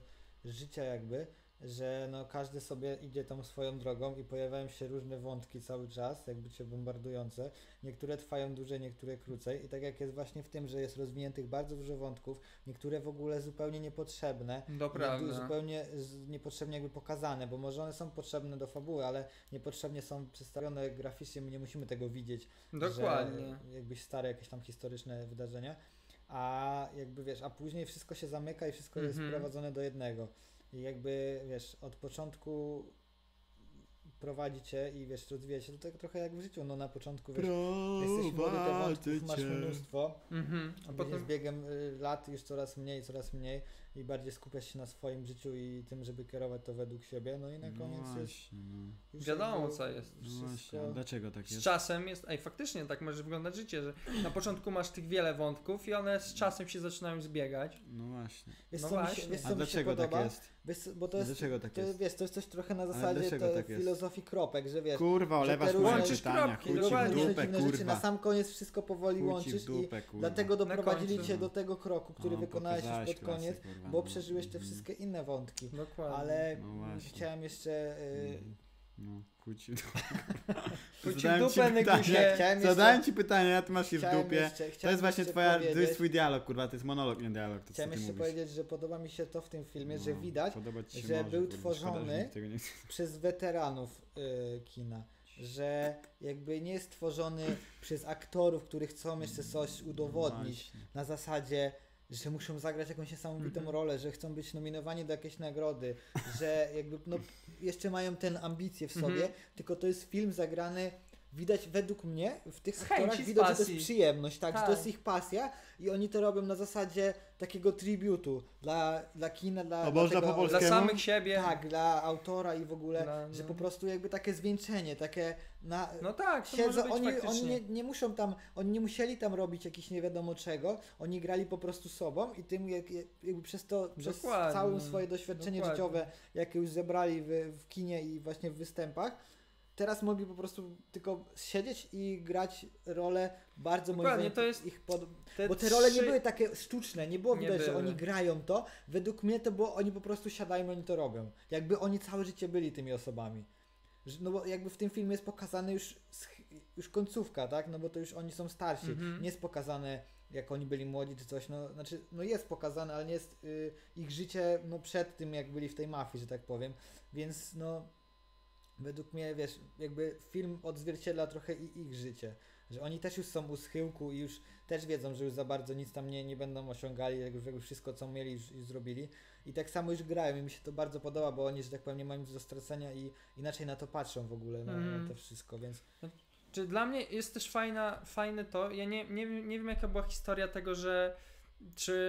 Speaker 3: życia jakby, że no każdy sobie idzie tą swoją drogą i pojawiają się różne wątki cały czas, jakby cię bombardujące. Niektóre trwają dłużej, niektóre krócej i tak jak jest właśnie w tym, że jest rozwiniętych bardzo dużo wątków, niektóre w ogóle zupełnie niepotrzebne, nie-
Speaker 2: Doprawda.
Speaker 3: Zupełnie z- niepotrzebnie jakby pokazane, bo może one są potrzebne do fabuły, ale niepotrzebnie są przedstawione graficznie, my nie musimy tego widzieć.
Speaker 2: Dokładnie.
Speaker 3: Że jakbyś stare jakieś tam historyczne wydarzenia, a jakby wiesz, a później wszystko się zamyka i wszystko jest
Speaker 2: Mhm.
Speaker 3: sprowadzone do jednego. I jakby wiesz, od początku prowadzi cię i wiesz, rozwija się, to tak trochę jak w życiu, no na początku wiesz, jesteś młody, te wątków
Speaker 1: Prowadzę
Speaker 3: masz
Speaker 1: cię.
Speaker 3: mnóstwo,
Speaker 2: Mhm. A
Speaker 3: Potem...
Speaker 2: potem
Speaker 3: Z biegiem y, lat już coraz mniej, coraz mniej, i bardziej skupiasz się na swoim życiu i tym, żeby kierować to według siebie. No i na koniec
Speaker 1: no
Speaker 3: jest.
Speaker 1: właśnie, no.
Speaker 3: Już
Speaker 2: Wiadomo,
Speaker 3: jakby
Speaker 2: co jest.
Speaker 1: No właśnie, a
Speaker 3: Wszystko...
Speaker 1: dlaczego tak
Speaker 2: Z
Speaker 1: jest?
Speaker 2: czasem jest, ej faktycznie tak może wyglądać życie, że na początku masz tych wiele wątków i one z czasem się zaczynają zbiegać.
Speaker 1: No właśnie.
Speaker 3: Wiesz,
Speaker 2: No
Speaker 3: co mi się,
Speaker 2: właśnie.
Speaker 3: wiesz,
Speaker 1: A
Speaker 3: co mi się
Speaker 1: dlaczego tak
Speaker 3: podoba?
Speaker 1: jest?
Speaker 3: Wiesz, co- bo to
Speaker 1: A
Speaker 3: jest
Speaker 1: dlaczego tak
Speaker 3: To
Speaker 1: jest?
Speaker 3: wiesz, to jest coś trochę na zasadzie
Speaker 1: dlaczego
Speaker 3: to
Speaker 1: tak jest?
Speaker 3: filozofii kropek, że wiesz,
Speaker 1: Kurwa,
Speaker 3: że
Speaker 1: olewa
Speaker 3: te różne-
Speaker 1: kurwa
Speaker 2: Łączysz
Speaker 1: czytania,
Speaker 2: kropki,
Speaker 1: chuj ci w
Speaker 2: dokładnie.
Speaker 1: dupę,
Speaker 3: różne dziwne rzeczy na
Speaker 1: kurwa.
Speaker 3: sam koniec wszystko powoli
Speaker 1: Chuj ci w
Speaker 3: łączysz i
Speaker 1: dupę, kurwa.
Speaker 3: dlatego
Speaker 2: Na
Speaker 3: doprowadzili
Speaker 2: końcu,
Speaker 3: cię
Speaker 1: no.
Speaker 3: do tego kroku, który
Speaker 1: No,
Speaker 3: wykonałeś już
Speaker 1: pokazałeś
Speaker 3: pod
Speaker 1: klasę,
Speaker 3: koniec,
Speaker 1: kurwa,
Speaker 3: bo
Speaker 1: no.
Speaker 3: przeżyłeś te
Speaker 1: Mhm.
Speaker 3: wszystkie inne wątki.
Speaker 2: Dokładnie.
Speaker 3: Ale
Speaker 1: No właśnie.
Speaker 3: chciałem jeszcze y,
Speaker 1: No, chuj ci w
Speaker 3: [LAUGHS]
Speaker 1: dupę.
Speaker 2: Chuj ci w
Speaker 1: Zadałem
Speaker 2: dupę,
Speaker 1: pytanie,
Speaker 2: Nygusie.
Speaker 3: Chciałem
Speaker 1: zadałem
Speaker 3: jeszcze-
Speaker 1: ci pytanie, a ty masz je w
Speaker 3: chciałem
Speaker 1: dupie.
Speaker 3: jeszcze-
Speaker 1: To
Speaker 3: chciałem
Speaker 1: jest właśnie
Speaker 3: jeszcze
Speaker 1: twoja, to
Speaker 3: powiedzieć-
Speaker 1: jest twój dialog, kurwa, to jest monolog, nie dialog, to co
Speaker 3: Chciałem
Speaker 1: ty
Speaker 3: jeszcze
Speaker 1: mówisz.
Speaker 3: powiedzieć, że podoba mi się to w tym filmie, że
Speaker 1: No,
Speaker 3: widać
Speaker 1: podobać ci się
Speaker 3: że
Speaker 1: może,
Speaker 3: był
Speaker 1: kurwa, szkoda, że
Speaker 3: tworzony
Speaker 1: nikt tego nie-
Speaker 3: przez weteranów y, kina, że jakby nie jest tworzony przez aktorów, którzy chcą jeszcze coś udowodnić,
Speaker 1: No Właśnie.
Speaker 3: na zasadzie, że muszą zagrać jakąś niesamowitą
Speaker 2: Mhm.
Speaker 3: rolę, że chcą być nominowani do jakiejś
Speaker 2: [LAUGHS]
Speaker 3: nagrody, że jakby no, jeszcze mają ten ambicję w sobie,
Speaker 2: Mhm.
Speaker 3: tylko to jest film zagrany widać według mnie w tych
Speaker 2: Z
Speaker 3: aktorach
Speaker 2: chęci, z
Speaker 3: widać, że to
Speaker 2: pasji.
Speaker 3: jest przyjemność, tak, że to
Speaker 2: Tak.
Speaker 3: jest ich pasja i oni to robią na zasadzie takiego tributu dla, dla kina, dla,
Speaker 1: A
Speaker 3: dla
Speaker 1: można
Speaker 3: tego,
Speaker 1: po
Speaker 2: Dla
Speaker 1: polsku?
Speaker 2: samych siebie.
Speaker 3: tak, dla autora i w ogóle,
Speaker 2: Dla-
Speaker 3: że
Speaker 2: no.
Speaker 3: po prostu jakby takie zwieńczenie, takie na,
Speaker 2: No tak, to może
Speaker 3: Siedzą,
Speaker 2: być
Speaker 3: oni,
Speaker 2: faktycznie.
Speaker 3: oni nie, nie muszą tam, oni nie musieli tam robić jakichś nie wiadomo czego, oni grali po prostu sobą i tym jak, jak- jakby przez to, przez
Speaker 2: Dokładnie,
Speaker 3: całe swoje doświadczenie
Speaker 2: dokładnie.
Speaker 3: życiowe, jakie już zebrali w, w kinie i właśnie w występach, teraz mogli po prostu tylko siedzieć i grać rolę bardzo moim
Speaker 2: Dokładnie,
Speaker 3: zdaniem
Speaker 2: to jest-
Speaker 3: ich pod... Bo te role nie były takie sztuczne, nie było
Speaker 2: Nie
Speaker 3: widać, że
Speaker 2: były.
Speaker 3: oni grają to. Według mnie to było, oni po prostu siadają i oni to robią. Jakby oni całe życie byli tymi osobami. Że- No bo jakby w tym filmie jest pokazane już, sch- już końcówka, tak? No bo to już oni są starsi.
Speaker 2: Mhm.
Speaker 3: Nie jest pokazane jak oni byli młodzi czy coś. No, znaczy, no jest pokazane, ale nie jest y, ich życie no, przed tym, jak byli w tej mafii, że tak powiem. Więc no, według mnie, wiesz, jakby film odzwierciedla trochę i ich życie. Że oni też już są u schyłku i już też wiedzą, że już za bardzo nic tam nie, nie będą osiągali, jak już jakby wszystko co mieli już, już zrobili. I tak samo już grają i mi się to bardzo podoba, bo oni, że tak powiem, nie mają nic do stracenia i inaczej na to patrzą w ogóle, na,
Speaker 2: Mhm.
Speaker 3: na to wszystko, więc...
Speaker 2: Czy dla mnie jest też fajna, fajne to, ja nie, nie, wiem- nie wiem jaka była historia tego, że czy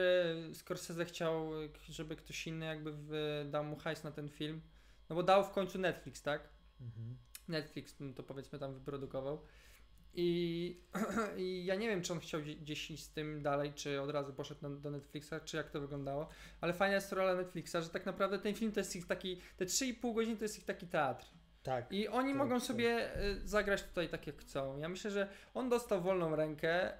Speaker 2: Scorsese chciał, żeby ktoś inny jakby w, dał mu hajs na ten film, no bo dał w końcu Netflix, tak?
Speaker 3: Mhm.
Speaker 2: Netflix m, to powiedzmy tam wyprodukował I, [CLEARS THROAT] i ja nie wiem, czy on chciał gdzie- gdzieś iść z tym dalej, czy od razu poszedł na, do Netflixa, czy jak to wyglądało, ale fajna jest rola Netflixa, że tak naprawdę ten film to jest ich taki, te 3,5 godziny to jest ich taki teatr.
Speaker 3: Tak.
Speaker 2: I oni
Speaker 3: Tak,
Speaker 2: mogą
Speaker 3: tak.
Speaker 2: sobie y, zagrać tutaj tak jak chcą. Ja myślę, że on dostał wolną rękę.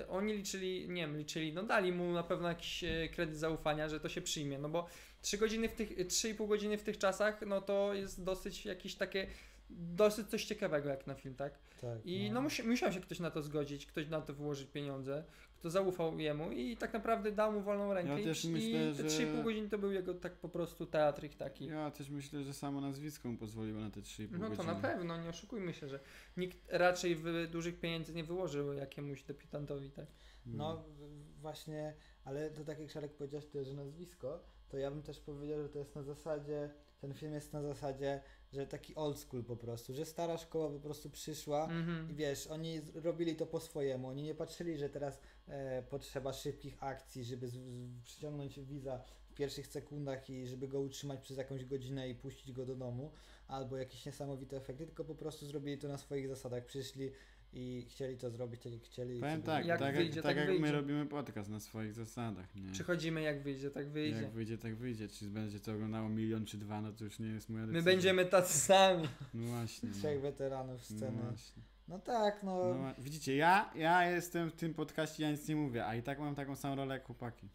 Speaker 2: y, Oni liczyli, nie wiem, liczyli, no dali mu na pewno jakiś y, kredyt zaufania, że to się przyjmie. No bo 3 godziny w tych, y, 3,5 godziny w tych czasach, no to jest dosyć jakieś takie, dosyć coś ciekawego jak na film, tak?
Speaker 3: tak
Speaker 2: I no musi, musiał się ktoś na to zgodzić, ktoś na to wyłożyć pieniądze, kto zaufał jemu i tak naprawdę dał mu wolną rękę. i,
Speaker 1: też
Speaker 2: i
Speaker 1: myślę,
Speaker 2: te
Speaker 1: że-
Speaker 2: 3,5 godziny to był jego tak po prostu teatryk taki.
Speaker 1: Ja też myślę, że samo nazwisko mu pozwoliło na te 3,5
Speaker 2: No to
Speaker 1: godziny.
Speaker 2: na pewno, nie oszukujmy się, że nikt raczej w dużych pieniędzy nie wyłożył jakiemuś debiutantowi, tak?
Speaker 3: No
Speaker 1: Mm.
Speaker 3: w- właśnie, ale to tak jak Szarek powiedziałeś tutaj, że nazwisko, to ja bym też powiedział, że to jest na zasadzie, ten film jest na zasadzie, że taki old school po prostu, że stara szkoła po prostu przyszła
Speaker 1: Mm.
Speaker 3: i
Speaker 2: Mhm.
Speaker 3: wiesz, oni z- robili to po swojemu, oni nie patrzyli, że teraz e, potrzeba szybkich akcji, żeby z, z, przyciągnąć widza w pierwszych sekundach i żeby go utrzymać przez jakąś godzinę i puścić go do domu, albo jakieś niesamowite efekty, tylko po prostu zrobili to na swoich zasadach, przyszli i chcieli to zrobić tak jak chcieli. i
Speaker 1: Powiem
Speaker 3: sobie
Speaker 1: tak,
Speaker 2: Jak
Speaker 1: tak, jak-
Speaker 2: wyjdzie,
Speaker 1: tak
Speaker 2: tak
Speaker 1: jak my
Speaker 2: wyjdzie.
Speaker 1: robimy podcast na swoich zasadach, nie?
Speaker 2: Przychodzimy jak wyjdzie, tak wyjdzie.
Speaker 1: Jak wyjdzie, tak wyjdzie. Czy będzie to oglądało milion czy dwa, no to już nie jest moja decyzja.
Speaker 2: My będziemy tacy sami.
Speaker 1: No właśnie. no.
Speaker 3: Trzech weteranów
Speaker 1: No
Speaker 3: sceny.
Speaker 1: właśnie.
Speaker 3: No tak, no.
Speaker 1: No, wa- widzicie, ja, ja jestem w tym podcaście, ja nic nie mówię, a i tak mam taką samą rolę jak chłopaki.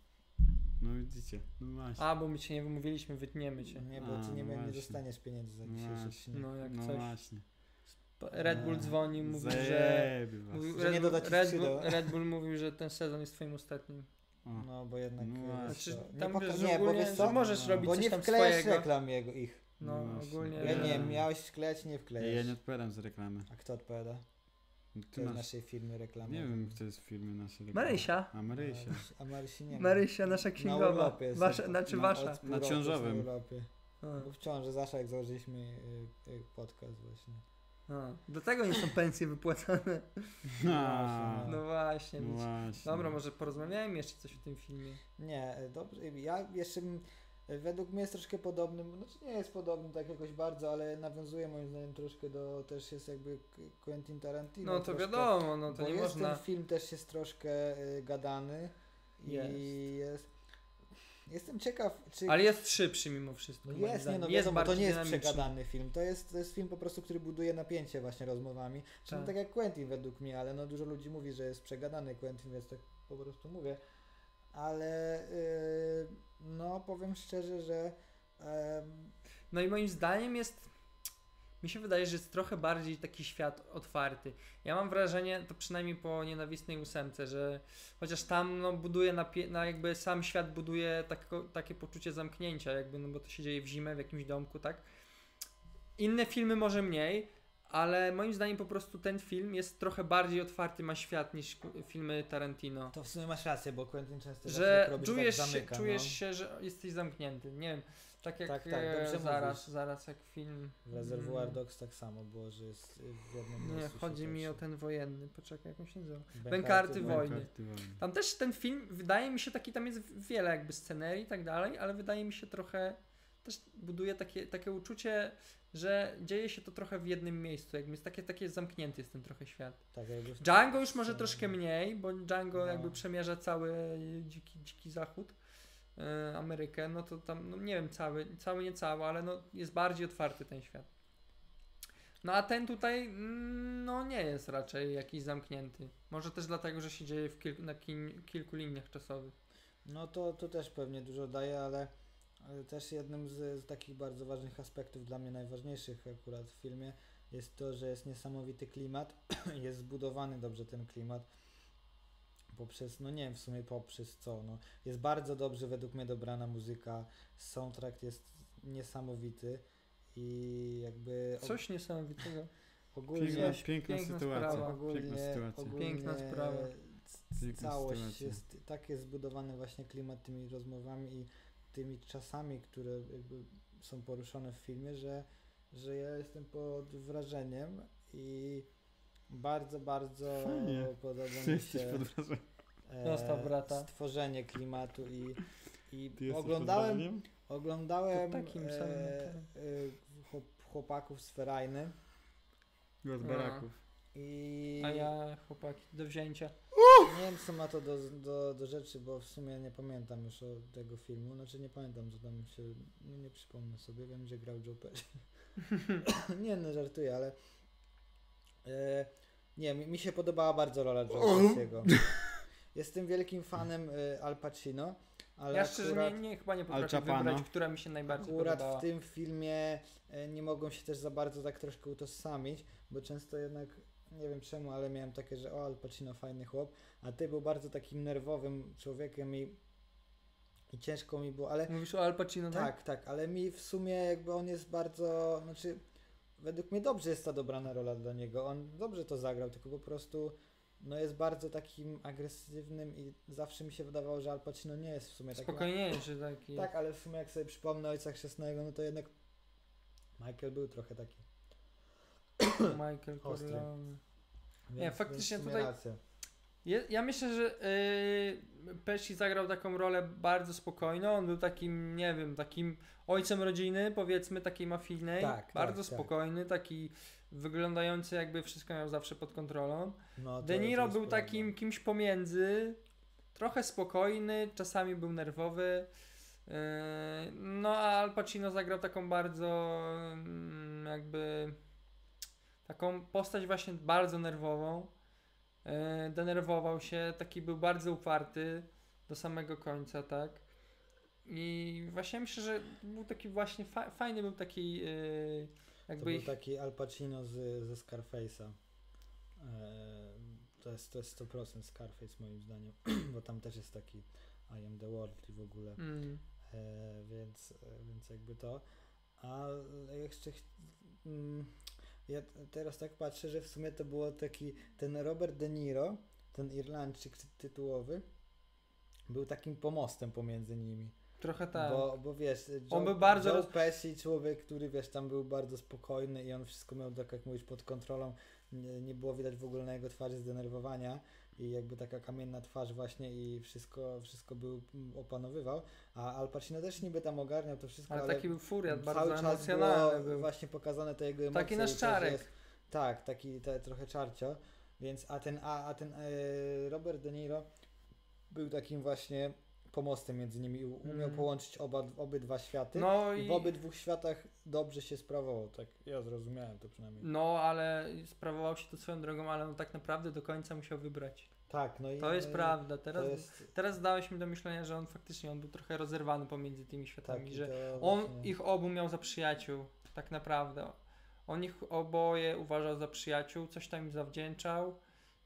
Speaker 1: No widzicie, no właśnie.
Speaker 2: A, bo my cię nie wymówiliśmy, wytniemy cię.
Speaker 3: Nie, bo ty
Speaker 1: A,
Speaker 3: nie,
Speaker 1: no
Speaker 3: nie
Speaker 1: właśnie.
Speaker 3: dostaniesz pieniędzy za
Speaker 1: No
Speaker 3: dzisiejszy
Speaker 1: właśnie.
Speaker 3: odcinek.
Speaker 2: No jak
Speaker 1: no
Speaker 2: coś.
Speaker 1: właśnie.
Speaker 2: Red Bull
Speaker 3: A,
Speaker 2: dzwonił, mówił, że...
Speaker 1: Zajebie was.
Speaker 2: mówił-
Speaker 3: Że
Speaker 2: Red
Speaker 3: nie
Speaker 2: Bull-
Speaker 3: doda ci
Speaker 2: Red
Speaker 3: skrzydeł.
Speaker 2: Bull, Red Bull mówił, że ten sezon jest twoim ostatnim.
Speaker 1: O.
Speaker 3: No bo jednak.
Speaker 1: No
Speaker 3: y,
Speaker 1: właśnie.
Speaker 2: Znaczy,
Speaker 3: co, nie,
Speaker 2: tam
Speaker 3: poka-
Speaker 2: wiesz, że
Speaker 3: nie bo
Speaker 2: ogólnie,
Speaker 3: wiesz
Speaker 2: że
Speaker 3: co?
Speaker 2: możesz
Speaker 1: No.
Speaker 2: robić
Speaker 3: Bo
Speaker 2: coś
Speaker 3: nie
Speaker 2: tam
Speaker 3: wklejasz
Speaker 2: swojego.
Speaker 3: reklam jego ich.
Speaker 2: No,
Speaker 1: No właśnie.
Speaker 2: ogólnie...
Speaker 3: Ja nie
Speaker 1: Nie.
Speaker 3: miałeś wklejać, nie
Speaker 1: Ej, ja
Speaker 3: wklejasz.
Speaker 1: nie odpowiadam z reklamy.
Speaker 3: A kto odpowiada?
Speaker 1: Ty
Speaker 3: Kto w
Speaker 1: masz...
Speaker 3: naszej firmy reklama?
Speaker 1: Nie wiem, kto jest w filmie naszej reklamy.
Speaker 2: Marysia.
Speaker 1: A Marysia.
Speaker 3: A Marysi nie ma.
Speaker 2: Marysia, nasza
Speaker 3: Na
Speaker 2: księgowa.
Speaker 3: urlopie jest.
Speaker 2: Wasza, znaczy
Speaker 1: Na-
Speaker 2: wasza.
Speaker 3: Od pół roku
Speaker 1: ciążowym.
Speaker 3: jest na urlopie.
Speaker 2: A.
Speaker 3: Bo w ciąży Zasza, jak założyliśmy y, y, podcast właśnie.
Speaker 2: No, do tego nie są pensje wypłacane.
Speaker 1: A,
Speaker 2: No właśnie.
Speaker 1: [LAUGHS] no
Speaker 2: widzisz.
Speaker 1: właśnie.
Speaker 2: Dobra, może porozmawiajmy jeszcze coś o tym filmie.
Speaker 3: Nie, e, dobrze. Ja jeszcze bym, e, według mnie jest troszkę podobny, znaczy nie jest podobny tak jakoś bardzo, ale nawiązuje moim zdaniem troszkę do, też jest jakby K- Quentin Tarantino.
Speaker 2: No to
Speaker 3: troszkę,
Speaker 2: wiadomo, no
Speaker 3: bo
Speaker 2: to nie
Speaker 3: jest
Speaker 2: można.
Speaker 3: ten film też jest troszkę y, gadany i
Speaker 2: Jest.
Speaker 3: jest. Jestem ciekaw, czy...
Speaker 2: Ale jest szybszy mimo wszystko.
Speaker 3: No
Speaker 2: moim
Speaker 3: jest, nie,
Speaker 2: zdaniem.
Speaker 3: no wiadomo, to
Speaker 2: bardziej
Speaker 3: nie jest
Speaker 2: dynamiczny.
Speaker 3: przegadany film. To jest, to jest film po prostu, który buduje napięcie właśnie rozmowami. Czyli
Speaker 2: Tak.
Speaker 3: tak. jak Quentin według mnie, ale no dużo ludzi mówi, że jest przegadany Quentin, więc tak po prostu mówię. Ale yy, no powiem szczerze, że em,
Speaker 2: No i moim zdaniem jest. Mi się wydaje, że jest trochę bardziej taki świat otwarty. Ja mam wrażenie, to przynajmniej po nienawistnej ósemce, że chociaż tam no, buduje, napie- no, jakby sam świat buduje tako, takie poczucie zamknięcia, jakby, no bo to się dzieje w zimę w jakimś domku, tak? Inne filmy może mniej, ale moim zdaniem po prostu ten film jest trochę bardziej otwarty, ma świat niż ku- filmy Tarantino
Speaker 3: to w sumie masz rację, bo Quentin często zawsze
Speaker 2: że
Speaker 3: robi,
Speaker 2: czujesz,
Speaker 3: tak
Speaker 2: się,
Speaker 3: zamyka,
Speaker 2: czujesz
Speaker 3: no.
Speaker 2: się, że jesteś zamknięty. Nie wiem, tak jak
Speaker 3: Tak, tak,
Speaker 2: e,
Speaker 3: dobrze
Speaker 2: zaraz,
Speaker 3: mówisz.
Speaker 2: zaraz jak film.
Speaker 3: W Reservoir
Speaker 2: mm,
Speaker 3: Dogs tak samo było, że jest y, w jednym
Speaker 2: Nie,
Speaker 3: miejscu.
Speaker 2: chodzi
Speaker 3: się
Speaker 2: mi o
Speaker 3: toczy.
Speaker 2: ten wojenny. Poczekaj, jak on się nazywa.
Speaker 3: Bękarty
Speaker 2: Bękarty
Speaker 3: Wojny.
Speaker 2: wojny.
Speaker 1: Karty wojny.
Speaker 2: Tam też ten film, wydaje mi się, taki tam jest wiele jakby scenerii i tak dalej, ale wydaje mi się trochę, też buduje takie, takie uczucie, że dzieje się to trochę w jednym miejscu, jakby jest takie, takie zamknięty jest ten trochę świat.
Speaker 3: Tak, jakby Mm. w-
Speaker 2: Django już może
Speaker 3: w-
Speaker 2: troszkę mniej, bo Django
Speaker 3: No.
Speaker 2: jakby przemierza cały dziki, dziki zachód, e, Amerykę, no to tam, no nie wiem, cały, cały nie cały, ale no jest bardziej otwarty ten świat. No a ten tutaj, mm, no nie jest raczej jakiś zamknięty. Może też dlatego, że się dzieje w kilku, na kin, kilku liniach czasowych.
Speaker 3: No to, to też pewnie dużo daje, ale ale też jednym z, z takich bardzo ważnych aspektów dla mnie najważniejszych akurat w filmie jest to, że jest niesamowity klimat, [CLEARS THROAT] jest zbudowany dobrze ten klimat poprzez, no nie wiem w sumie poprzez co, no jest bardzo dobrze według mnie dobrana muzyka, soundtrack jest niesamowity i jakby og-
Speaker 2: Coś niesamowitego.
Speaker 1: Piękna,
Speaker 3: ogólnie,
Speaker 2: piękna
Speaker 1: piękna sytuacja.
Speaker 2: sprawa.
Speaker 1: Piękna
Speaker 3: ogólnie,
Speaker 1: sytuacja.
Speaker 3: ogólnie
Speaker 2: Piękna sprawa.
Speaker 3: c-
Speaker 1: Piękna
Speaker 3: całość
Speaker 1: sytuacja.
Speaker 3: jest, tak jest zbudowany właśnie klimat tymi rozmowami i tymi czasami, które jakby są poruszone w filmie, że, że ja jestem pod wrażeniem i bardzo, bardzo
Speaker 1: Fajnie.
Speaker 3: podoba mi
Speaker 1: Jesteś
Speaker 3: się
Speaker 1: pod wrażeniem.
Speaker 3: e,
Speaker 2: Zostaw brata.
Speaker 3: stworzenie klimatu i, i
Speaker 1: Ty jesteś pod
Speaker 3: oglądałem
Speaker 1: wrażeniem?
Speaker 3: Oglądałem
Speaker 2: To takim
Speaker 3: e,
Speaker 2: samym
Speaker 3: e,
Speaker 2: naturem.
Speaker 3: chłop, chłopaków z Ferajny
Speaker 1: Chyba z
Speaker 2: No.
Speaker 1: baraków.
Speaker 3: i
Speaker 2: A ja, chłopaki, do wzięcia.
Speaker 3: nie wiem co ma to do, do, do rzeczy, bo w sumie nie pamiętam już o tego filmu, znaczy nie pamiętam co tam się, no nie przypomnę sobie, wiem gdzie grał Joe Pesci. [COUGHS] nie no, żartuję, ale e, nie, mi, mi się podobała bardzo rola Joe Pesci'ego. Jestem wielkim fanem e, Al Pacino, ale
Speaker 2: ja szczerze
Speaker 3: akurat...
Speaker 2: nie, nie, chyba nie
Speaker 1: Al
Speaker 2: potrafię
Speaker 1: Capano.
Speaker 2: wybrać, która mi się najbardziej
Speaker 3: Akurat
Speaker 2: podobała.
Speaker 3: w tym filmie e, nie mogą się też za bardzo tak troszkę utożsamić, bo często jednak, nie wiem czemu, ale miałem takie, że o Al Pacino fajny chłop, a ty był bardzo takim nerwowym człowiekiem i, i ciężko mi było, ale
Speaker 2: Mówisz o Al Pacino, tak?
Speaker 3: tak, tak, ale mi w sumie jakby on jest bardzo, znaczy według mnie dobrze jest ta dobrana rola dla niego, on dobrze to zagrał, tylko po prostu no jest bardzo takim agresywnym i zawsze mi się wydawało, że Al Pacino nie jest w sumie takim
Speaker 2: Spokojniejszy taki.
Speaker 3: tak, ale w sumie jak sobie przypomnę Ojca Chrzestnego, no to jednak Michael był trochę taki.
Speaker 2: [CLEARS THROAT] Michael
Speaker 3: Ostry.
Speaker 2: Corleone.
Speaker 3: Więc,
Speaker 2: faktycznie
Speaker 3: więc w sumie
Speaker 2: tutaj-
Speaker 3: Rację.
Speaker 2: Je, ja myślę, że yy, Pesci zagrał taką rolę bardzo spokojną. On był takim, nie wiem, takim ojcem rodziny, powiedzmy, takiej mafijnej.
Speaker 3: Tak, tak,
Speaker 2: bardzo
Speaker 3: tak.
Speaker 2: spokojny, taki wyglądający jakby wszystko miał zawsze pod kontrolą.
Speaker 3: No, to-
Speaker 2: De
Speaker 3: to
Speaker 2: Niro
Speaker 3: jest
Speaker 2: był
Speaker 3: prawda.
Speaker 2: takim kimś pomiędzy, trochę spokojny, czasami był nerwowy. Yy, No a Al Pacino zagrał taką bardzo mm, jakby taką postać właśnie bardzo nerwową. Yy, Denerwował się, taki był bardzo uparty do samego końca, tak. I właśnie myślę, że był taki właśnie fa- fajny był taki yy,
Speaker 3: To
Speaker 2: jakby
Speaker 3: był
Speaker 2: ich
Speaker 3: taki Al Pacino z, ze Scarface'a. Eee, to, jest, to jest 100% Scarface moim zdaniem, [CLEARS THROAT] bo tam też jest taki I am the world i w ogóle.
Speaker 2: mm,
Speaker 3: E, więc, e, więc jakby to. A jeszcze. ch- mm, Ja t- teraz tak patrzę, że w sumie to było taki. Ten Robert De Niro, ten Irlandczyk ty- tytułowy, był takim pomostem pomiędzy nimi.
Speaker 2: Trochę tak.
Speaker 3: Bo, bo wiesz, Joe,
Speaker 2: On był bardzo
Speaker 3: Joe
Speaker 2: roz-
Speaker 3: Pesci, człowiek, który wiesz, tam był bardzo spokojny i on wszystko miał, tak jak mówisz, pod kontrolą. Nie, nie było widać w ogóle na jego twarzy zdenerwowania i jakby taka kamienna twarz właśnie i wszystko, wszystko był mm, opanowywał. A Al Pacino też niby tam ogarniał to wszystko,
Speaker 2: Ale
Speaker 3: ale,
Speaker 2: taki był furiat, bardzo
Speaker 3: cały czas
Speaker 2: emocjonalny
Speaker 3: było
Speaker 2: był.
Speaker 3: właśnie pokazane te jego emocje.
Speaker 2: Taki
Speaker 3: i to,
Speaker 2: nasz
Speaker 3: że
Speaker 2: czarek.
Speaker 3: jest- Tak, taki te, trochę czarcio. Więc a ten, a, a ten e, Robert De Niro był takim właśnie pomostem między nimi. U- Umiał
Speaker 2: Mm.
Speaker 3: połączyć oba, obydwa światy.
Speaker 2: No
Speaker 3: I
Speaker 2: i
Speaker 3: w obydwu światach dobrze się sprawował. Tak ja zrozumiałem to przynajmniej.
Speaker 2: no, ale sprawował się to swoją drogą, ale on tak naprawdę do końca musiał wybrać.
Speaker 3: Tak, no i
Speaker 2: To jest
Speaker 3: no i
Speaker 2: prawda. Teraz,
Speaker 3: To jest,
Speaker 2: teraz dałeś mi do myślenia, że on faktycznie on był trochę rozerwany pomiędzy tymi
Speaker 3: tak,
Speaker 2: światami,
Speaker 3: i
Speaker 2: że
Speaker 3: to
Speaker 2: On
Speaker 3: właśnie-
Speaker 2: ich obu miał za przyjaciół, tak naprawdę. On ich oboje uważał za przyjaciół, coś tam im zawdzięczał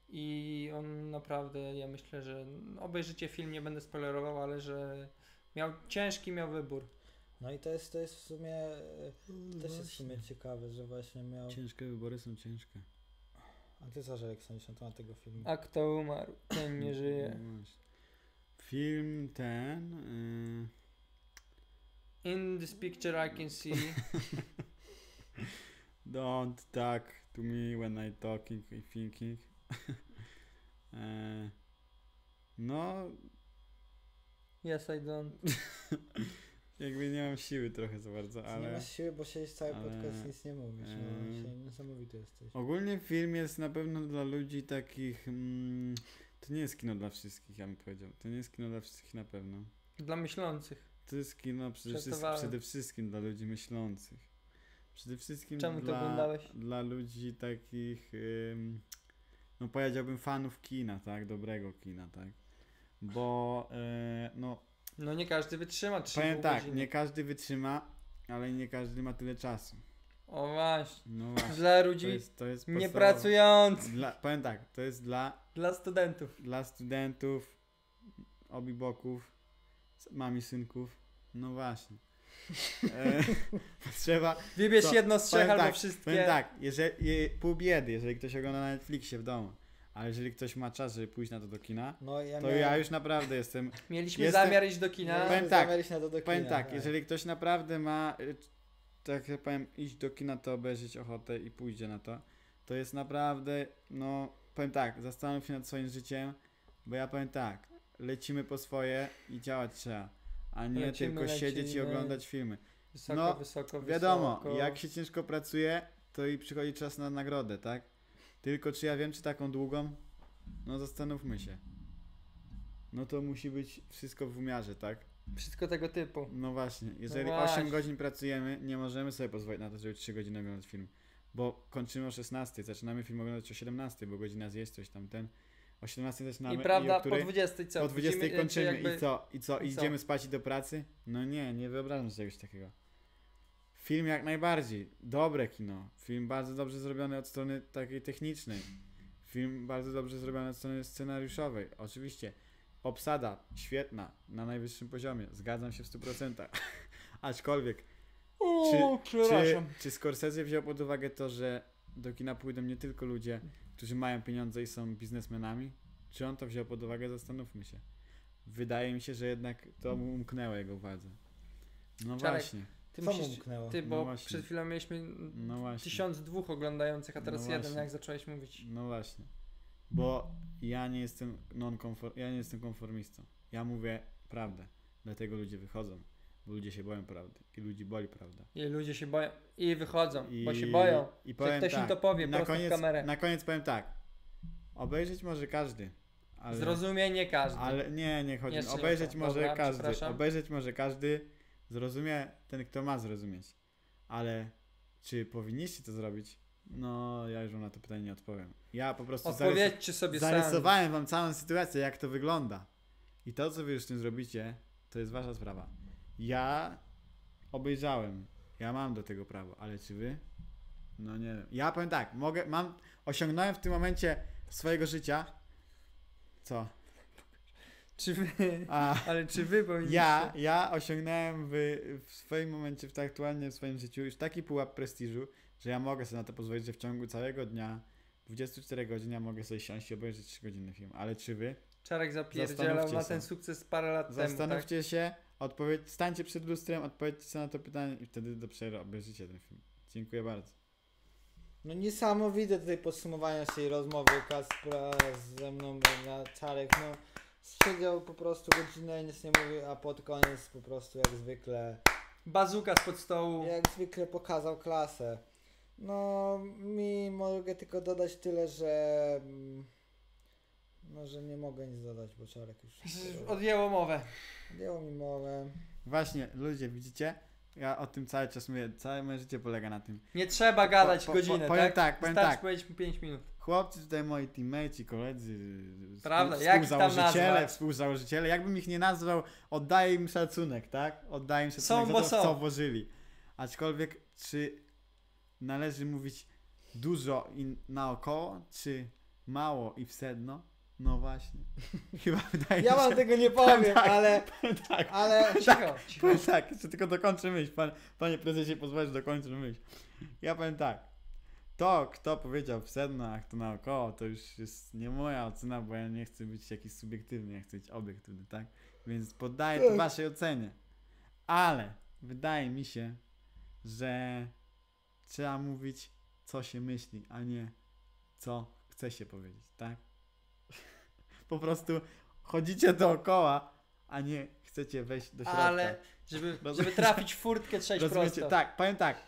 Speaker 2: i on naprawdę, ja myślę, że obejrzycie film, nie będę spoilerował, ale że miał ciężki miał wybór.
Speaker 3: No i to jest, to jest w sumie e, też jest w sumie ciekawe, że właśnie miał.
Speaker 1: Ciężkie wybory są ciężkie.
Speaker 3: A ty co, Żelek, sądzisz na temat tego filmu?
Speaker 2: A kto umarł? Ten nie żyje.
Speaker 1: No właśnie. Film ten. y,
Speaker 2: In this picture I can see.
Speaker 1: Don't talk to me tak, when I talking and thinking. [LAUGHS] E, no,
Speaker 2: [LAUGHS] Yes, I don't.
Speaker 1: jakby nie mam siły trochę za bardzo,
Speaker 3: Ty Nie
Speaker 1: ale.
Speaker 3: masz siły, bo siedzisz cały
Speaker 1: ale-
Speaker 3: podcast i nic nie mówisz. No,
Speaker 1: Eee.
Speaker 3: się niesamowity jesteś.
Speaker 1: Ogólnie film jest na pewno dla ludzi takich. Mm, to nie jest kino dla wszystkich, ja bym powiedział. To nie jest kino dla wszystkich na pewno.
Speaker 2: Dla myślących.
Speaker 1: To jest kino przede, wszystkim,
Speaker 2: Żartowałem.
Speaker 1: przede wszystkim dla ludzi myślących. Przede wszystkim
Speaker 2: Czemu to
Speaker 1: dla,
Speaker 2: oglądałeś?
Speaker 1: dla ludzi takich, ym, no powiedziałbym fanów kina, tak? Dobrego kina, tak? Bo, e, no
Speaker 2: No nie każdy wytrzyma trzy
Speaker 1: powiem tak,
Speaker 2: godziny.
Speaker 1: nie każdy wytrzyma, ale nie każdy ma tyle czasu.
Speaker 2: O właśnie.
Speaker 1: No właśnie,
Speaker 2: Dla
Speaker 1: to
Speaker 2: ludzi
Speaker 1: jest, to jest podstawowe-
Speaker 2: niepracujących.
Speaker 1: Dla, powiem tak, to jest dla,
Speaker 2: Dla studentów.
Speaker 1: dla studentów, obiboków, mami synków, no właśnie. E, [LAUGHS] trzeba,
Speaker 2: Wybierz
Speaker 1: Co?
Speaker 2: jedno z trzech
Speaker 1: Powiem
Speaker 2: albo
Speaker 1: tak,
Speaker 2: wszystkie.
Speaker 1: Powiem tak, jeżeli, je- pół biedy, jeżeli ktoś ogląda na Netflixie w domu, ale jeżeli ktoś ma czas, żeby pójść na to do kina,
Speaker 3: No ja
Speaker 1: to
Speaker 3: miałem...
Speaker 1: ja już naprawdę jestem...
Speaker 2: Mieliśmy
Speaker 1: Jestem-
Speaker 2: zamiar iść do kina.
Speaker 1: Powiem
Speaker 3: Powiem
Speaker 1: tak,
Speaker 3: tak, na to do kina,
Speaker 1: Powiem tak, jeżeli ktoś naprawdę ma, y, tak jak powiem, iść do kina, to obejrzeć ochotę i pójdzie na to, to jest naprawdę, no, powiem tak, zastanów się nad swoim życiem, bo ja powiem tak, lecimy po swoje i działać trzeba, a nie
Speaker 2: Lecimy,
Speaker 1: tylko siedzieć i
Speaker 2: lecimy.
Speaker 1: oglądać filmy.
Speaker 2: Wysoko,
Speaker 1: no,
Speaker 2: wysoko, wysoko.
Speaker 1: Wiadomo, jak się ciężko pracuje, to i przychodzi czas na nagrodę, tak? Tylko czy ja wiem, czy taką długą? No zastanówmy się. No to musi być wszystko w umiarze, tak?
Speaker 2: Wszystko tego typu.
Speaker 1: No właśnie, jeżeli
Speaker 2: właśnie.
Speaker 1: 8 godzin pracujemy, nie możemy sobie pozwolić na to, żeby 3 godziny oglądać film. Bo kończymy o 16, zaczynamy film oglądać o 17, bo godzina zjeść coś tam ten. O 17 zaczynamy
Speaker 2: I prawda,
Speaker 1: o której?
Speaker 2: po 20 co?
Speaker 1: po 20
Speaker 2: Widzimy, czy
Speaker 1: kończymy
Speaker 2: jakby-
Speaker 1: i co? I co?
Speaker 2: i co?
Speaker 1: Idziemy spać i do pracy? No nie, nie wyobrażam sobie czegoś takiego. Film jak najbardziej. Dobre kino. Film bardzo dobrze zrobiony od strony takiej technicznej. Film bardzo dobrze zrobiony od strony scenariuszowej. Oczywiście. Obsada świetna, na najwyższym poziomie. Zgadzam się w 100%. [LAUGHS] Aczkolwiek,
Speaker 2: Uuu,
Speaker 1: czy,
Speaker 2: przepraszam.
Speaker 1: czy Scorsese wziął pod uwagę to, że do kina pójdą nie tylko ludzie, którzy mają pieniądze i są biznesmenami? Czy on to wziął pod uwagę? Zastanówmy się. Wydaje mi się, że jednak to mu umknęło jego uwadze. No
Speaker 2: Czarek,
Speaker 1: właśnie.
Speaker 2: Ty,
Speaker 3: Co mu
Speaker 2: musisz,
Speaker 3: umknęło?
Speaker 2: ty
Speaker 1: No
Speaker 2: bo
Speaker 1: właśnie.
Speaker 2: przed chwilą mieliśmy
Speaker 1: No właśnie.
Speaker 2: tysiąc dwóch oglądających, a
Speaker 1: No
Speaker 2: teraz jeden,
Speaker 1: właśnie.
Speaker 2: jak zacząłeś mówić.
Speaker 1: No właśnie. Bo ja nie jestem non-konfor- ja nie jestem konformistą. Ja mówię prawdę. Dlatego ludzie wychodzą, bo ludzie się boją prawdy i ludzi boli prawda.
Speaker 2: I ludzie się boją. I wychodzą,
Speaker 1: I,
Speaker 2: bo się boją.
Speaker 1: I powiem
Speaker 2: ktoś im
Speaker 1: tak,
Speaker 2: to powie
Speaker 1: na
Speaker 2: prosto w
Speaker 1: koniec,
Speaker 2: kamerę.
Speaker 1: Na koniec powiem tak. Obejrzeć może każdy. Ale,
Speaker 2: Zrozumie nie każdy.
Speaker 1: Ale nie, nie chodzi.
Speaker 2: Jeszcze nie
Speaker 1: obejrzeć
Speaker 2: to.
Speaker 1: może
Speaker 2: Dobra,
Speaker 1: każdy.
Speaker 2: przepraszam.
Speaker 1: Obejrzeć może każdy. Zrozumie ten, kto ma zrozumieć. Ale czy powinniście to zrobić? No, ja już wam na to pytanie nie odpowiem. Ja po prostu zarys-
Speaker 2: Odpowiedzcie sobie sami.
Speaker 1: zarysowałem wam całą sytuację, jak to wygląda. I to, co wy już z tym zrobicie, to jest wasza sprawa. Ja obejrzałem. Ja mam do tego prawo, ale czy wy? No nie wiem. Ja powiem tak, mogę, mam, osiągnąłem w tym momencie swojego życia. Co?
Speaker 2: Czy wy, [LAUGHS]
Speaker 1: A,
Speaker 2: ale czy wy powinniście?
Speaker 1: ja, ja osiągnąłem w, w swoim momencie, w, aktualnie w swoim życiu już taki pułap prestiżu, że ja mogę sobie na to pozwolić, że w ciągu całego dnia, 24 godziny, ja mogę sobie siąść i obejrzeć 3 godziny film. Ale czy wy?
Speaker 2: Czarek zapierdzielał
Speaker 1: Zastanówcie
Speaker 2: na
Speaker 1: się.
Speaker 2: ten sukces parę lat temu, tak?
Speaker 1: Zastanówcie się, Odpowiedź, stańcie przed lustrem, odpowiedzcie na to pytanie i wtedy dopiero obejrzycie ten film. Dziękuję bardzo.
Speaker 3: No niesamowite tutaj podsumowanie naszej rozmowy Kaspra ze mną na Czarek. No siedział po prostu godzinę i nic nie mówił, a pod koniec po prostu jak zwykle
Speaker 2: Bazuka spod stołu.
Speaker 3: jak zwykle pokazał klasę. No mi mogę tylko dodać tyle, że mm, no, że nie mogę nic dodać, bo Czarek już
Speaker 2: Odjęło mowę.
Speaker 3: odjęło mi mowę.
Speaker 1: Właśnie, ludzie, widzicie? Ja o tym cały czas mówię, całe moje życie polega na tym.
Speaker 2: Nie trzeba gadać
Speaker 1: Po- po-
Speaker 2: godzinę,
Speaker 1: powiem
Speaker 2: tak?
Speaker 1: tak, powiem
Speaker 2: Wystarczy
Speaker 1: tak.
Speaker 2: powiedzieć mi 5 minut.
Speaker 1: Chłopcy tutaj moi teammate, koledzy, yy,
Speaker 2: Prawda,
Speaker 1: współ-
Speaker 2: jak ich tam
Speaker 1: współzałożyciele,
Speaker 2: nazwać?
Speaker 1: współzałożyciele, jakbym ich nie nazwał, oddaję im szacunek, tak? Oddaję im szacunek
Speaker 2: Są,
Speaker 1: za
Speaker 2: bo
Speaker 1: to, w
Speaker 2: są.
Speaker 1: co włożyli. Aczkolwiek, czy należy mówić dużo i naokoło, czy mało i w sedno? No właśnie. [LAUGHS] Chyba wydaje
Speaker 3: Ja
Speaker 1: mi
Speaker 2: [LAUGHS]
Speaker 3: wam
Speaker 1: się...
Speaker 3: tego nie powiem,
Speaker 1: Tak.
Speaker 3: ale,
Speaker 1: [LAUGHS] tak.
Speaker 3: ale
Speaker 2: Cicho, cicho.
Speaker 1: Powiem tak, jeszcze tylko dokończę myśl. Pan, panie prezesie, pozwolisz dokończę myśl. Ja powiem tak. To, kto powiedział w sednach, to naokoło, to już jest nie moja ocena, bo ja nie chcę być jakiś subiektywny, ja chcę być obiektywny, tak? Więc poddaję to
Speaker 3: Tak.
Speaker 1: waszej ocenie. Ale wydaje mi się, że trzeba mówić, co się myśli, a nie co chce się powiedzieć, tak? Po prostu chodzicie dookoła, a nie chcecie wejść do środka.
Speaker 2: Ale żeby,
Speaker 1: tak. Rozumiecie?
Speaker 2: żeby trafić w furtkę trzeć prosto.
Speaker 1: Tak, powiem tak.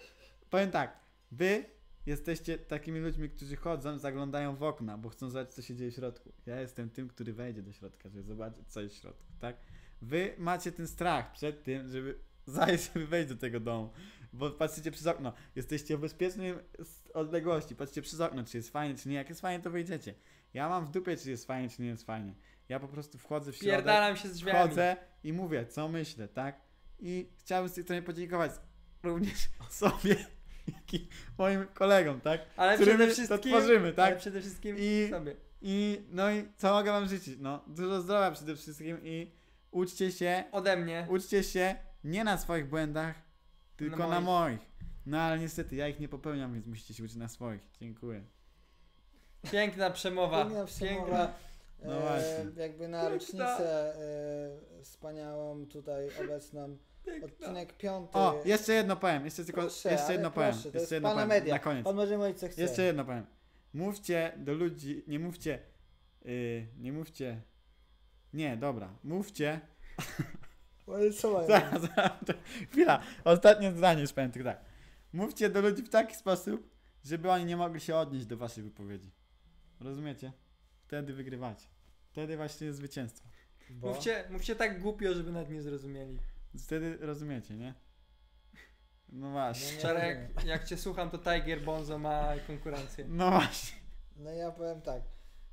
Speaker 1: Powiem tak. Wy jesteście takimi ludźmi, którzy chodzą, zaglądają w okna, bo chcą zobaczyć, co się dzieje w środku. Ja jestem tym, który wejdzie do środka, żeby zobaczyć, co jest w środku, tak? Wy macie ten strach przed tym, żeby [LAUGHS] zajść, żeby wejść do tego domu, bo patrzycie przez okno. Jesteście w bezpiecznej s- odległości, patrzycie przez okno, czy jest fajnie, czy nie. Jak jest fajnie, to wyjdziecie. Ja mam w dupie, czy jest fajnie, czy nie jest fajnie. Ja po prostu wchodzę w środek
Speaker 2: Pierdalam się z drzwiami.
Speaker 1: chodzę i mówię, co myślę, tak? I chciałbym z tej strony podziękować również [LAUGHS] sobie, jak i moim kolegom, tak?
Speaker 2: Ale
Speaker 1: którymi
Speaker 2: przede
Speaker 1: to
Speaker 2: wszystkim,
Speaker 1: tworzymy, tak?
Speaker 2: ale przede wszystkim
Speaker 1: I-
Speaker 2: sobie.
Speaker 1: I no i co mogę wam życzyć? No, dużo zdrowia przede wszystkim i uczcie się,
Speaker 2: Ode mnie.
Speaker 1: uczcie się nie na swoich błędach, tylko
Speaker 2: Na
Speaker 1: na moich. No ale niestety ja ich nie popełniam, więc musicie się uczyć na swoich. Dziękuję.
Speaker 2: Piękna przemowa.
Speaker 3: Piękna przemowa.
Speaker 2: Piękna.
Speaker 1: No
Speaker 3: e,
Speaker 1: właśnie.
Speaker 3: Jakby na
Speaker 2: Piękna.
Speaker 3: rocznicę e, wspaniałą tutaj obecną.
Speaker 2: Piękna.
Speaker 3: Odcinek piąty.
Speaker 1: O, jeszcze jedno powiem, jeszcze tylko,
Speaker 3: Proszę,
Speaker 1: jeszcze
Speaker 3: ale
Speaker 1: jedno
Speaker 3: proszę,
Speaker 1: powiem,
Speaker 3: to jest
Speaker 1: jeszcze jedno
Speaker 3: pana
Speaker 1: powiem,
Speaker 3: media.
Speaker 1: na koniec.
Speaker 3: On może mówić co chce.
Speaker 1: Jeszcze jedno powiem. Mówcie do ludzi, nie mówcie, yy, nie mówcie, nie, dobra, mówcie, [LAUGHS]
Speaker 3: Ale No co mają?
Speaker 1: zaraz, zaraz, to- chwila, ostatnie zdanie już powiem tylko tak. Mówcie do ludzi w taki sposób, żeby oni nie mogli się odnieść do waszej wypowiedzi. Rozumiecie? Wtedy wygrywacie. Wtedy właśnie jest zwycięstwo.
Speaker 3: Bo-
Speaker 2: Mówcie, mówcie tak głupio, żeby nawet nie zrozumieli.
Speaker 1: Wtedy rozumiecie, nie? No
Speaker 3: No
Speaker 1: właśnie.
Speaker 3: nie.
Speaker 2: Czarek, jak cię słucham, to Tiger Bonzo ma konkurencję.
Speaker 1: No właśnie.
Speaker 3: No ja powiem tak.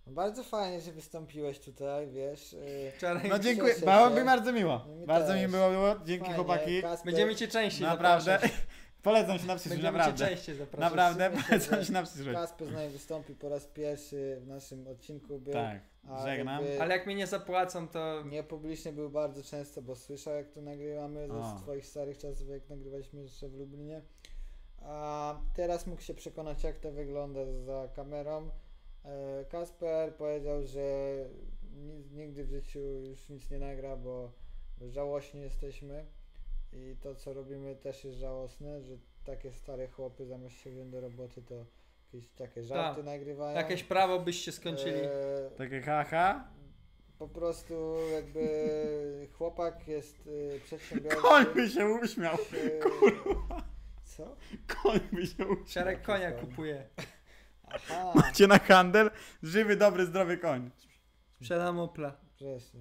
Speaker 3: No bardzo fajnie, że wystąpiłeś tutaj, wiesz. e,
Speaker 2: Czarek,
Speaker 1: No dziękuję.
Speaker 3: [LAUGHS] Cieszę
Speaker 1: Było
Speaker 3: się.
Speaker 1: mi bardzo miło.
Speaker 3: No mi
Speaker 1: Bardzo mi
Speaker 3: też.
Speaker 1: miło było. Dzięki
Speaker 3: fajnie,
Speaker 1: chłopaki.
Speaker 3: Kasper,
Speaker 2: będziemy cię częściej
Speaker 1: Naprawdę. [LAUGHS]
Speaker 2: zapraszać.
Speaker 1: Polecam się na przyszłość,
Speaker 2: Będziemy cię
Speaker 1: naprawdę.
Speaker 2: częściej zapraszać.
Speaker 1: Naprawdę,
Speaker 3: Super,
Speaker 1: polecam
Speaker 3: super.
Speaker 1: się na przyszłość.
Speaker 3: Kasper z nami wystąpi po raz pierwszy w naszym odcinku. Był
Speaker 1: Tak,
Speaker 3: a
Speaker 1: żegnam.
Speaker 3: jakby-
Speaker 2: Ale jak mnie nie zapłacą, to
Speaker 3: Niepublicznie był bardzo często, bo słyszał jak to nagrywamy
Speaker 1: A.
Speaker 3: ze swoich starych czasów, jak nagrywaliśmy jeszcze w Lublinie. A teraz mógł się przekonać, jak to wygląda za kamerą. E, Kasper powiedział, że nic, nigdy w życiu już nic nie nagra, bo żałośni jesteśmy i to, co robimy, też jest żałosne, że takie stare chłopy zamiast się wziąć do roboty, to jakieś takie żarty nagrywają.
Speaker 2: jakieś prawo byście skończyli.
Speaker 3: E,
Speaker 1: Takie haha.
Speaker 3: po prostu jakby chłopak jest y, przedsiębiorcą.
Speaker 1: Koń by się uśmiał.
Speaker 3: y, Co?
Speaker 1: Koń by się uśmiał.
Speaker 2: Czarek konia kupuje.
Speaker 3: Aha,
Speaker 1: Macie na handel? Żywy, dobry, zdrowy koń.
Speaker 2: Sprzedam Opla.
Speaker 3: wreszcie.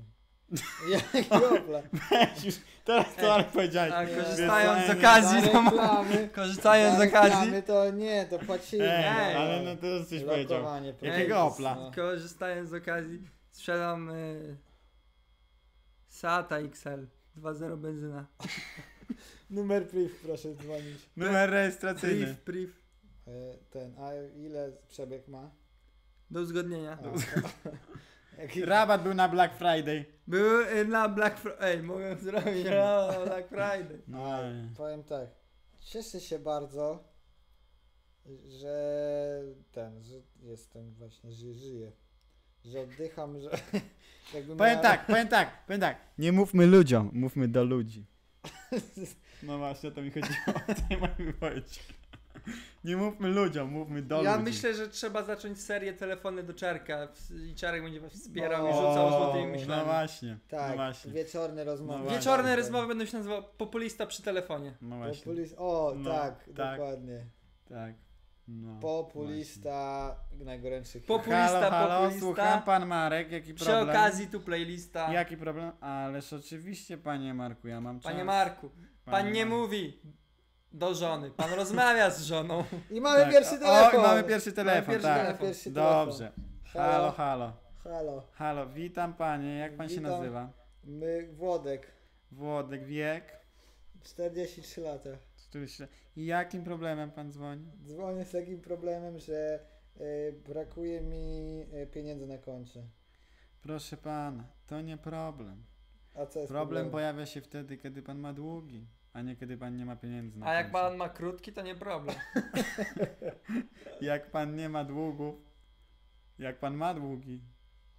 Speaker 1: [LAUGHS]
Speaker 3: Jaki opla.
Speaker 1: Weź już, teraz
Speaker 2: Ej,
Speaker 1: to ale powiedziałeś.
Speaker 2: A
Speaker 3: Nie.
Speaker 2: korzystając z
Speaker 1: Wyznanie.
Speaker 2: okazji,
Speaker 3: Za
Speaker 2: to mo-
Speaker 3: reklamy,
Speaker 2: korzystając z
Speaker 3: za
Speaker 2: okazji,
Speaker 3: reklamy to nie, to płacimy.
Speaker 1: Ej,
Speaker 2: Ej.
Speaker 1: no, ale no to już coś powiedział.
Speaker 3: Lokowanie, proszę.
Speaker 1: Jakiego opla?
Speaker 3: No.
Speaker 2: korzystając z okazji, sprzedam y, Sata XL 2.0 benzyna.
Speaker 3: Numer priv proszę dzwonić.
Speaker 1: Numer rejestracyjny.
Speaker 2: Priv, priv.
Speaker 3: Y, Ten, a ile przebieg ma?
Speaker 2: Do uzgodnienia.
Speaker 1: [LAUGHS]
Speaker 3: A, [LAUGHS] Jaki-
Speaker 1: Rabat był na Black Friday.
Speaker 2: Był y, na Black Friday. Ej, mogę [LAUGHS] zrobić na Black Friday.
Speaker 1: No,
Speaker 3: Powiem tak. Cieszę się bardzo, że ten, że jestem właśnie, że żyję. że oddycham, że [LAUGHS] jakbym
Speaker 1: Powiem
Speaker 3: miał-
Speaker 1: tak, powiem tak, powiem tak. Nie mówmy ludziom, mówmy do ludzi. [LAUGHS] No właśnie, o to mi chodziło w tej mojej wypowiedzi. Nie mówmy ludziom, mówmy do
Speaker 2: ja
Speaker 1: ludzi.
Speaker 2: myślę, że trzeba zacząć serię telefony do Czarka w- i Czarek będzie was wspierał i
Speaker 1: O,
Speaker 2: rzucał złotymi
Speaker 1: No
Speaker 2: myślami.
Speaker 1: właśnie, no
Speaker 3: Tak,
Speaker 1: właśnie.
Speaker 3: wieczorne rozmowy. Tak,
Speaker 1: No właśnie.
Speaker 2: Wieczorne rozmowy będą się nazywały Populista przy telefonie.
Speaker 1: No właśnie,
Speaker 3: Populist... O,
Speaker 1: No,
Speaker 3: tak,
Speaker 1: tak.
Speaker 3: dokładnie.
Speaker 1: tak. No,
Speaker 3: Populista najgorętszych.
Speaker 2: Po-
Speaker 3: Po...
Speaker 1: Populista, halo,
Speaker 2: Populista,
Speaker 1: halo,
Speaker 2: populista.
Speaker 1: słucham pan Marek, jaki
Speaker 2: Przy
Speaker 1: problem?
Speaker 2: okazji tu playlista.
Speaker 1: Jaki problem? Ależ oczywiście, panie Marku, ja mam czas.
Speaker 2: Panie Marku, pan nie mówi do żony, pan rozmawia z żoną.
Speaker 3: I mamy pierwszy
Speaker 1: tak. O,
Speaker 3: telefon.
Speaker 1: i mamy pierwszy telefon,
Speaker 2: pierwszy
Speaker 1: tak.
Speaker 2: telefon.
Speaker 3: Pierwszy telefon.
Speaker 1: Dobrze. Halo,
Speaker 3: Halo.
Speaker 1: halo.
Speaker 3: Halo,
Speaker 1: Halo, witam panie, jak pan się
Speaker 3: Witam.
Speaker 1: nazywa?
Speaker 3: my Włodek,
Speaker 1: Włodek, wiek?
Speaker 3: 43 lata.
Speaker 1: Który się... I jakim problemem pan dzwoni?
Speaker 3: Dzwonię z takim problemem, że y, brakuje mi y, pieniędzy na koncie.
Speaker 1: Proszę pana, to nie problem.
Speaker 3: A co jest
Speaker 1: Problem
Speaker 3: problem?
Speaker 1: pojawia się wtedy, kiedy pan ma długi, a nie kiedy pan nie ma pieniędzy na
Speaker 2: A jak
Speaker 1: koncie.
Speaker 2: pan ma krótki, to nie problem.
Speaker 1: Jak pan nie ma długów, jak pan ma długi,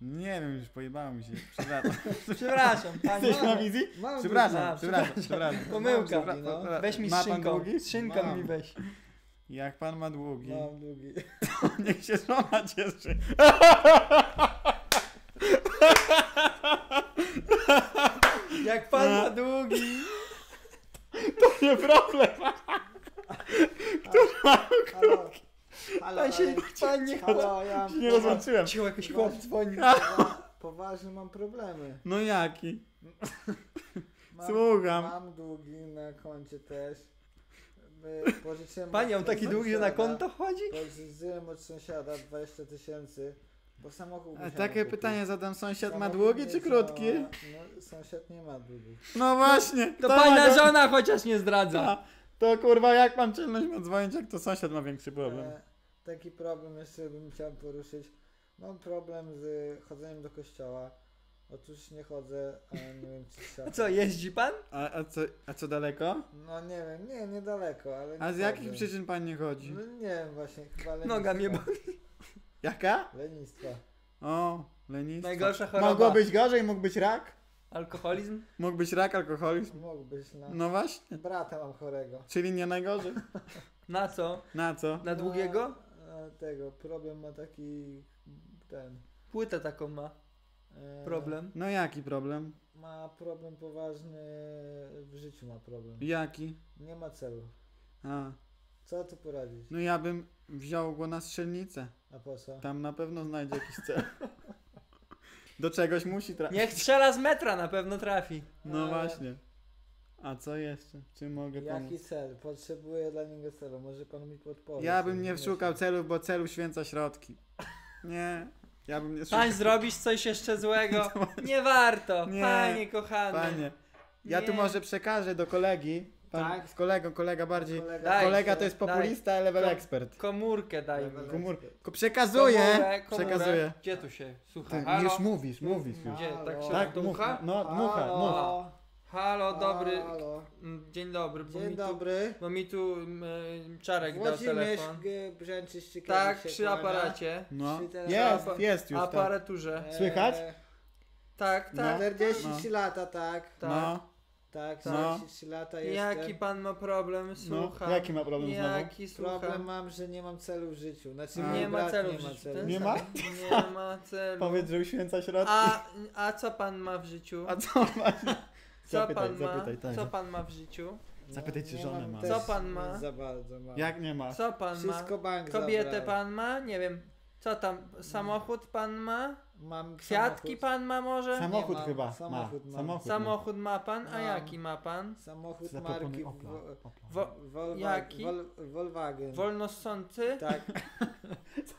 Speaker 1: nie wiem, już pojebało mi się. Przepraszam.
Speaker 2: [LAUGHS] Przepraszam, panie.
Speaker 1: Jesteś na wizji?
Speaker 3: Mam
Speaker 1: Przepraszam,
Speaker 2: mam,
Speaker 1: przepraszam, przepraszam.
Speaker 2: [LAUGHS] Pomyłka.
Speaker 1: Przepra-
Speaker 3: Długi, no.
Speaker 1: po-
Speaker 2: Weź mi
Speaker 1: ma
Speaker 2: z
Speaker 1: pan
Speaker 2: szynką.
Speaker 1: długi?
Speaker 2: Z szynką
Speaker 1: Mam.
Speaker 2: mi weź.
Speaker 1: Jak pan ma
Speaker 3: długi.
Speaker 1: długi,
Speaker 3: Mam długi.
Speaker 1: [LAUGHS] niech się żona cieszy.
Speaker 2: Jak pan
Speaker 1: No.
Speaker 2: ma długi.
Speaker 1: Nie problem.
Speaker 3: Halo, halo,
Speaker 2: Pan się,
Speaker 3: ale-
Speaker 2: pan nie chce.
Speaker 3: halo, ja mam,
Speaker 1: Nie rozłączyłem.
Speaker 2: Cię jakiś chłop dzwoni.
Speaker 3: powa- poważne mam problemy.
Speaker 1: No jaki?
Speaker 3: Mam,
Speaker 1: Słucham.
Speaker 3: Mam długi na koncie też. My Pożyczyłem od
Speaker 2: Panie, on taki
Speaker 3: sąsiada-
Speaker 2: długi, że na konto chodzi?
Speaker 3: Pożyczyłem od sąsiada 20 tysięcy, bo samochód
Speaker 1: A
Speaker 3: musiałem
Speaker 1: takie
Speaker 3: kupić.
Speaker 1: pytanie zadam, sąsiad ma
Speaker 3: Samochód
Speaker 1: długi
Speaker 3: nie
Speaker 1: czy
Speaker 3: działa.
Speaker 1: krótki?
Speaker 3: No, sąsiad nie ma długich.
Speaker 1: No właśnie.
Speaker 2: To
Speaker 1: ma
Speaker 2: pana
Speaker 1: dłu-
Speaker 2: żona chociaż nie zdradza.
Speaker 1: Ta. To kurwa, jak mam czelność ma dzwonić, jak to sąsiad ma większy problem?
Speaker 3: E, Taki problem jeszcze bym chciał poruszyć. Mam problem z chodzeniem do kościoła. Otóż nie chodzę, ale nie
Speaker 2: [LAUGHS]
Speaker 3: wiem czy trzeba.
Speaker 2: Co, jeździ pan?
Speaker 1: A, a, co, a co daleko?
Speaker 3: No nie wiem, nie, niedaleko, ale nie
Speaker 1: A z
Speaker 3: chodzę.
Speaker 1: jakich przyczyn pan nie chodzi?
Speaker 3: No nie wiem właśnie, chyba lenistwa.
Speaker 2: Noga mnie boli.
Speaker 1: Jaka?
Speaker 3: Lenistwa.
Speaker 1: O, lenistwo.
Speaker 2: Najgorsza choroba.
Speaker 1: Mogło być gorzej, mógł być rak?
Speaker 2: Alkoholizm?
Speaker 1: Mógł być rak, alkoholizm?
Speaker 3: Mógłbyś,
Speaker 2: Tak.
Speaker 3: no.
Speaker 1: No właśnie.
Speaker 3: Brata mam chorego.
Speaker 1: Czyli nie najgorzej.
Speaker 2: Na co?
Speaker 1: Na co?
Speaker 2: Na długiego?
Speaker 3: No, e, tego, problem ma taki, ten...
Speaker 2: Płytę taką ma.
Speaker 3: e,
Speaker 2: Problem.
Speaker 1: No jaki problem?
Speaker 3: Ma problem poważny, w życiu ma problem.
Speaker 1: Jaki?
Speaker 3: Nie ma celu.
Speaker 1: A,
Speaker 3: Co tu poradzić?
Speaker 1: no ja bym wziął go na strzelnicę.
Speaker 3: A po co?
Speaker 1: Tam na pewno znajdzie jakiś cel. Do czegoś musi trafić.
Speaker 2: Niech strzela z metra, na pewno trafi.
Speaker 1: No
Speaker 3: Ale-
Speaker 1: właśnie. A co jeszcze? Czym mogę
Speaker 3: Jaki
Speaker 1: pomóc?
Speaker 3: cel? Potrzebuję dla niego celu. Może pan mi podpowie.
Speaker 1: Ja
Speaker 3: co
Speaker 1: bym nie
Speaker 3: myśli.
Speaker 1: szukał celów, bo celu święca środki. Nie, ja bym nie szukał.
Speaker 2: Pań, zrobisz coś jeszcze
Speaker 1: [LAUGHS]
Speaker 2: złego? Nie warto,
Speaker 1: Nie,
Speaker 2: panie kochany.
Speaker 1: Panie, ja tu
Speaker 2: Nie.
Speaker 1: może przekażę do kolegi. Pan
Speaker 3: Tak.
Speaker 1: z kolegą, kolega bardziej.
Speaker 3: Kolega,
Speaker 2: Daj,
Speaker 1: kolega to jest
Speaker 2: daj.
Speaker 1: populista, ale level
Speaker 2: Kom-
Speaker 1: expert.
Speaker 2: Komórkę daj mi.
Speaker 3: Dobra.
Speaker 1: Komór...
Speaker 3: Komórek.
Speaker 1: Ko- Przekazuję!
Speaker 2: Komórę, komórę.
Speaker 1: Przekazuję.
Speaker 2: Gdzie tu się? Słuchaj,
Speaker 1: Ty,
Speaker 2: halo?
Speaker 1: już mówisz, mówisz już.
Speaker 2: Gdzie? Tak się
Speaker 1: Tak,
Speaker 2: dmucha?
Speaker 1: mów, no, dmucha, mów.
Speaker 3: Halo,
Speaker 2: Halo, dobry.
Speaker 3: halo.
Speaker 2: m, Dzień dobry. Bo
Speaker 3: Dzień
Speaker 2: mi
Speaker 3: dobry.
Speaker 2: Tu, bo mi tu m, y, Czarek dał
Speaker 3: Włodzimierz
Speaker 2: telefon.
Speaker 3: G- Brzęczysz czy
Speaker 2: Tak,
Speaker 3: kiedyś się
Speaker 2: przy
Speaker 3: kłania.
Speaker 2: aparacie.
Speaker 1: No,
Speaker 3: Trzy teraz-
Speaker 1: jest,
Speaker 2: apa-
Speaker 1: jest już, tak.
Speaker 2: Aparaturze.
Speaker 3: E,
Speaker 1: Słychać?
Speaker 2: Tak,
Speaker 1: No.
Speaker 2: tak.
Speaker 3: 43 lata, tak.
Speaker 2: Tak.
Speaker 1: No,
Speaker 3: Tak,
Speaker 1: No.
Speaker 3: 43 lata jestem.
Speaker 2: Jaki pan ma problem?
Speaker 1: no.
Speaker 2: Słucham.
Speaker 1: Jaki ma problem znowu?
Speaker 2: Jaki słucham?
Speaker 3: Problem mam, że nie mam celu w życiu. Znaczy,
Speaker 1: A.
Speaker 3: mój
Speaker 2: Nie ma
Speaker 3: brat
Speaker 2: celu.
Speaker 3: Nie
Speaker 2: w
Speaker 3: ma
Speaker 2: życiu.
Speaker 3: celu.
Speaker 2: Ten
Speaker 1: Nie
Speaker 2: sam.
Speaker 1: ma?
Speaker 2: Nie ma celu.
Speaker 1: [LAUGHS] Powiedz, że uświęca środki.
Speaker 2: A, a co pan ma w życiu?
Speaker 1: A co [LAUGHS] właśnie?
Speaker 2: Co
Speaker 1: Zapytaj,
Speaker 2: pan
Speaker 1: zapytaj,
Speaker 2: ma?
Speaker 1: tak.
Speaker 2: Co pan ma w życiu?
Speaker 3: No,
Speaker 1: Zapytaj, czy
Speaker 3: nie
Speaker 1: żonę
Speaker 3: mam
Speaker 1: ma.
Speaker 3: też
Speaker 2: Co pan ma?
Speaker 3: Za bardzo mam.
Speaker 1: Jak nie ma?
Speaker 2: Co pan ma?
Speaker 3: Wszystko bank
Speaker 2: Kobietę
Speaker 3: zabrał.
Speaker 2: pan ma? Nie wiem. Co tam? Samochód pan ma?
Speaker 3: Mam
Speaker 2: Kwiatki
Speaker 3: samochód.
Speaker 2: pan ma może?
Speaker 1: Samochód
Speaker 3: Nie mam.
Speaker 1: chyba
Speaker 3: Samochód
Speaker 1: ma.
Speaker 3: mam.
Speaker 1: Samochód.
Speaker 2: Samochód ma pan? A
Speaker 3: Mam.
Speaker 2: jaki ma pan?
Speaker 3: Samochód
Speaker 1: Zaproponuj
Speaker 3: marki
Speaker 1: Opla.
Speaker 3: Wo-
Speaker 1: Opla.
Speaker 2: Wo-
Speaker 3: Volkswagen.
Speaker 2: Jaki?
Speaker 3: Vol- Volkswagen.
Speaker 2: wolnossący? [LAUGHS]
Speaker 3: tak.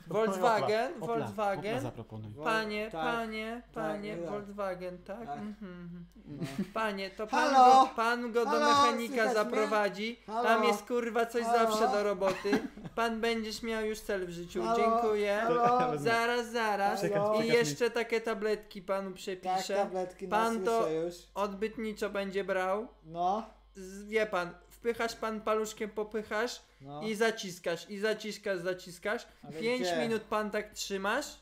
Speaker 2: Volkswagen?
Speaker 1: Opla. Opla
Speaker 2: Volkswagen?
Speaker 1: zaproponuj.
Speaker 3: Vol-
Speaker 2: Panie,
Speaker 3: tak.
Speaker 2: panie, panie,
Speaker 3: tak.
Speaker 2: Volkswagen, tak?
Speaker 3: Tak.
Speaker 2: Mhm.
Speaker 3: No.
Speaker 2: Panie, to pan
Speaker 3: Halo?
Speaker 2: go, pan go do
Speaker 3: Halo,
Speaker 2: mechanika
Speaker 3: słychać mnie?
Speaker 2: zaprowadzi.
Speaker 3: Halo?
Speaker 2: Tam jest kurwa coś
Speaker 3: Halo?
Speaker 2: zawsze do roboty. Pan będziesz miał już cel w życiu.
Speaker 3: Halo?
Speaker 2: Dziękuję.
Speaker 3: Halo?
Speaker 2: Zaraz, zaraz.
Speaker 3: Czekaj,
Speaker 2: I
Speaker 1: czekaj.
Speaker 2: jeszcze takie tabletki panu
Speaker 3: Tak,
Speaker 2: przepiszę.
Speaker 3: tabletki
Speaker 2: Pan
Speaker 3: pan
Speaker 2: to-
Speaker 3: to... już.
Speaker 2: Odbytniczo będzie brał.
Speaker 3: No,
Speaker 2: Z- Wie pan, wpychasz pan paluszkiem, popychasz
Speaker 3: no.
Speaker 2: i zaciskasz, i zaciskasz, zaciskasz.
Speaker 3: Ale
Speaker 2: Pięć
Speaker 3: gdzie?
Speaker 2: minut pan tak trzymasz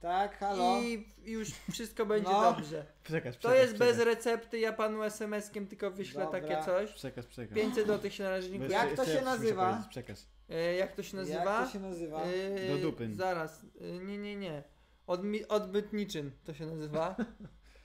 Speaker 3: Tak, halo.
Speaker 2: I już wszystko będzie
Speaker 3: No.
Speaker 2: dobrze.
Speaker 1: Przekaż,
Speaker 2: To jest bez recepty, ja panu SMS-kiem tylko wyślę
Speaker 3: Dobra.
Speaker 2: takie coś.
Speaker 1: Przekaż, przekaż.
Speaker 2: 500 zł się na razie
Speaker 1: Bo
Speaker 2: dziękuję.
Speaker 1: jeszcze-
Speaker 3: Jak to
Speaker 1: jeszcze
Speaker 3: się
Speaker 1: ja muszę
Speaker 3: nazywa?
Speaker 1: powiedzieć, Przekaż.
Speaker 2: E, Jak to się nazywa?
Speaker 3: Jak to się nazywa?
Speaker 2: E,
Speaker 1: Do dupy.
Speaker 2: Zaraz, E, nie, nie, nie. Odmi- odbytniczyn to się
Speaker 3: [LAUGHS]
Speaker 2: nazywa.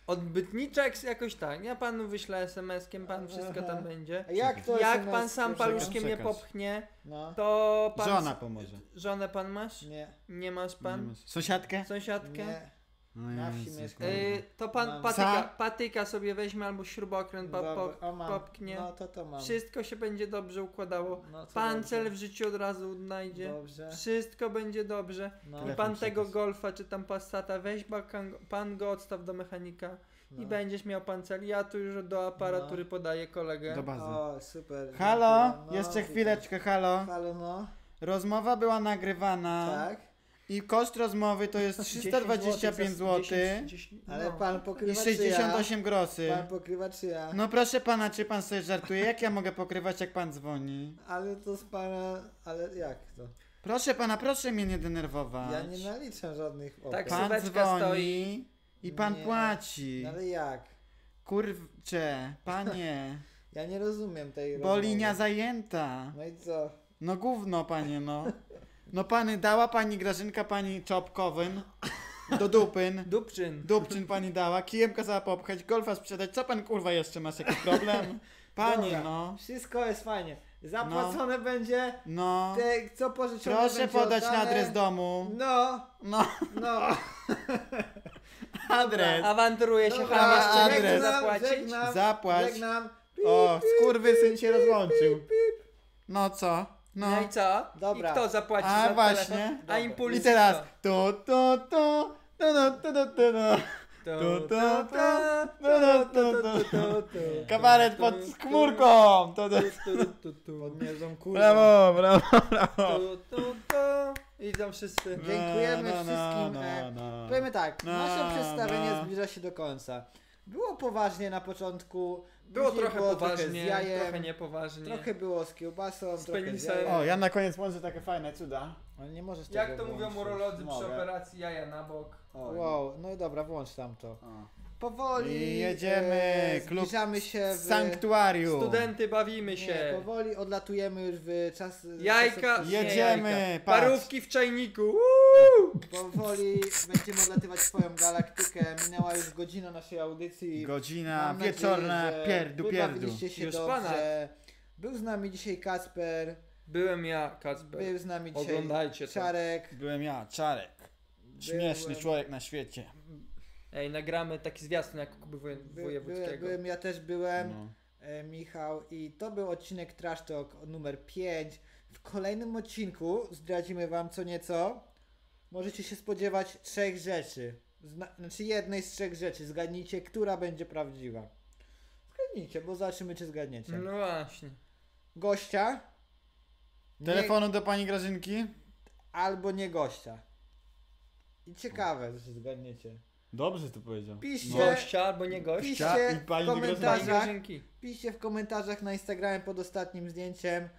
Speaker 2: Odbytniczek jakoś tak. Ja panu wyślę SMS-kiem, pan wszystko
Speaker 3: Aha.
Speaker 2: tam będzie.
Speaker 3: A Jak to
Speaker 2: Jak
Speaker 3: się
Speaker 2: pan
Speaker 3: naz-
Speaker 2: sam
Speaker 3: nazywa?
Speaker 2: paluszkiem nie
Speaker 1: Przekaz.
Speaker 2: popchnie,
Speaker 3: No.
Speaker 2: to pan...
Speaker 1: Żona pomoże.
Speaker 2: Żonę pan masz?
Speaker 3: Nie.
Speaker 2: Nie masz
Speaker 1: Nie
Speaker 2: pan?
Speaker 1: masz. Sąsiadkę?
Speaker 2: Sąsiadkę?
Speaker 3: Nie.
Speaker 1: No
Speaker 3: Na wsi
Speaker 1: Jezu,
Speaker 3: mieszka.
Speaker 1: kurwa.
Speaker 2: Y, to pan
Speaker 3: Mam.
Speaker 2: patyka,
Speaker 1: Psa?
Speaker 2: patyka sobie weźmie albo śrubokręt pop, pop,
Speaker 3: Dobra, o, mam.
Speaker 2: popknie.
Speaker 3: No to to mam.
Speaker 2: Wszystko się będzie dobrze układało.
Speaker 3: No, to
Speaker 2: Pan
Speaker 3: dobrze.
Speaker 2: cel w życiu od razu odnajdzie.
Speaker 3: Dobrze.
Speaker 2: Wszystko będzie dobrze.
Speaker 3: No,
Speaker 1: Tyle.
Speaker 2: I pan
Speaker 1: Telefon
Speaker 2: tego
Speaker 1: przekaz.
Speaker 2: golfa czy tam passata weź, ba- kan- pan go odstaw do mechanika i
Speaker 3: no.
Speaker 2: będziesz miał pan cel. Ja tu już do aparatury podaję kolegę.
Speaker 1: Do bazy.
Speaker 3: O, super.
Speaker 1: Halo,
Speaker 3: dziękuję. No,
Speaker 1: jeszcze
Speaker 3: witam.
Speaker 1: chwileczkę, halo.
Speaker 3: Halo, no.
Speaker 1: Rozmowa była nagrywana
Speaker 3: Tak.
Speaker 1: i koszt rozmowy to
Speaker 3: [LAUGHS]
Speaker 1: jest 325 zł
Speaker 3: Ale
Speaker 2: no.
Speaker 3: pan
Speaker 1: i
Speaker 3: pokrywa czy
Speaker 1: 68
Speaker 3: ja?
Speaker 1: groszy.
Speaker 3: Pan pokrywa czy ja?
Speaker 1: No proszę pana, czy pan sobie żartuje? Jak ja mogę pokrywać, jak pan dzwoni?
Speaker 3: Ale to z pana... Ale jak to?
Speaker 1: Proszę pana, proszę mnie nie denerwować.
Speaker 3: Ja nie naliczam żadnych opłat.
Speaker 2: Tak,
Speaker 1: Pan
Speaker 2: Sylweczka stoi.
Speaker 1: dzwoni i pan
Speaker 3: Nie.
Speaker 1: płaci.
Speaker 3: No Ale jak?
Speaker 1: Kurwcze,
Speaker 3: [LAUGHS]
Speaker 1: panie,
Speaker 3: Ja nie rozumiem tej
Speaker 1: bo
Speaker 3: rozmowy.
Speaker 1: linia zajęta.
Speaker 3: No i co?
Speaker 1: No gówno, panie, no. No pani dała pani Grażynka pani Czopkowym do dupyn.
Speaker 2: Dupczyn.
Speaker 1: Dupczyn pani dała, kijem kazała popchać, golfa sprzedać. Co pan kurwa jeszcze masz jakiś problem? Panie,
Speaker 3: Dobra.
Speaker 1: no.
Speaker 3: Wszystko jest fajnie. Zapłacone będzie,
Speaker 1: No.
Speaker 3: te, co pożyczone
Speaker 1: Proszę
Speaker 3: będzie
Speaker 1: podać
Speaker 3: oddane.
Speaker 1: adres domu.
Speaker 3: No,
Speaker 1: No, [LAUGHS]
Speaker 3: no.
Speaker 1: adres.
Speaker 2: Awanturuje się
Speaker 3: Dobra,
Speaker 2: pan jeszcze nie chce
Speaker 1: adres.
Speaker 2: zapłacić.
Speaker 3: żegnam,
Speaker 1: Zapłać.
Speaker 3: Żegnam.
Speaker 1: O, skurwysyn się rozłączył. No co?
Speaker 2: No.
Speaker 1: No.
Speaker 2: i co?
Speaker 3: Dobra.
Speaker 2: I kto zapłaci
Speaker 1: A,
Speaker 2: za
Speaker 1: właśnie.
Speaker 2: telefon? A
Speaker 3: Dobra.
Speaker 2: impuls
Speaker 1: I teraz to, to, to, to, to, to, to, no. to, to.
Speaker 2: To,
Speaker 1: Tu, tu,
Speaker 2: to,
Speaker 1: tu,
Speaker 2: to,
Speaker 1: tu, tu, tu, tu,
Speaker 2: to, to.
Speaker 1: Kabaret pod chmurką. To, to.
Speaker 2: Tu, tu, tu, tu.
Speaker 3: Podmierzą kurwa.
Speaker 1: Brawo, brawo, brawo.
Speaker 2: Tu, tu, tu. Idą wszyscy.
Speaker 1: No,
Speaker 3: Dziękujemy
Speaker 1: no, no,
Speaker 3: wszystkim,
Speaker 1: no,
Speaker 3: e,
Speaker 1: no.
Speaker 3: Powiem tak,
Speaker 1: No,
Speaker 3: nasze przedstawienie
Speaker 1: no.
Speaker 3: zbliża się do końca. Było poważnie na początku.
Speaker 2: Było
Speaker 3: później
Speaker 2: trochę
Speaker 3: Trochę,
Speaker 2: poważnie,
Speaker 3: z jajem,
Speaker 2: trochę niepoważnie.
Speaker 3: trochę było z kiełbasą,
Speaker 2: Z
Speaker 3: trochę z
Speaker 2: penisem.
Speaker 3: jajem.
Speaker 1: O, ja na koniec może takie fajne cuda.
Speaker 3: Ale nie możesz tego
Speaker 2: Jak to mówią
Speaker 3: włączyć.
Speaker 2: urolodzy przy
Speaker 1: Mogę.
Speaker 2: operacji jaja na bok?
Speaker 3: Wow, no i dobra, włącz tam to.
Speaker 1: O.
Speaker 3: Powoli
Speaker 1: I jedziemy,
Speaker 3: e,
Speaker 1: klub
Speaker 3: zbliżamy się w...
Speaker 1: Sanktuarium.
Speaker 2: Studenty, bawimy
Speaker 3: Nie,
Speaker 2: się.
Speaker 3: powoli odlatujemy już w czas... e,
Speaker 2: Jajka,
Speaker 3: czas-
Speaker 2: nie
Speaker 1: Jedziemy,
Speaker 2: jajka.
Speaker 1: patrz.
Speaker 2: Parówki w czajniku. Uuu!
Speaker 3: Powoli będziemy odlatywać swoją galaktykę. Minęła już godzina naszej audycji.
Speaker 1: Godzina
Speaker 3: Mam nadzieję,
Speaker 1: wieczorna,
Speaker 3: że
Speaker 1: pierdu, pierdu.
Speaker 3: wybawiliście się
Speaker 2: Już
Speaker 3: dobrze. Był z nami dzisiaj Kasper,
Speaker 2: Byłem ja, Kacper.
Speaker 3: był z nami dzisiaj
Speaker 2: Oglądajcie to.
Speaker 3: Czarek.
Speaker 1: Byłem ja, Czarek. Śmieszny
Speaker 3: Byłem-
Speaker 1: człowiek na świecie.
Speaker 2: Ej, nagramy taki zwiastun jak Kuby Woje-
Speaker 3: By, by,
Speaker 2: Wojewódzkiego.
Speaker 3: byłem, ja też byłem,
Speaker 1: No.
Speaker 3: e, Michał i to był odcinek Trash Talk numer 5. W kolejnym odcinku zdradzimy wam co nieco. Możecie się spodziewać trzech rzeczy. Zna, znaczy jednej z trzech rzeczy. Zgadnijcie, która będzie prawdziwa. Zgadnijcie, bo zobaczymy czy zgadniecie.
Speaker 2: No właśnie.
Speaker 3: Gościa nie,
Speaker 1: Telefonu do pani Grażynki?
Speaker 3: albo nie gościa. I ciekawe, że zgadniecie.
Speaker 1: Dobrze to powiedział.
Speaker 3: Piszcie,
Speaker 1: No.
Speaker 2: Gościa albo nie gościa.
Speaker 3: piszcie
Speaker 1: i pani
Speaker 3: w
Speaker 2: Pani
Speaker 3: komentarzach,
Speaker 2: Grażynki.
Speaker 3: piszcie w komentarzach na Instagramie pod ostatnim zdjęciem,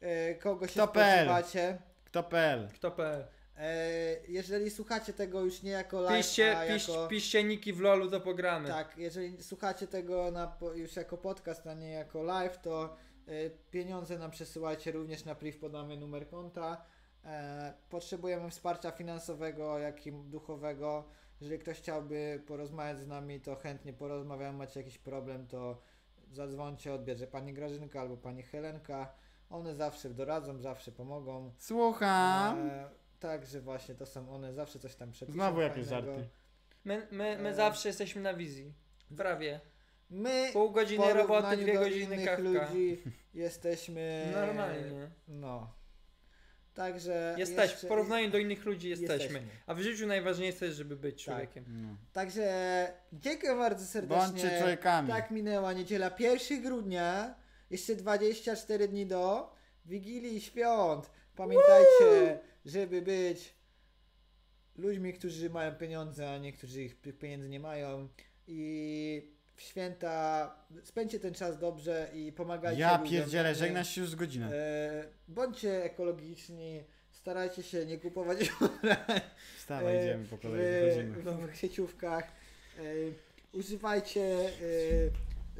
Speaker 3: e, kogo się
Speaker 1: To PL.
Speaker 3: spodziewacie.
Speaker 1: Kto PL?
Speaker 2: Kto.pl
Speaker 3: E, jeżeli słuchacie tego już nie jako live,
Speaker 2: Piszcie,
Speaker 3: a
Speaker 2: pisz,
Speaker 3: jako...
Speaker 2: piszcie niki w lolu, to pogramy.
Speaker 3: Tak, jeżeli słuchacie tego na, po- już jako podcast, a nie jako live, to e, pieniądze nam przesyłajcie również na priv, podamy numer konta. E, Potrzebujemy wsparcia finansowego, jak i duchowego. Jeżeli ktoś chciałby porozmawiać z nami, to chętnie porozmawiamy. Macie jakiś problem, to zadzwońcie, odbierze pani Grażynka albo pani Helenka. One zawsze doradzą, zawsze pomogą.
Speaker 1: Słucham.
Speaker 3: E, Także właśnie to są one, zawsze coś tam przepiszą.
Speaker 1: Znowu jakieś
Speaker 3: fajnego.
Speaker 1: żarty.
Speaker 2: My, my, my
Speaker 3: E.
Speaker 2: zawsze jesteśmy na wizji. Prawie.
Speaker 3: My
Speaker 2: Pół
Speaker 3: w
Speaker 2: godziny
Speaker 3: porównaniu
Speaker 2: roboty, dwie
Speaker 3: do
Speaker 2: godziny
Speaker 3: innych
Speaker 2: kawka.
Speaker 3: ludzi [LAUGHS] e, jesteśmy...
Speaker 2: Normalnie.
Speaker 3: No. Także...
Speaker 2: Jesteś,
Speaker 3: e, jeszcze-
Speaker 2: w porównaniu do innych ludzi jesteśmy.
Speaker 3: jesteśmy. Tak.
Speaker 2: A w życiu najważniejsze jest, żeby być człowiekiem.
Speaker 1: No.
Speaker 3: Także dziękuję bardzo serdecznie.
Speaker 1: Bądźcie człowiekami.
Speaker 3: Tak minęła niedziela 1 grudnia, jeszcze 24 dni do Wigilii i Świąt. Pamiętajcie, żeby być ludźmi, którzy mają pieniądze, a niektórzy ich pi- pieniędzy nie mają. I w święta spędźcie ten czas dobrze i pomagajcie
Speaker 1: Ja
Speaker 3: ludziom.
Speaker 1: pierdzielę,
Speaker 3: Nie-
Speaker 1: żegnasz się już z godziną.
Speaker 3: E, Bądźcie ekologiczni, Starajcie się nie kupować [LAUGHS]
Speaker 1: Wstawaj,
Speaker 3: E,
Speaker 1: idziemy po kolei,
Speaker 3: w,
Speaker 1: wychodzimy.
Speaker 3: w sieciówkach. E, używajcie e,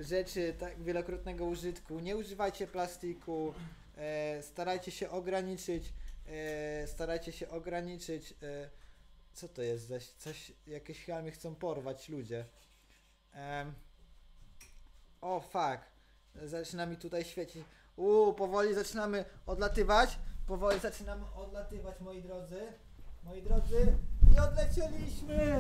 Speaker 3: rzeczy tak wielokrotnego użytku, nie używajcie plastiku, e, starajcie się ograniczyć, e, starajcie się ograniczyć, e, co to jest zaś, coś, jakieś chamy chcą porwać ludzie. Em, o fuck, zaczyna mi tutaj świecić. Uuu, powoli zaczynamy odlatywać, powoli zaczynamy odlatywać moi drodzy, moi drodzy, i odlecieliśmy!